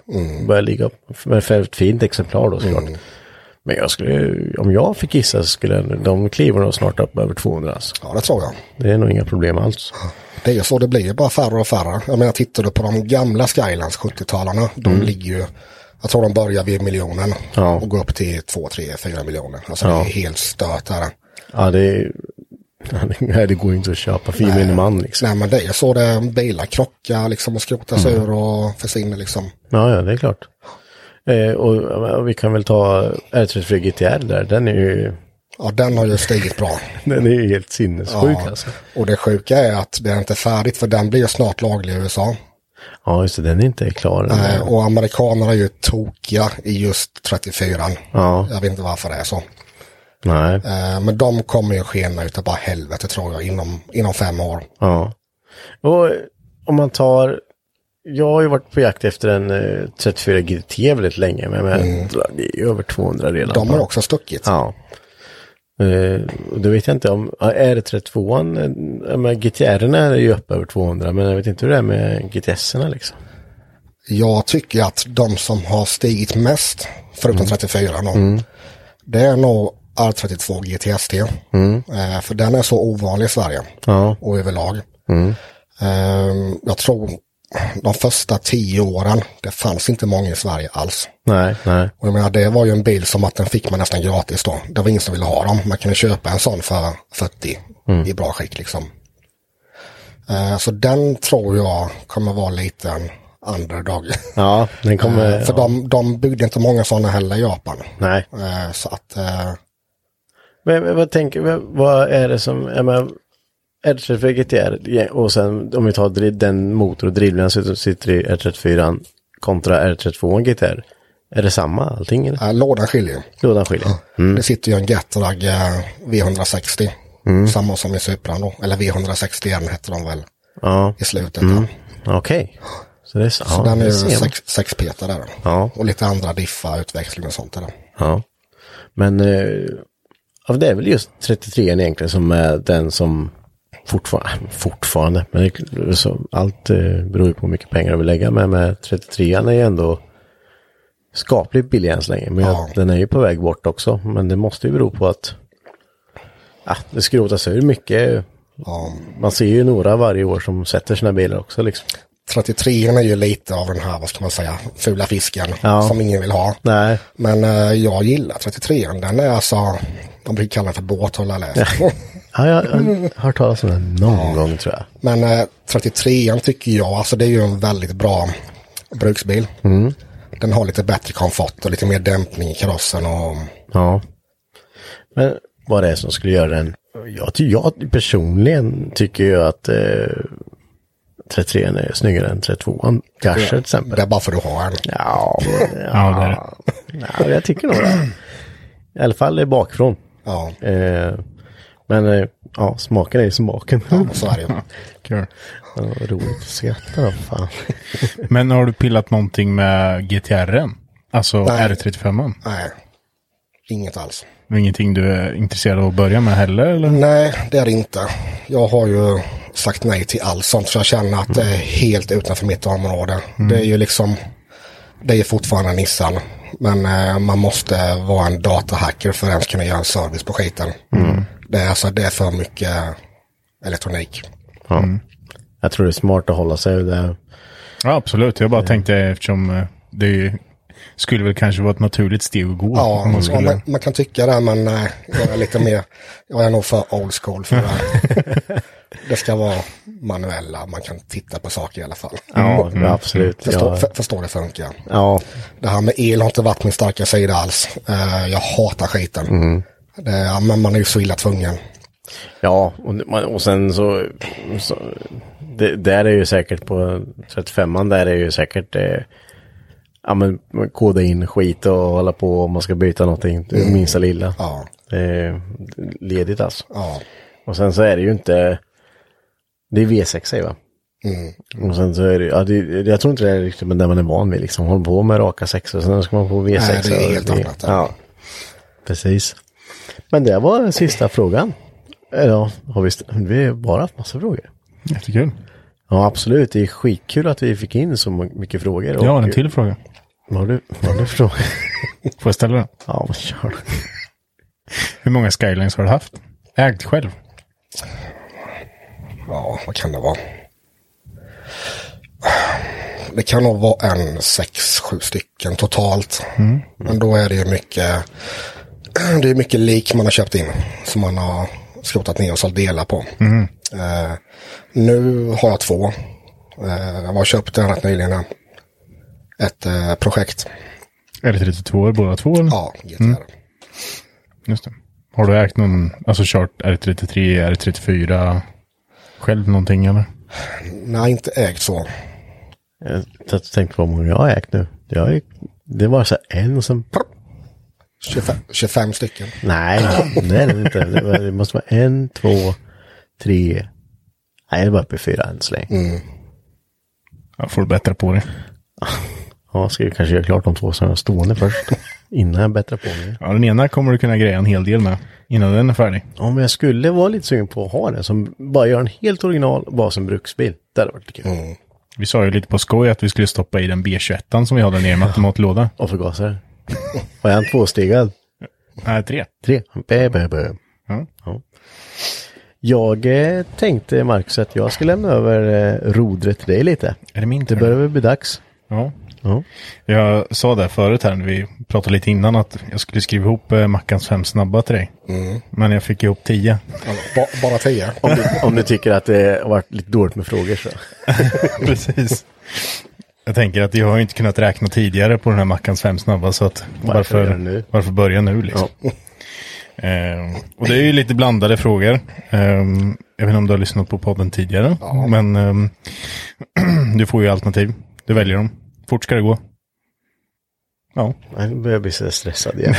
A: börjar ligga för, för ett fint exemplar då såklart. Men jag skulle, ju- om jag fick gissa så skulle jag- de kliva nog snart upp över 200 alltså.
C: Ja, det tror jag.
A: Det är nog inga problem alls.
C: Det är ju så, det blir ju bara färre och färre. Jag menar, tittar du på de gamla Skylines, 70-talarna, de ligger ju, jag tror de börjar vid miljonen
A: Mm. Ja.
C: och går upp till 2, 3, 4 miljoner. Alltså det är helt stört här.
A: Ja, det, är- nej, det går ju inte att köpa för min man liksom.
C: Nej men det är så, det är bilar krockar liksom och skrotas
A: Mm.
C: ur och försvinner liksom.
A: Ja, ja, det är klart. Eh, och, och vi kan väl ta R34 GTR där, den är ju,
C: Ja, den har ju stigit bra.
A: den är ju helt sinnessjuk
C: Ja.
A: alltså.
C: Och det sjuka är att det är inte färdigt för den blir ju snart laglig i USA.
A: Ja, just det, den är inte klar. än.
C: Eh, Och amerikanerna är ju tokiga i just 34
A: Ja.
C: Jag vet inte varför det är så.
A: Nej,
C: Eh, Men de kommer ju skena utav bara helvete tror jag inom, inom fem år.
A: ja. Och eh, om man tar, jag har ju varit på jakt efter en eh, 34 GT väldigt länge, men, men det är ju över 200 redan.
C: Mm. De har också stuckit.
A: Ja. Eh, och då vet jag inte om, ja, R32, eh, men GTR är ju upp över 200, men jag vet inte hur det är med GTS-erna liksom.
C: Jag tycker att de som har stigit mest,
A: Mm.
C: förutom 34 då, det är nog R32 GTST. Eh, för den är så ovanlig i Sverige
A: Mm. Ja. Mm.
C: och överlag. Eh, jag tror de första tio åren, det fanns inte många i Sverige alls.
A: Nej, nej.
C: Och jag menar, det var ju en bil som att den fick man nästan gratis då. Det var ingen som ville ha dem. Man kunde köpa en sån för 40
A: Mm.
C: i bra skick liksom. Eh, så den tror jag kommer vara lite en underdog.
A: Ja, den kommer...
C: Eh, för de, de byggde inte många sådana heller i Japan.
A: Nej.
C: Eh, så att eh,
A: Men, men vad tänker, vad- vad är det som, jag menar, R34 GTR och sen om vi tar dri- den motor och drivlinan som sitter i R34 kontra R32 GTR. Är det samma allting eller?
C: eh, lådan skiljer.
A: Lådan skiljer?
C: Det sitter ju en Gatrag eh, V160.
A: Mm.
C: Samma som i Supran då. Eller V161 hette de väl
A: Ja,
C: i slutet.
A: Mm.
C: där.
A: okej. Så det är så.
C: Så
A: ja,
C: den
A: det
C: är ju
A: ser man.
C: sex, sexpetare där.
A: Ja.
C: Och lite andra diffar, utväxling och sånt där.
A: Ja. Men eh, ja, det är väl just 33 egentligen som är den som fortfarande, fortfarande men det, är kl- så, allt eh, beror ju på hur mycket pengar du vill lägga med, men 33 är ju ändå skapligt billig än så länge. Men
C: Ja.
A: jag, den är ju på väg bort också, men det måste ju bero på att ja, det skrotas ur mycket.
C: Ja.
A: Man ser ju några varje år som sätter sina bilar också liksom.
C: 33 är ju lite av den här, vad ska man säga, fula fisken
A: Ja.
C: som ingen vill ha.
A: Nej,
C: Men eh, jag gillar 33 den är alltså, de brukar kalla den för båthållarläs.
A: Ja, jag har hört talas om den någon gång tror jag.
C: Men eh, 33an tycker jag, alltså det är ju en väldigt bra bruksbil.
A: Mm.
C: Den har lite bättre komfort och lite mer dämpning i karossen och
A: Ja. Men vad det är som skulle göra den. Jag, ty- jag personligen tycker ju att eh, 33 är snyggare än 32 kanske till exempel.
C: det är bara för att du har en.
A: Ja, men,
B: Ja, det är det.
A: ja, jag tycker nog det. I alla fall eh, bakifrån.
C: Ja,
A: Eh, men eh, ja, smaken är ju smaken. Ja,
C: så är det ju.
B: Kul.
A: vad roligt att skratta då, fan.
B: Men har du pillat någonting med GTR? Alltså
C: Nej.
B: R35?
C: Nej, inget alls.
B: Ingenting du är intresserad av att börja med heller?
C: Mm.
B: Eller?
C: Nej, det är det inte. Jag har ju sagt nej till allt sånt för jag känner att det är helt utanför mitt område. Det är ju liksom, det är ju fortfarande Nissan. Men eh, man måste vara en datahacker för att ens kunna göra en service på skiten. Det, är alltså, det är för mycket elektronik.
A: Ja. Jag tror det är smart att hålla sig där.
B: Ja, absolut. Jag bara
C: Mm.
B: tänkte eftersom eh, det är ju, skulle väl kanske vara ett naturligt steg att gå.
C: Ja,
B: om man
C: man,
B: skulle...
C: man, man kan tycka det men nej, jag är lite mer, jag är nog för old school för det. här. Det ska vara manuella, man kan titta på saker i alla fall.
A: Ja, absolut.
C: Mm. Förstå,
A: Ja,
C: för, förstå det funkar.
A: ja,
C: Det här med el har inte varit min starka sida alls. Eh, jag hatar skiten. Det, ja, men man är ju så illa tvungen.
A: ja och, man- och sen så, så det, där är ju säkert på 35an, där är ju säkert eh, ja, men koda in skit och hålla på om man ska byta någonting, det minsta lilla.
C: Ja,
A: Det är ledigt alltså.
C: ja,
A: Och sen så är det ju inte, det är V6 va?
C: Mm.
A: Och sen så är det, ja, det, jag tror inte det är riktigt med det man är van vid liksom. Håller på med raka sexor, sen ska man på V6.
C: Nej, det är
A: och
C: helt annat, ja.
A: Ja, precis. Men det var den sista frågan. Eh, Ja, har vi, st- vi har bara haft massa frågor.
B: Jättekul.
A: Ja, absolut. Det är skitkul att vi fick in så mycket frågor.
B: Jag har en till fråga.
A: Vad har du, vad har du för frågor?
B: Får jag ställa den?
A: ja, men kör då.
B: Hur många skylines har du haft? Ägt själv?
C: ja, vad kan det vara? Det kan nog vara en sex, sju stycken totalt. Men då är det ju mycket, det är mycket lik man har köpt in. Som man har skrotat ner och sålt delar på. Eh, nu har jag två. Eh, jag har köpt den rätt nyligen. här. Ett eh, projekt.
B: Eller 32 båda två? Eller?
C: Ja, GTR.
B: Just det. Har du ägt någon, alltså kört R33, R34 själv någonting eller?
C: Nej, inte ägt så.
A: Jag satt och tänkte på hur många jag har ägt nu. Jag har ju, det var så här en och sen
C: 25, 25 stycken.
A: Nej, det är det inte. Det var- Det måste vara en, två, tre. Nej, det var uppe i fyra än så länge.
B: Ja, får du bättra på det.
A: Ja, ska jag kanske göra klart de två som är stående först. Innan jag bättrar på mig.
B: Ja, den ena kommer du kunna greja en hel del med innan den är färdig.
A: Ja, men jag skulle vara lite sugen på att ha den som bara gör en helt original bara som bruksbil. Det hade varit kul.
B: Vi sa ju lite på skoj att vi skulle stoppa i den B21 som vi hade nere i matlåda.
A: Och förgasare. Var jag en tvåstegad?
B: Nej, tre.
A: Tre. Bä, bä, bä.
B: Ja.
A: Ja. Jag eh, tänkte, Marcus, att jag ska lämna över eh, rodret till dig lite.
B: Är det min
A: Det
B: tur?
A: börjar väl bli dags.
B: Ja.
A: Ja.
B: Jag sa det förut här när vi pratade lite innan att jag skulle skriva ihop eh, Mackans fem snabba till dig. Men jag fick ihop tio.
C: Alltså, Ba, bara 10.
A: Om du, om du tycker att det har varit lite dåligt med frågor så.
B: Precis. Jag tänker att jag har ju inte kunnat räkna tidigare på den här Mackans fem snabba så att
A: Varför
B: varför,
A: göra det nu?
B: varför börja nu liksom? Ehm, och det är ju lite blandade frågor. Ehm, jag vet inte om du har lyssnat på podden tidigare, men ehm, du får ju alternativ. Du väljer dem. Fort ska det gå. Ja,
A: Nej, nu börjar jag bli så stressad igen.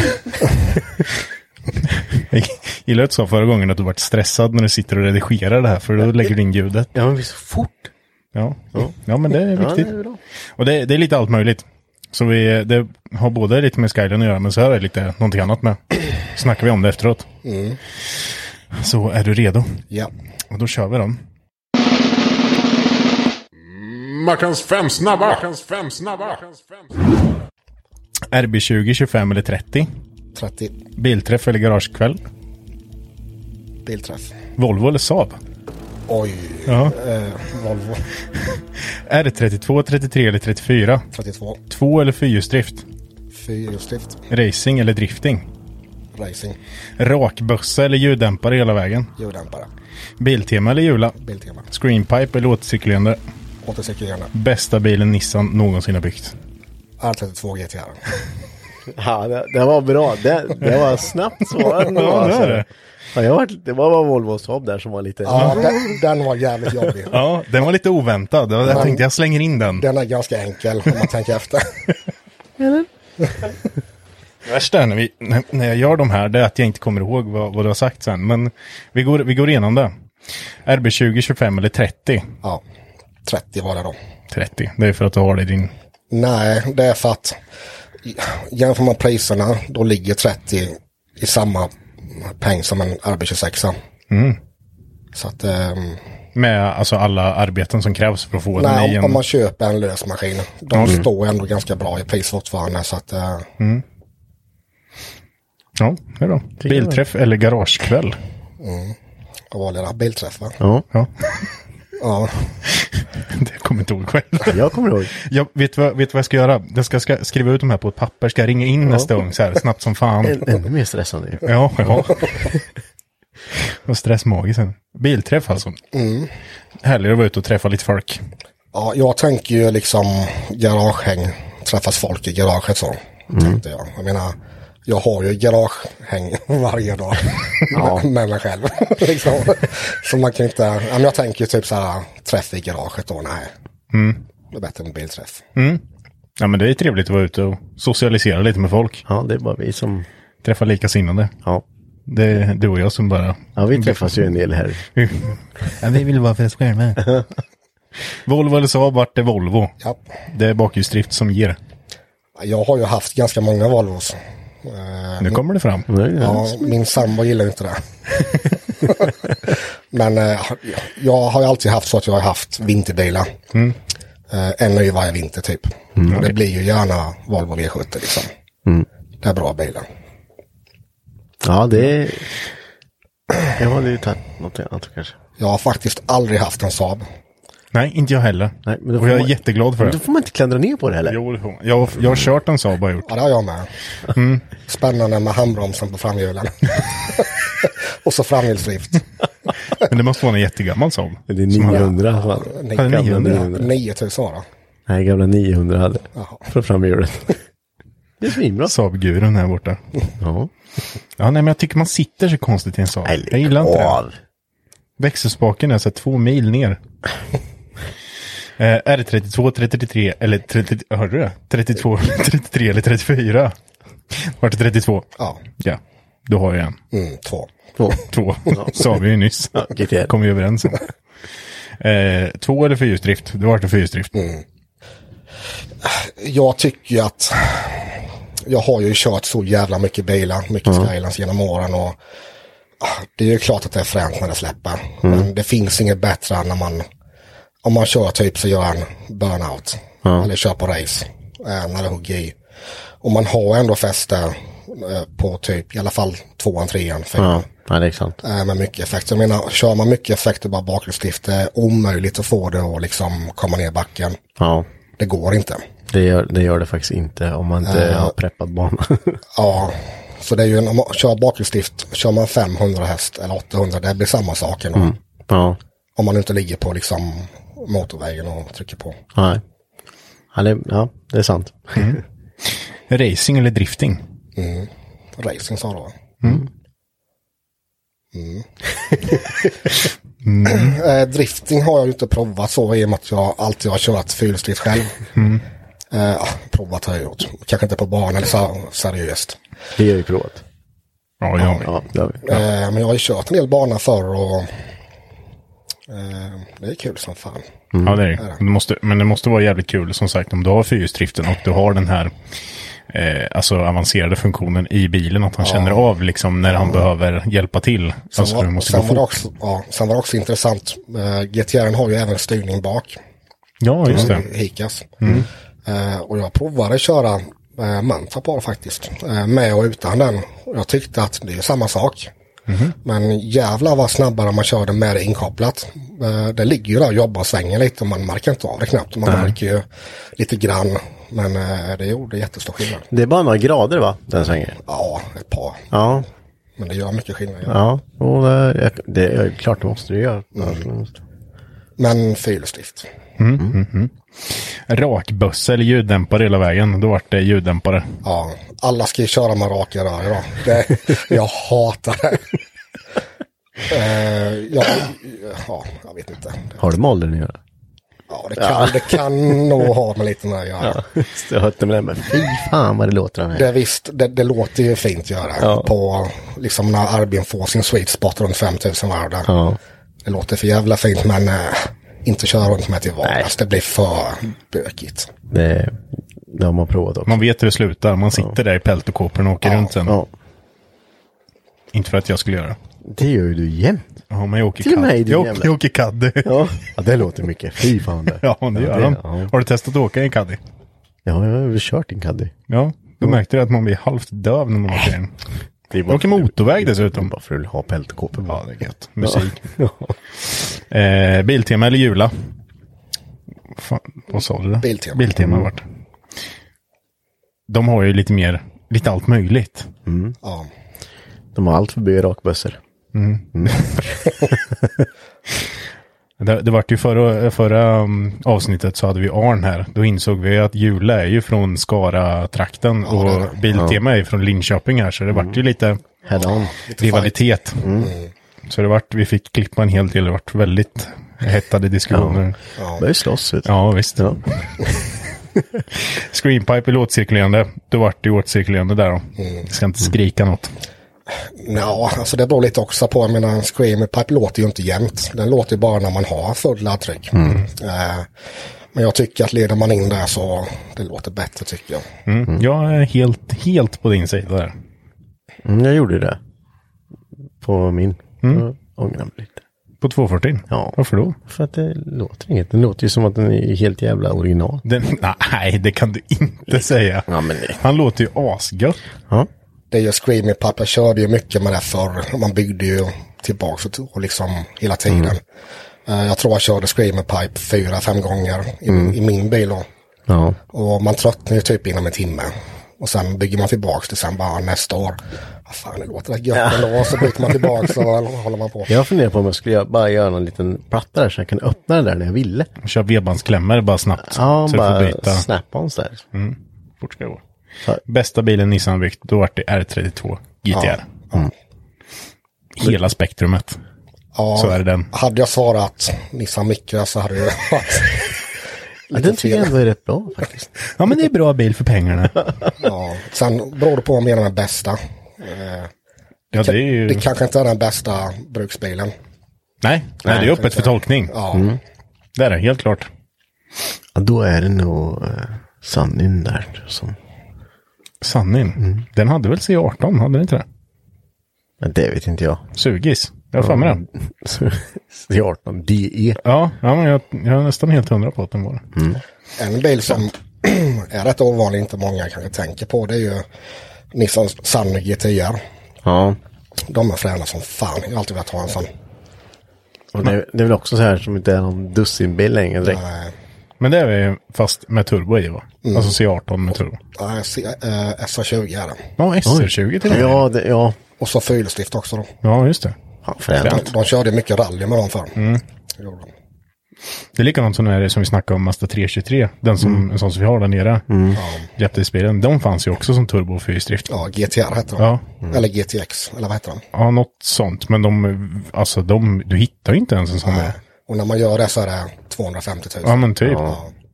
B: jag gillar att du sa förra gången att du varit stressad när du sitter och redigerar det här, för då lägger du in ljudet.
A: ja, men vi är så fort.
B: Ja, ja men det är
A: Ja, det
B: viktigt.
A: är bra.
B: Och det, det är lite allt möjligt. Så vi, det har både lite med skyline att göra, men så är det lite någonting annat med. Snackar vi om det efteråt. Så är du redo?
C: Ja.
B: Och då kör vi dem.
D: Mackans fem snabba! Mackans fem snabba! Mackans fem snabba!
B: RB20, 25 eller 30.
C: 30
B: Bilträff eller garagekväll.
C: bilträff.
B: Volvo eller Saab.
C: Oj, Eh,
B: Ja.
C: Volvo
B: R32, 33 eller 34.
C: 32.
B: Två eller fyrhjulsdrift.
C: Fyrhjulsdrift.
B: Racing eller drifting.
C: racing,
B: Rakbössa eller ljuddämpare hela vägen.
C: ljuddämpare,
B: Biltema eller Jula.
C: Biltema,
B: Screenpipe eller återcirkulerande.
C: återcirkulerande,
B: Bästa bilen Nissan någonsin har byggt.
C: R32 GTR.
A: Ja, det, det var bra. Det, det var snabbt svarat. nu,
B: Ja, det
A: alltså.
B: är det.
A: Ja, jag var, det var bara Volvo och Saab där som var lite...
C: Ja, den, den var jävligt jobbig.
B: Ja, den var lite oväntad. Jag tänkte jag slänger in den.
C: Den är ganska enkel om man tänker efter.
B: Det värsta är när, vi, när- när jag gör de här, det är att jag inte kommer ihåg vad, vad du har sagt sen. Men vi går, vi går igenom det. RB 20, 25 eller 30?
C: Ja, 30 var det då.
B: 30, det är för att du har det i din...
C: Nej, det är för att jämför man priserna då ligger 30 i samma peng som en RB26.
B: Mm.
C: Så att ehm,
B: Med alltså alla arbeten som krävs för att få den i
C: nej, om,
B: en...
C: om man köper en lös maskin, de
B: Mm.
C: står ändå ganska bra i pris fortfarande. Så att, eh,
B: Ja, det är bra. Bilträff eller garagekväll?
C: vad var det där? Bilträff va?
A: Ja,
B: Ja,
C: Ja,
B: det kommer jag inte ihåg själv.
A: jag kommer ihåg.
B: Jag vet, vad, vet vad jag ska göra? Jag ska, ska skriva ut de här på ett papper, ska ringa in nästa gång så här snabbt som fan.
A: Än- Ännu mer stressande ju.
B: Ja, ja. Och stressmagisen. Bilträff alltså. Hellre att vara ute och träffa lite folk.
C: ja, jag tänker ju liksom garagehäng, träffas folk i garaget så. Tänkte jag. jag menar, jag har ju garagehäng varje dag med, med mig själv. liksom. Så man kan inte, ja, men jag tänker ju typ så här, träff i garaget då, nej. Det är bättre med bilträff.
B: Ja, men det är trevligt att vara ute och socialisera lite med folk.
A: Ja, det är bara vi som...
B: Träffa likasinnade.
A: Ja,
B: Det är du och jag som bara...
A: ja vi träffas ju en del här.
B: ja, vi vill vara för oss själva. Volvo eller Saab vart det Volvo.
C: Ja.
B: Det är bakhjulsdrift som ger.
C: Jag har ju haft ganska många Volvos. Eh,
B: Nu kommer det fram.
C: Ja, min sambo gillar ju inte det. Men eh, jag har ju alltid haft så att jag har haft vinterbilar. Eh, en ny varje vinter typ. Och det blir ju gärna Volvo V70 liksom. Det är bra bilar.
A: Ja, det är... Jag hade ju tagit något annat kanske.
C: Jag har faktiskt aldrig haft en Saab.
B: Nej, inte jag heller.
A: Nej, men då
B: och
A: får
B: jag är
A: man-
B: jätteglad för
A: Men då
B: det.
A: får man inte klandra ner på det heller.
B: Jo, det får man. jag, jag har kört en Saab har jag gjort.
C: Ja, det har jag med. Spännande med handbromsen på framhjulen. Och så framhjulsdrift.
B: Men det måste vara en jättegammal Saab.
A: Det är 900. Fan.
C: Ni-
A: Gamla
B: 900.
A: 900.
C: 9000 var det.
A: Nej, gamla 900 hade
C: Jaha.
A: Från framhjulet. Det är svinbra.
B: Saab-gurun här borta.
A: Ja.
B: Ja, nej, men jag tycker man sitter så konstigt i en Saab. Jag gillar inte det. Växelspaken är så här två mil ner. Eh, R32, 33 eller 30, hörde du det? 32, 33 eller 34. Vart det 32?
C: Ja,
B: Ja, du har ju en.
C: mm, två.
A: Två.
B: Två, sa vi ju nyss.
A: GTR.
B: Kom vi överens om. Eh, två eller fyrhjulsdrift? Det vart en fyrhjulsdrift.
C: jag tycker ju att jag har ju kört så jävla mycket bilar, mycket Skylands genom åren och ah, det är ju klart att det är fränt när det släpper. Men det finns inget bättre än när man, om man kör typ så gör en burnout eller kör på race eh, när det hugger i. Och man har ändå fäste eh, på typ i alla fall tvåan, trean, fyran.
A: Ja, ja, det är sant.
C: Eh, med mycket effekt. Jag menar, kör man mycket effekt och bara bakhjulsdrift, det är omöjligt att få det att liksom komma ner backen.
A: Ja,
C: Det går inte.
A: det gör, det gör det faktiskt inte om man inte har preppat banan.
C: Ja, så det är ju en, om man kör bakhjulsdrift, kör man 500 häst eller 800, det blir samma sak ändå.
A: ja,
C: Om man inte ligger på liksom motorvägen och trycker på.
A: nej. Ja, det, ja, det är sant.
B: Racing eller drifting?
C: Racing sa du va? Mm. Eh, Drifting har jag ju inte provat så i och med att jag alltid har kört fyrhjulsdrift själv. Eh, ja, provat har jag gjort. Kanske inte på banan eller så seriöst.
A: Vi har ju provat.
B: Ja, ja.
A: Ja, det har vi.
C: Eh, men jag har ju kört en del banor förr och eh, det är kul som fan.
A: Mm.
B: Ja, det är det. det. Måste, men det måste vara jävligt kul som sagt om du har fyrhjulsdriften och du har den här eh, alltså avancerade funktionen i bilen. Att han känner av liksom när han behöver hjälpa till. alltså du måste gå
C: sen, var
B: fort.
C: det också, ja, sen var det också intressant. Uh, GTR har ju även styrning bak.
B: Ja, just det.
A: Mm.
B: Mm.
C: Hikas. Eh, och jag provade köra uh, Manta på det faktiskt. eh, med och utan den. Och Jag tyckte att det är samma sak.
B: Mhm.
C: Men jävlar vad snabbare man körde med det inkopplat. Eh, det ligger ju där och jobbar och svänger lite och man märker inte av det knappt. Man märker ju lite grann Men eh, det gjorde jättestor skillnad.
A: Det är bara några grader va? Den svänger.
C: Ja, ett par.
A: Ja.
C: Men det gör mycket skillnad.
A: Ja. Och det, jag, det är klart det måste du göra. Mm.
C: Men fyrhjulsdrift.
B: Rakbössa eller ljuddämpare hela vägen. Då vart det ljuddämpare.
C: Ja, alla ska ju köra med raka rör idag. Det, jag hatar det. Eh, ja, ja, jag vet inte.
A: Har det med åldern att göra?
C: Ja, det kan, Det kan nog ha med lite med att göra.
A: Just det, Jag hörde med det, men fy fan vad det låter den här.
C: Det, visst, det, det låter ju fint göra.
A: Ja.
C: På, liksom när Arbin får sin sweet spot runt 5000 varv där.
A: Ja.
C: Det låter för jävla fint men eh, inte köra runt med till vardags. Det blir för bökigt.
A: Det, det har man provat också.
B: Man vet hur det slutar. Man sitter där i peltokåporna och åker runt sen.
A: Ja.
B: Inte för att jag skulle göra det.
A: Det gör ju du jämt.
B: Ja, men jag åker
A: Till och
B: kadd.
A: med i din
B: Jag,
A: jävla-
B: åker- jag åker kaddi.
A: Ja. ja, det låter mycket. Fy fan det.
B: Ja, det gör de.
A: Ja,
B: Har du testat att åka i en kaddi?
A: ja jag har väl kört din caddy.
B: Ja, då märkte du att man blir halvt döv när man åker den.
A: Det är
B: Jag åker motorväg dessutom.
A: Bara för att ha peltkåpor.
B: Ja, det är gött. Musik. Eh, biltema eller Jula? Fan, vad sa du? då?
C: Biltema.
B: Biltema vart. De har ju lite mer, lite allt möjligt.
C: Ja.
A: De har allt förbi rakbössor.
B: Det, det vart ju förra, förra um, avsnittet så hade vi Arn här. Då insåg vi att Jula är ju från Skara-trakten och Biltema är ju från Linköping här. Så det vart ju lite
A: Mm. Head on. Mm.
B: rivalitet. Mm. Så det vart, vi fick klippa en hel del, det vart väldigt hettade diskussioner.
A: Börjar ju slåss vet du.
B: Ja, visst.
A: Ja.
B: Screenpipe är låtcirkulerande. Då vart det ju åtcirkulerande där då.
A: Mm.
B: Jag ska inte skrika något.
C: Nja, alltså det beror lite också på. Jag menar, en screamer pipe låter ju inte jämt. Den låter ju bara när man har full laddtryck. Eh, men jag tycker att leder man in där så det låter bättre tycker jag.
B: Mm. Jag är helt, helt på din sida där.
A: Mm, jag gjorde det. På min.
B: Mm.
A: Jag ångrar mig lite.
B: På 240.
A: Ja.
B: Varför då?
A: För att det låter inget. Den låter ju som att den är helt jävla original.
B: Den, nej, det kan du inte säga.
A: Ja, men det-
B: Han låter ju asgött.
A: Ja.
C: Det är ju screamer pipe. Jag körde ju mycket med det förr. Man byggde ju tillbaks och, och liksom hela tiden. Eh, jag tror jag körde screamer pipe fyra, fem gånger i, i min bil då.
A: Ja.
C: Och man tröttnar ju typ inom en timme. Och sen bygger man tillbaks det sen bara nästa år. Vad fan, det låter rätt gött ändå. Så byter man tillbaks och håller man på.
A: Jag funderar på om jag skulle göra- bara göra någon liten platta där så jag kan öppna den där när jag ville.
B: Kör vedbandsklämmor bara snabbt.
A: Ja,
B: så du
A: bara
B: får byta. Mm.
A: snap-ons där.
B: Fort ska det gå.
A: Så-
B: Bästa bilen Nissan har byggt, då vart det R32 GTR. Hela spektrumet.
C: Ja,
B: Så är det den.
C: Hade jag svarat Nissan Micra så hade det varit...
A: Ja, den tycker jag ändå är rätt bra faktiskt.
B: Ja, men det är bra bil för pengarna.
C: ja. Sen beror det på vad man menar med bästa. Eh,
B: Ja, det är ju...
C: Det kanske inte är den bästa bruksbilen.
B: Nej, nej, det är öppet för tolkning.
C: Ja,
B: Det är det, helt klart.
A: Ja, då är det nog eh, sanningen där som...
B: Sannin. Den hade väl C18, hade den inte det?
A: Men det vet inte jag.
B: Sugis. Jag har för mig det.
A: Det är 18 DE.
B: Ja, ja men jag, jag är nästan helt hundra på att den var det.
C: en bil som är rätt ovanlig, inte många kanske tänker på, det är ju Nissan Sunny GTR.
A: Ja.
C: De är fräna som fan. Jag har alltid velat ha en sån.
A: Och det, det är väl också så här som inte är någon dussinbil längre direkt.
C: Eh,
B: Men det är ju fast med turbo i va?
A: Mm.
B: Alltså C18 med turbo.
C: ja, jag ser, eh, SA20 är det.
B: Ja, SR20 till och med.
A: Ja, det, ja.
C: Och så fyrhjulsdrift också då.
B: ja, just det.
A: Fan, fränt.
C: De körde mycket rally med dem förr.
B: Mm.
C: Det gjorde de.
B: Det är likadant som, den här, som vi snackade om, Mazda 323. Den som, en sån som vi har där nere. Mm. Jätteisbilen. De fanns ju också som turbo och fyrhjulsdrift.
C: Ja, GTR hette de.
B: Ja.
C: Eller GTX, eller vad hette de?
B: ja, något sånt. Men de, alltså de, du hittar ju inte ens en sån där.
C: Och när man gör det så är det 250 000.
B: Ja men typ.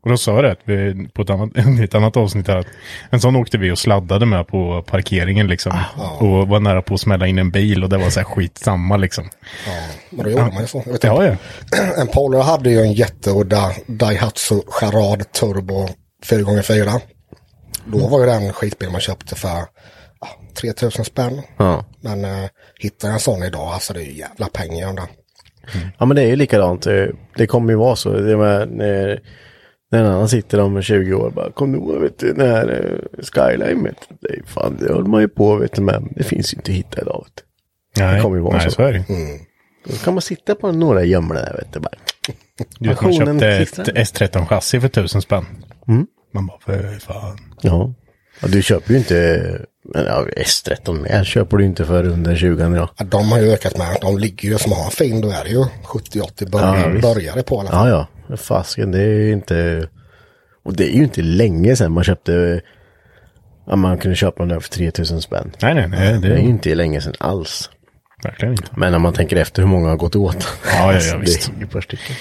B: Och då sa jag det att vi, på ett annat, i ett annat avsnitt här att en sån åkte vi och sladdade med på parkeringen liksom.
A: Ah.
B: Och var nära på att smälla in en bil och det var så här skitsamma liksom.
C: Ja, men då gjorde man ju så. Jag vet
B: Det har
C: inte.
B: jag.
C: En Polo hade ju en jätteudda Daihatsu Charad Turbo 4x4. Då var ju den skitbil man köpte för ah, 3000 spänn.
A: Ja.
C: Men eh, hittar jag en sån idag, alltså det är ju jävla pengar om den.
A: ja, men det är ju likadant. eh, Det kommer ju vara så. Det är med, när, när en annan sitter om 20 år bara, kom du ihåg, vet du, den här eh, Skyline, vet du, det, är fan, det höll man ju på, vet du, men det finns ju inte att hitta idag. Vet du.
B: Nej,
A: kommer ju vara
B: nej
A: så.
B: så. är det
A: Då kan man sitta på några gömmor där, vet du, bara.
B: Du vet, man
A: Passionen
B: köpte
A: klistrar. Mm.
B: ett S13-chassi för tusen spänn. Man bara, för fan.
A: Ja. ja. Du köper ju inte, men ja, S13 mer köper du inte för under 20 idag.
C: Ja, de har ju ökat med. De ligger ju som har en fin, då är det ju 70-80 börjar,
A: visst.
C: började på. i alla fall.
A: Ja, ja. Fasken, det är ju inte... Och det är ju inte länge sedan man köpte... Ja, man kunde köpa den där för 3000 spänn.
B: Nej, nej, nej.
A: Det är ju
B: Det,
A: inte länge sedan alls.
B: verkligen inte.
A: Men när man tänker efter hur många har gått åt.
B: ja, ja,
A: Alltså,
B: visst.
A: Det är ju ett par stycken.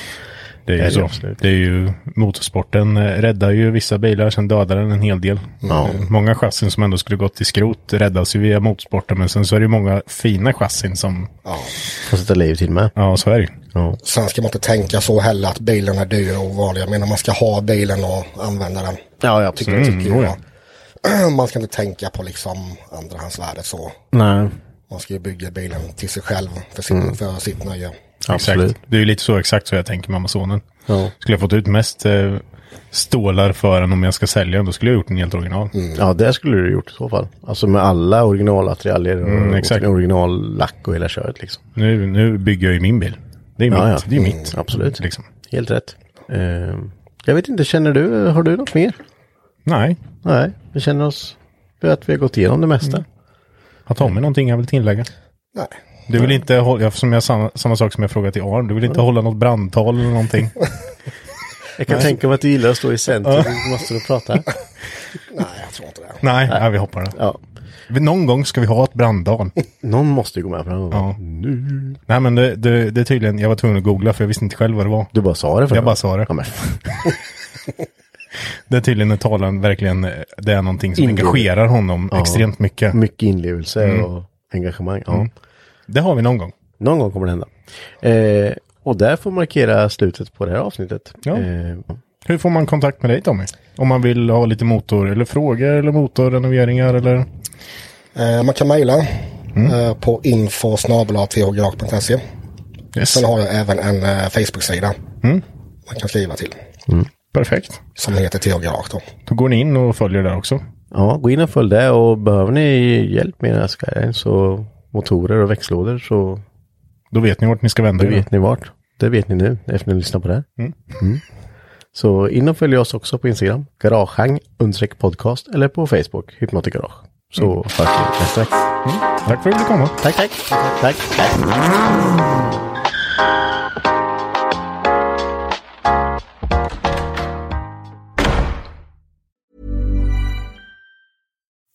B: Det
A: Ja, det
B: är
A: är
B: ju så.
A: absolut.
B: Det är ju motorsporten eh, räddar ju vissa bilar, sen dödar den en hel del.
A: Ja.
B: Många chassin som ändå skulle gått till skrot räddas ju via motorsporten, men sen så är det ju många fina chassin som,
A: Får sätta liv till med.
B: ja så är det ju.
A: Ja.
C: Sen ska man inte tänka så heller att bilen är dyr och ovanlig. Jag menar man ska ha bilen och använda den.
A: Mm, Ja, ja
C: Tycker,
A: absolut.
C: tycker
B: oh
C: jag.
B: ja.
C: Man ska inte tänka på liksom andrahandsvärdet så.
A: Nej,
C: Man ska ju bygga bilen till sig själv för sitt, för sitt nöje.
A: absolut.
B: Exakt. Det är ju lite så exakt så jag tänker mamma och sonen.
A: Ja.
B: Skulle jag fått ut mest eh, stålar för den om jag ska sälja den, då skulle jag gjort en helt original.
A: Ja, det skulle du gjort i så fall. Alltså med alla originalmaterialer och,
B: Mm,
A: och
B: exakt.
A: originallack och hela köret liksom.
B: Nu, nu bygger jag ju min bil. Det är mitt.
A: Ja, ja. Mm,
B: Det är mitt.
A: Absolut.
B: Liksom.
A: Helt rätt. Ehm, jag vet inte, känner du, har du något mer?
B: Nej.
A: Nej, vi känner oss för att vi har gått igenom det mesta.
B: Mm. Har Tommy någonting jag vill tillägga?
C: Nej.
B: Du vill inte hålla, ja, som jag, samma, samma sak som jag frågat till Arn, du vill inte hålla något brandtal eller någonting?
A: Jag kan tänka mig att du gillar att stå i centrum och måste du prata.
C: Nej, jag tror inte det.
B: Nej, nej. vi hoppar det.
A: Ja.
B: Vi- Någon gång ska vi ha ett brandtal.
A: Någon måste ju gå med på det.
B: Ja.
A: Nu.
B: nej, men det, det, det är tydligen, jag var tvungen att googla för jag visste inte själv vad det var.
A: Du bara sa det för
B: Jag
A: mig.
B: bara sa det.
A: Ja, men.
B: Det är tydligen när talaren verkligen, eh, det är någonting som
A: Ingår.
B: engagerar honom extremt mycket.
A: Mycket inlevelse
B: Mm.
A: och engagemang. Ja.
B: Det har vi någon gång.
A: Någon gång kommer det hända. Eh, och där får markera slutet på det här avsnittet.
B: Ja.
A: Eh,
B: Hur får man kontakt med dig Tommy? Om man vill ha lite motor eller frågor eller motorrenoveringar eller?
C: Eh, man kan mejla eh, på info snabel-a-thgrak.se.
B: Yes.
C: Sen har jag även en eh, Facebook-sida. Man kan skriva till.
B: Perfekt.
C: Som heter TH Garage då.
B: Då går ni in och följer där också.
A: ja, gå in och följ det och behöver ni hjälp med era Skylines och motorer och växellådor så
B: Då vet ni vart ni ska vända
A: Då
B: er.
A: vet ni vart. Det vet ni nu efter att ni lyssnar på det här. Mm. Så in och följ oss också på Instagram, garagehang understreck podcast eller på Facebook, Hypnotic Garage. Så hörs vi nästa vecka.
B: Tack för att du kom.
A: Tack, tack. Tack. tack.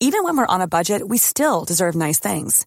E: Even when we're on a budget, we still deserve nice things.